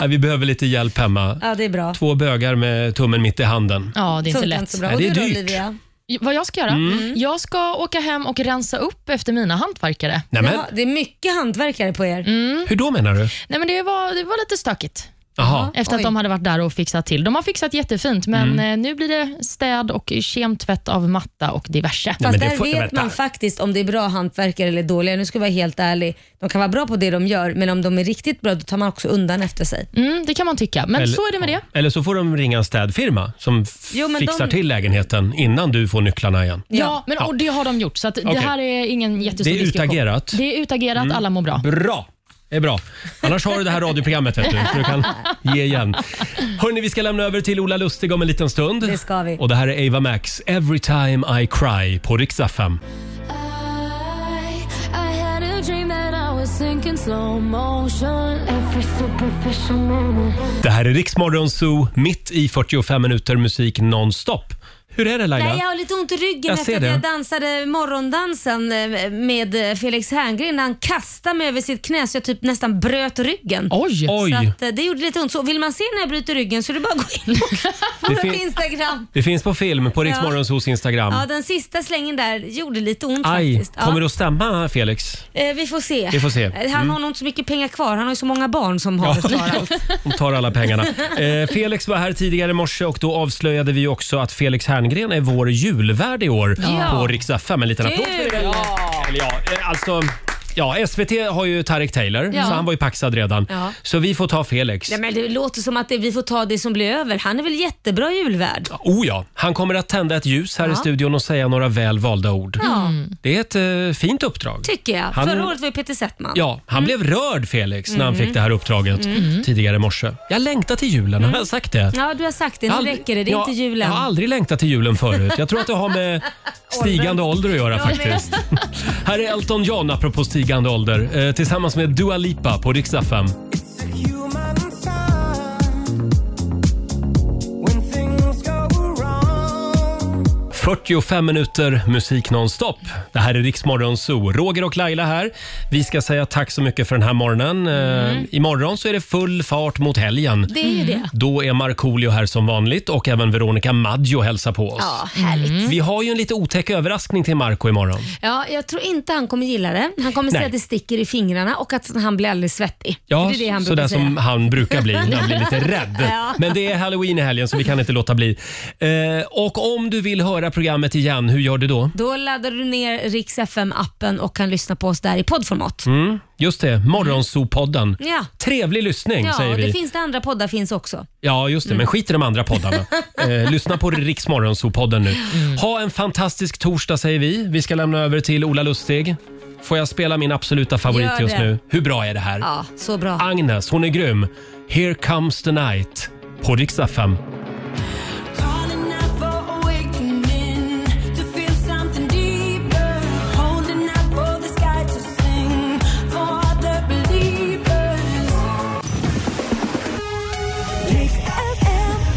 Speaker 1: Ja, vi behöver lite hjälp hemma.
Speaker 2: Ja, det är bra.
Speaker 1: Två bögar med tummen mitt i handen.
Speaker 3: Ja, det är inte
Speaker 2: Funkar
Speaker 3: lätt.
Speaker 2: inte så bra.
Speaker 1: Nej,
Speaker 2: Och
Speaker 1: det är
Speaker 2: du då,
Speaker 1: dyrt.
Speaker 2: Olivia?
Speaker 3: Vad jag ska göra?
Speaker 1: Mm.
Speaker 3: Jag ska åka hem och rensa upp efter mina hantverkare.
Speaker 1: Nämen.
Speaker 2: Jaha, det är mycket hantverkare på
Speaker 1: Mm.
Speaker 2: er.
Speaker 1: Hur då menar du?
Speaker 3: Nej, men det, var, det var lite stökigt.
Speaker 1: Jaha.
Speaker 3: Efter att de hade varit där och fixat till. De har fixat jättefint, men
Speaker 1: Mm.
Speaker 3: eh, nu blir det städ och kemtvätt av matta och diverse.
Speaker 2: Fast där vet man faktiskt om det är bra hantverkare eller dåliga. Nu ska jag vara helt ärlig. De kan vara bra på det de gör, men om de är riktigt bra, då tar man också undan efter sig.
Speaker 3: Mm, det kan man tycka, men
Speaker 1: Eller-
Speaker 3: så är det med det.
Speaker 1: Eller så får de ringa en städfirma som f-
Speaker 3: Jo, men
Speaker 1: fixar
Speaker 3: de-
Speaker 1: till lägenheten innan du får nycklarna igen.
Speaker 3: Ja, men, och det har de gjort, så att
Speaker 1: Okej.
Speaker 3: det här är ingen jättestor
Speaker 1: Det är
Speaker 3: diskussion.
Speaker 1: utagerat.
Speaker 3: Det är utagerat,
Speaker 1: Mm.
Speaker 3: alla mår bra.
Speaker 1: Bra! Det är bra. Annars har du det här radioprogrammet vet du, så du kan ge igen. Hörni, vi ska lämna över till Ola Lustig om en liten stund.
Speaker 2: Det ska vi.
Speaker 1: Och det här är Ava Max, Every time I cry på Rix FM.
Speaker 4: I had a dream that I was sinking slow motion. Every superficial moment.
Speaker 1: Det här är Rix Morgon Zoo, mitt i 45 minuter musik nonstop. Hur är det Laila?
Speaker 2: Nej, jag har lite ont i ryggen
Speaker 1: Jag
Speaker 2: efter
Speaker 1: ser
Speaker 2: att
Speaker 1: det.
Speaker 2: jag dansade morgondansen eh, med eh, Felix Herngren. när Han kastade mig över sitt knä så jag typ nästan bröt ryggen.
Speaker 1: Oj. Oj.
Speaker 2: Så att, eh, det gjorde lite ont. Så vill man se när jag bryter ryggen så är det bara att gå in på
Speaker 1: Det
Speaker 2: vår
Speaker 1: fin-
Speaker 2: Instagram.
Speaker 1: Det finns på film på Rix
Speaker 2: Ja.
Speaker 1: Morgon Zoos Instagram.
Speaker 2: Ja, den sista slängen där gjorde lite ont
Speaker 1: Aj,
Speaker 2: faktiskt. Ja.
Speaker 1: kommer det att stämma Felix?
Speaker 2: Eh, Vi får se.
Speaker 1: Vi får se.
Speaker 2: Eh, Han
Speaker 1: Mm.
Speaker 2: har nog inte så mycket pengar kvar. Han har ju så många barn som har ja. klarat allt.
Speaker 1: De tar alla pengarna. Eh, Felix var här tidigare i morse och då avslöjade vi ju också att Felix Herngren är vår julvärd i år
Speaker 8: Ja.
Speaker 1: på Rix FM. En liten applåd för det. Eller ja, eh, alltså... Ja, SVT har ju Tareq Taylor,
Speaker 2: Ja.
Speaker 1: så han var ju paxad redan.
Speaker 2: Ja.
Speaker 1: Så vi får ta Felix.
Speaker 2: Nej, men det låter som att det, vi får ta det som blir över. Han är väl jättebra julvärd?
Speaker 1: Oh ja, han kommer att tända ett ljus här
Speaker 2: Ja.
Speaker 1: i studion och säga några väl valda ord.
Speaker 2: Ja,
Speaker 1: Det är ett eh, fint uppdrag.
Speaker 2: tycker jag.
Speaker 1: Han-
Speaker 2: Förra året var ju Peter Settman.
Speaker 1: Ja, han blev rörd Felix när han
Speaker 2: Mm.
Speaker 1: fick det här uppdraget
Speaker 2: Mm.
Speaker 1: tidigare i morse. Jag längtar till julen, har jag sagt det?
Speaker 2: Ja, du har sagt det. Nu
Speaker 1: Aldrig-
Speaker 2: räcker det. Det är
Speaker 1: Ja,
Speaker 2: inte julen.
Speaker 1: Jag har aldrig längtat till julen förut. Jag tror att det har med stigande ålder att göra
Speaker 2: Jag med.
Speaker 1: faktiskt. Här är Elton John apropå stigande ålder eh, tillsammans med Dua Lipa på riksdag 5.
Speaker 12: When things go wrong
Speaker 1: 45 minuter musik nonstop. Det här är Riksmorgon Zoo. Roger och Laila här. Vi ska säga tack så mycket för den här morgonen. Eh,
Speaker 2: Mm.
Speaker 1: Imorgon så är det full fart mot helgen.
Speaker 2: Det är ju det.
Speaker 1: Då är Markoolio här som vanligt och även Veronica Maggio hälsar på oss.
Speaker 2: Ja, Mm. härligt.
Speaker 1: Vi har ju en lite otäck överraskning till Marco imorgon.
Speaker 2: Ja, jag tror inte han kommer gilla det. Han kommer säga
Speaker 1: Nej.
Speaker 2: att det sticker i fingrarna och att han blir alldeles svettig.
Speaker 1: Ja,
Speaker 2: det är det han brukar
Speaker 1: sådär
Speaker 2: säga.
Speaker 1: som han brukar bli när han blir lite rädd.
Speaker 2: Ja.
Speaker 1: Men det är halloween i helgen så vi kan inte låta bli. Eh, och om du vill höra programmet igen, hur gör du då?
Speaker 2: Då laddar du ner Rix FM-appen och kan lyssna på oss där i poddformat.
Speaker 1: Mm, just det, Morgonzoo-podden.
Speaker 2: Ja.
Speaker 1: Trevlig lyssning
Speaker 2: ja,
Speaker 1: säger
Speaker 2: det Mm.
Speaker 1: vi.
Speaker 2: finns det andra poddar finns också.
Speaker 1: Ja, just det. Men skit i de andra poddarna. Eh, lyssna på Riks Morgonzoo-podden nu.
Speaker 2: Mm.
Speaker 1: Ha en fantastisk torsdag säger vi. Vi ska lämna över till Ola Lustig. Får jag spela min absoluta favorit
Speaker 2: Gör det.
Speaker 1: just nu? Hur bra är det här?
Speaker 2: Ja, så bra.
Speaker 1: Agnes, hon är grym. Here comes the night på Rix FM.
Speaker 12: Calling out for awakening to feel something deeper Holding out for the sky to sing for the believers